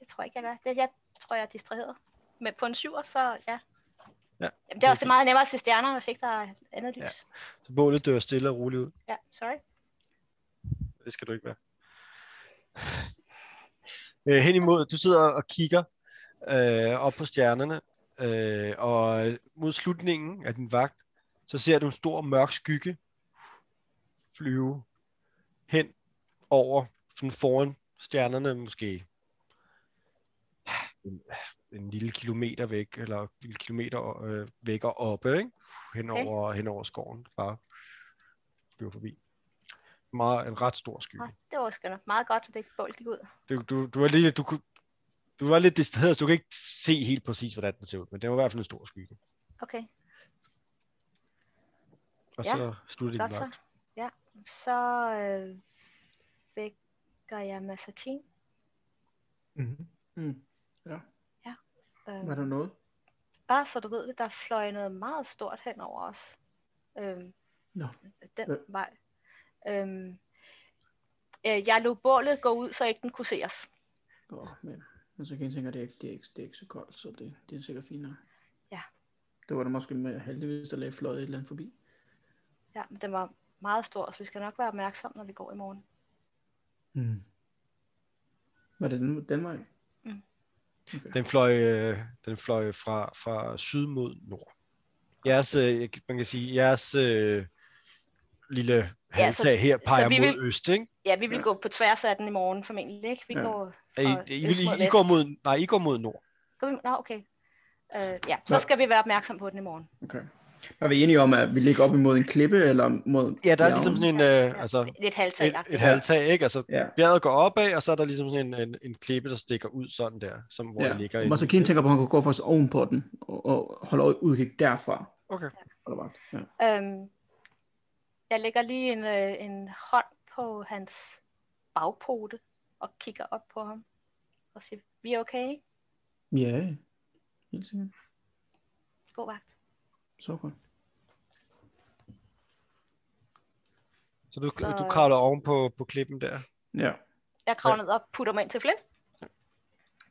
D: Det tror jeg ikke, jeg gør. Det, jeg tror, jeg er distraheret. Men på en syver, så ja.
B: Ja,
D: Jamen, det
B: det
D: er
B: er
D: også det
B: fint.
D: meget nemmere at se stjerner, hvis ikke der er andet lys. Ja,
B: Så bålet dør stille og roligt ud.
D: ja sorry.
B: Det skal du ikke være. øh, hen imod, du sidder og kigger øh, op på stjernerne, øh, og mod slutningen af din vagt, så ser du en stor mørk skygge flyve hen over, sådan foran stjernerne måske en, en lille kilometer væk, eller en lille kilometer øh, væk og oppe, ikke? Hen,
D: Okay.
B: over, hen over skoven, bare flyver forbi. Meget, en ret stor skygge
D: Nå, det var sgu nok meget godt, at det ikke bål gik ud.
B: du, du, du var lige, du, kunne- du var lidt distraheret, så du kan ikke se helt præcis, hvordan den ser ud, men det var i hvert fald en stor skygge.
D: Okay,
B: Og
D: Ja,
B: så sluttede
D: godt
B: din
D: så.
B: vagt.
D: Ja, så øh, vækker jeg Masakin.
G: Mm.
D: Øh,
G: Var der noget?
D: bare så du ved det, der fløj noget meget stort hen over os. Øhm,
G: Nå.
D: Den
G: Ja.
D: vej. Øhm, øh, jeg lod bålet gå ud, så ikke den kunne se os.
G: Åh, men, men så kan jeg tænke, at det er, ikke- det, er ikke, det er ikke så koldt, så det, det er sikkert fint nok.
D: Ja.
G: Det var da måske mere heldigvis, der lagde fløjet et eller andet forbi.
D: Ja, men den var meget stor, så vi skal nok være opmærksomme, når vi går i morgen.
G: Mm. Var det den, den vej?
D: Mm.
G: Okay.
B: Den fløj, øh, den fløj fra, fra syd mod nord. Jeres, øh, man kan sige, jeres øh, lille
D: så-
B: halvtag her peger
D: så vi
B: mod
D: vil-
B: øst, ikke?
D: Ja, vi vil gå på tværs af den i morgen formentlig, ikke? Vi
G: Ja.
D: går...
B: Er I,
D: Og
B: I, I,
D: øst mod
B: I, I
D: vest.
B: går mod, nej, I går mod nord.
D: Går vi- Nå, okay. Øh, ja, så
G: Nå.
D: skal vi være opmærksom på den i morgen.
G: Okay. Er vi enige om, at vi ligger op imod en klippe, eller mod...
B: Ja, der er
G: bjergen?
B: ligesom sådan en, øh, altså,
D: Lidt halvtag.
B: et, et halvtag, ikke? Altså,
G: Ja.
B: bjerget går opad, og så er der ligesom sådan en, en, en klippe, der stikker ud sådan der, som hvor ja. jeg ligger
G: Ja.
B: i.
G: Masakine tænker på, at han kunne gå for os oven på den, og, og holde øje- udkig derfra.
B: Okay.
G: Eller hvad? Ja.
D: Øhm, jeg lægger lige en, øh, en hånd på hans bagpote og kigger op på ham og siger, vi er okay, ikke?
G: ja, helt sikkert.
D: god vagt.
G: Så godt.
B: Så du,
D: Så-
B: du kravler oven på, på klippen der.
G: Ja.
D: Jeg kravler ned og putter mig ind til Flint.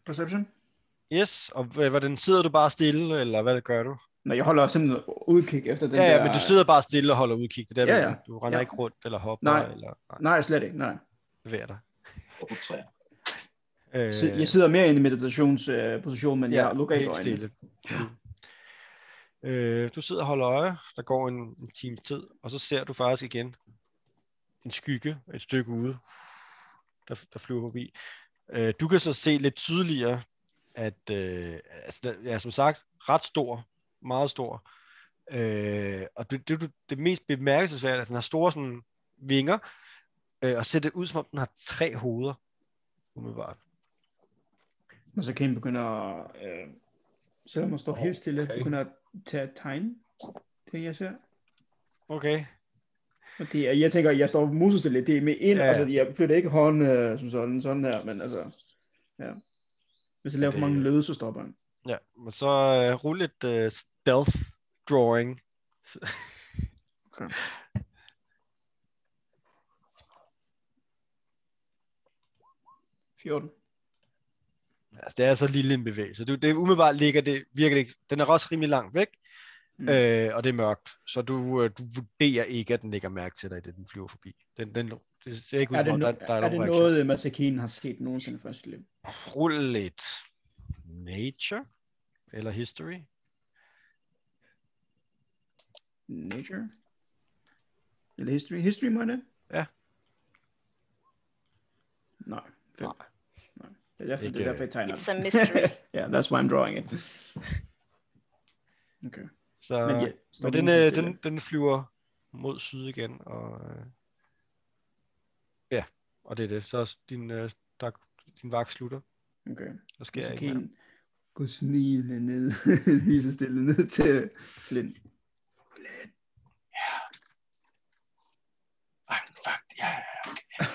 G: Perception?
B: Yes, og h- hvordan sidder du bare stille, eller hvad gør du?
G: Nej, jeg holder simpelthen udkig efter den
B: Ja,
G: der...
B: ja, men du sidder bare stille og holder udkig. Det der,
G: Ja,
B: ja, ja.
G: ja.
B: du render
G: Ja.
B: ikke rundt, eller hopper,
G: Nej.
B: eller nej,
G: Nej, slet ikke, nej.
B: bevæger dig.
E: og på træer.
B: Øh,
G: Så jeg sidder mere inde i meditationsposition, men jeg lukker ikke
B: helt
G: øjnene.
B: stille. Øh, du sidder og holder øje, der går en, en times tid, og så ser du faktisk igen en skygge et stykke ude, der, der flyver forbi. Øh, du kan så se lidt tydeligere, at øh, altså, den er som sagt ret stor, meget stor, øh, og det, det, du- det mest bemærkelsesværdige er, at den har store sådan, vinger, øh, og ser det ud som om den har tre hoveder, umiddelbart.
G: Og så kan jeg begynde at... Øh, selvom man står helt stille,
C: Okay.
G: okay. begynde at tage et tegn, det jeg ser.
B: Okay.
G: Og det er, jeg tænker, jeg står musestille, det er med ind,
B: Ja,
G: ja.
B: ja.
G: altså jeg flytter ikke hånden øh, som sådan, sådan her, men altså, ja. Hvis jeg laver for
E: Det-
G: mange lyde, så stopper han.
B: Ja, men så øh, rulle et øh, stealth drawing.
G: Okay. Fjorten.
B: Altså, det er så lille en bevægelse. Du, det umiddelbart ligger det, virker det ikke. Den er også rimelig langt væk,
G: Mm.
B: mm. øh, og det er mørkt. Så du, øh, du vurderer ikke, at den lægger mærke til dig, da den flyver forbi. Den, den, det ser ikke ud som
G: Er det,
B: om,
G: no-
B: der, der er,
G: er, er det
B: nogen reaktion.
G: noget, Masakine har set nogensinde før i sit liv?
B: Rul lidt nature eller history.
G: Nature? Eller history? History må jeg det?
B: Ja.
G: Nej. Fedt. Nej. Det er derfor,
B: Ikke,
G: det er derfor jeg tegner
D: It's a mystery.
G: Ja, yeah, that's why I'm drawing it. Okay.
B: Så,
G: Men
B: men
G: ja, står
B: den,
G: musestille.
B: øh, den, den flyver mod syd igen, og øh, ja, og det er det. Så er din, øh, der, din vagt slutter.
G: Okay.
B: Der sker
G: Så
B: ikke
G: kan
B: mere.
G: en gå snigende ned, snige sig stille ned til Flint.
E: Ej, fuck, ja, ja, ja, okay,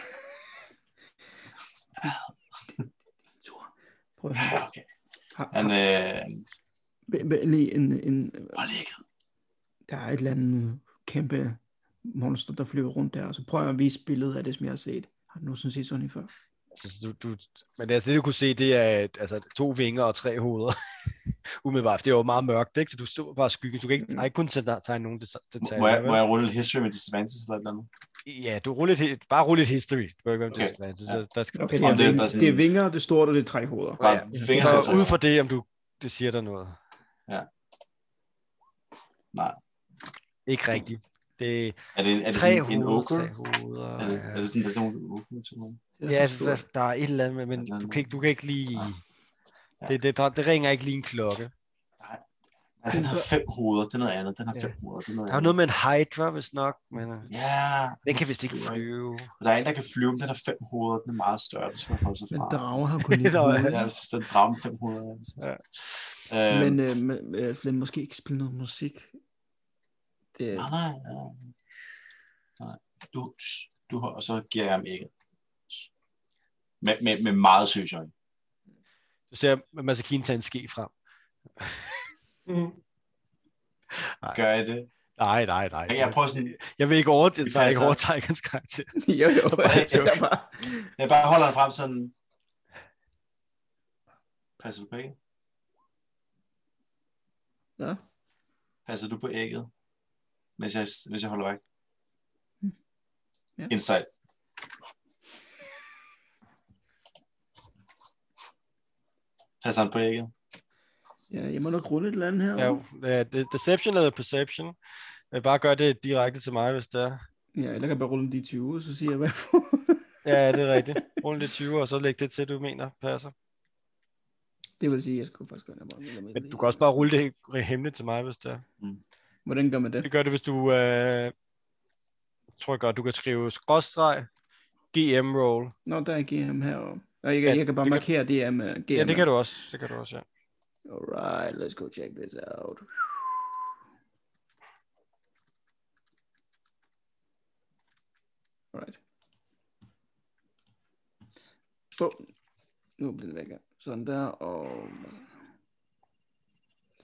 G: Tur. Prøv at
E: ja,
G: høre.
E: okay.
G: Har,
E: Han,
G: har,
E: øh,
G: b- b- lige en, en,
E: hvor ligget?
G: der er et eller andet kæmpe monster, der flyver rundt der, og så prøver jeg at vise billedet af det, som jeg har set. Har du nogensinde set sådan en før?
B: Altså, du, du, men altså, det du kunne se, det er at, altså, to vinger og tre hoveder. Umiddelbart, det var jo meget mørkt, ikke? Så du stod bare i skyggen. Du kan ikke, nej, kun tage, tage nogen det, det
E: Må, må, jeg, må jeg rulle et history med disadvantage eller et eller andet?
B: Ja, du ruller et, he- bare rulle et history. Du behøver ikke
E: Okay.
B: okay. det, så, der skal,
G: Okay,
B: okay.
G: det, er,
E: det er
G: det, er,
E: bare sådan-
G: sådan... det er vinger, det er stort, og det er tre hoveder.
E: Bare
B: Ja.
E: fingre
B: så
E: til træer.
B: ud fra det, om du det siger dig noget.
E: Nej.
B: Ikke rigtigt. Det er
E: Er det, er det
B: tre
E: sådan en
B: hoveder,
E: ochre?
B: tre hoveder.
E: Er det, er det sådan, der er sådan en ochre?
B: Ja, der, der er et eller andet, men du kan ikke, du kan ikke lige...
E: Ja.
B: Det, det, der, det ringer ikke lige en klokke.
E: Ja, den har fem hoveder, det er noget andet. Den har fem
B: Ja.
E: hoveder, det er noget
B: Der er jo
E: andet.
B: noget med en hydra, hvis nok, men øh,
E: Ja.
B: den kan vist ikke flyve.
E: Der er en, der kan flyve, men den har fem hoveder, den er meget større, det skal man holde sig
G: Men
E: fra.
G: drager har kun
B: Der er-
G: ikke
E: Ja, jeg synes, den drage med fem hoveder. jeg synes.
B: Ja.
E: Øhm,
G: Men øh, men, øh, Flynn, måske ikke spille noget musik. Det,
B: Ah.
E: Nej, ah, nej, nej. nej. Du, sh, du har, og så giver jeg ham ikke. Med, med, med meget søs øjne.
B: Du ser Masakine tage en ske frem.
E: Gør jeg det?
B: Nej, nej, nej.
E: Jeg, jeg prøver sådan,
B: jeg vil ikke, over, jeg tager ikke
E: passer.
B: overtrække hans karakter.
G: jo, jo,
E: det er
G: bare...
E: jeg bare holder ham frem sådan. Passer du på ægget?
G: Ja.
E: Passer du på ægget? Hvis jeg, hvis jeg holder væk?
G: Mm. Ja.
E: Insight. Passer han på ægget?
G: ja, jeg må nok rulle et eller andet her.
B: Ja, jo. Øh, det- deception eller perception. Øh, Bare gør det direkte til mig, hvis det er.
G: Ja, eller jeg kan bare rulle en D20, så siger jeg, hvad jeg får.
B: Ja, det er rigtigt. Rund det 20, og så læg det til, du mener passer.
G: det vil sige, jeg skulle faktisk gøre det.
B: Men du kan også bare rulle det helt hemmeligt til mig, hvis det er.
G: Hvordan gør man det?
B: Det gør det, hvis du... Øh, tror jeg godt, du kan skrive skråstreg, GM roll.
G: Nå, der er GM herovre. Og jeg, kan,
B: Ja,
G: jeg kan bare
B: det kan-
G: markere det her med GM.
B: Ja, det kan du også. Det kan du også, ja.
G: Alright, let's go check this out. Alright. Oh, nu bliver det væk her. Sådan der, og...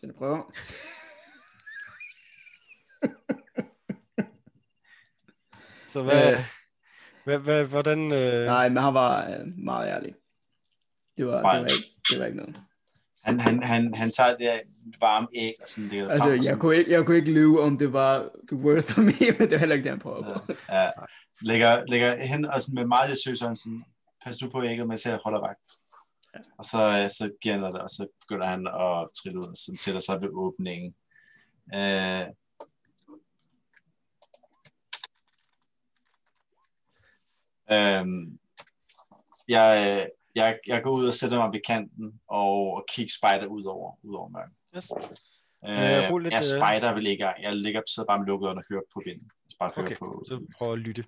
G: Så jeg prøver.
B: Så hvad...
G: Øh.
B: hvad, hvad hvordan... Øh,
G: Nej, men han var øh, meget ærlig. Det var, det var,
H: Nej.
G: ikke, det var ikke noget.
H: Han, han, han, han tager det her varme æg og sådan lægger det
G: Altså,
H: frem. og
G: jeg
H: sådan,
G: kunne, ikke, jeg kunne ikke lyve, om det var worth of me, men det var heller ikke det, han prøvede på.
H: ja, lægger, lægger hen og sådan med meget seriøs øjne sådan, pas nu på ægget, mens jeg holder vagt. Og så, øh, så giver han dig det, og så begynder han at trille ud og sådan sætter sig ved åbningen. Øh, Øhm, jeg, øh, jeg, jeg går ud og sætter mig ved kanten og, og kigger spejder ud over, ud over mørket.
B: Yes. Øh, rul
H: Øh,
B: lidt,
H: jeg
B: øh.
H: spejder vel ikke engang. Jeg ligger sidder bare med lukket øjne og hører på vinden. Jeg bare hører
B: Okay,
H: på.
B: så prøv at lytte.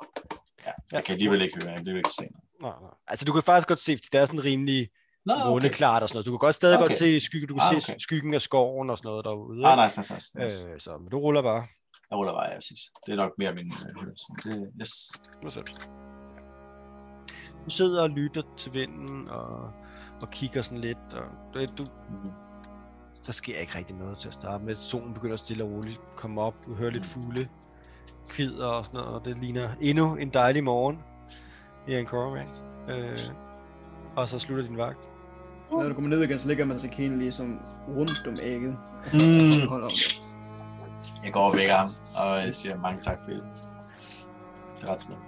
H: Ja, jeg kan alligevel ikke høre, jeg kan alligevel ikke se noget.
B: Nej, nej. Altså, du kan faktisk godt se, fordi der er sådan rimelig
H: Nå,
B: måne klart og sådan noget. Du kan godt stadig godt
H: Ah, Okay.
B: se skyggen, du kan
H: Ah,
B: se
H: okay.
B: skyggen af skoven og sådan noget derude.
H: Ah,
B: ikke?
H: nice, nice, nice. nice.
B: Øh, så, men du ruller bare.
H: Jeg ruller bare, jeg synes. Det er nok mere min øh, hørelse. Det, yes.
B: Du sidder og lytter til vinden og, og kigger sådan lidt, og du, du,
H: Mhm.
B: der sker ikke rigtig noget til at starte med. Solen begynder stille og roligt at komme op, du hører lidt fugle, kvider og sådan noget, og det ligner endnu en dejlig morgen her i Cormac. Øh, og så slutter din vagt.
G: Når du kommer ned igen, så ligger man så kende ligesom rundt om ægget.
H: Mm.
G: Hold om det.
H: Jeg går og vækker ham, og jeg siger mange tak for det. Det er ret smukt.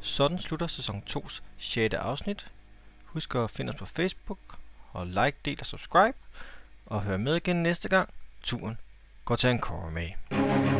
J: Sådan slutter sæson 2's 6. afsnit. Husk at finde os på Facebook, og like, del og subscribe, og hør med igen næste gang. Turen går til en med.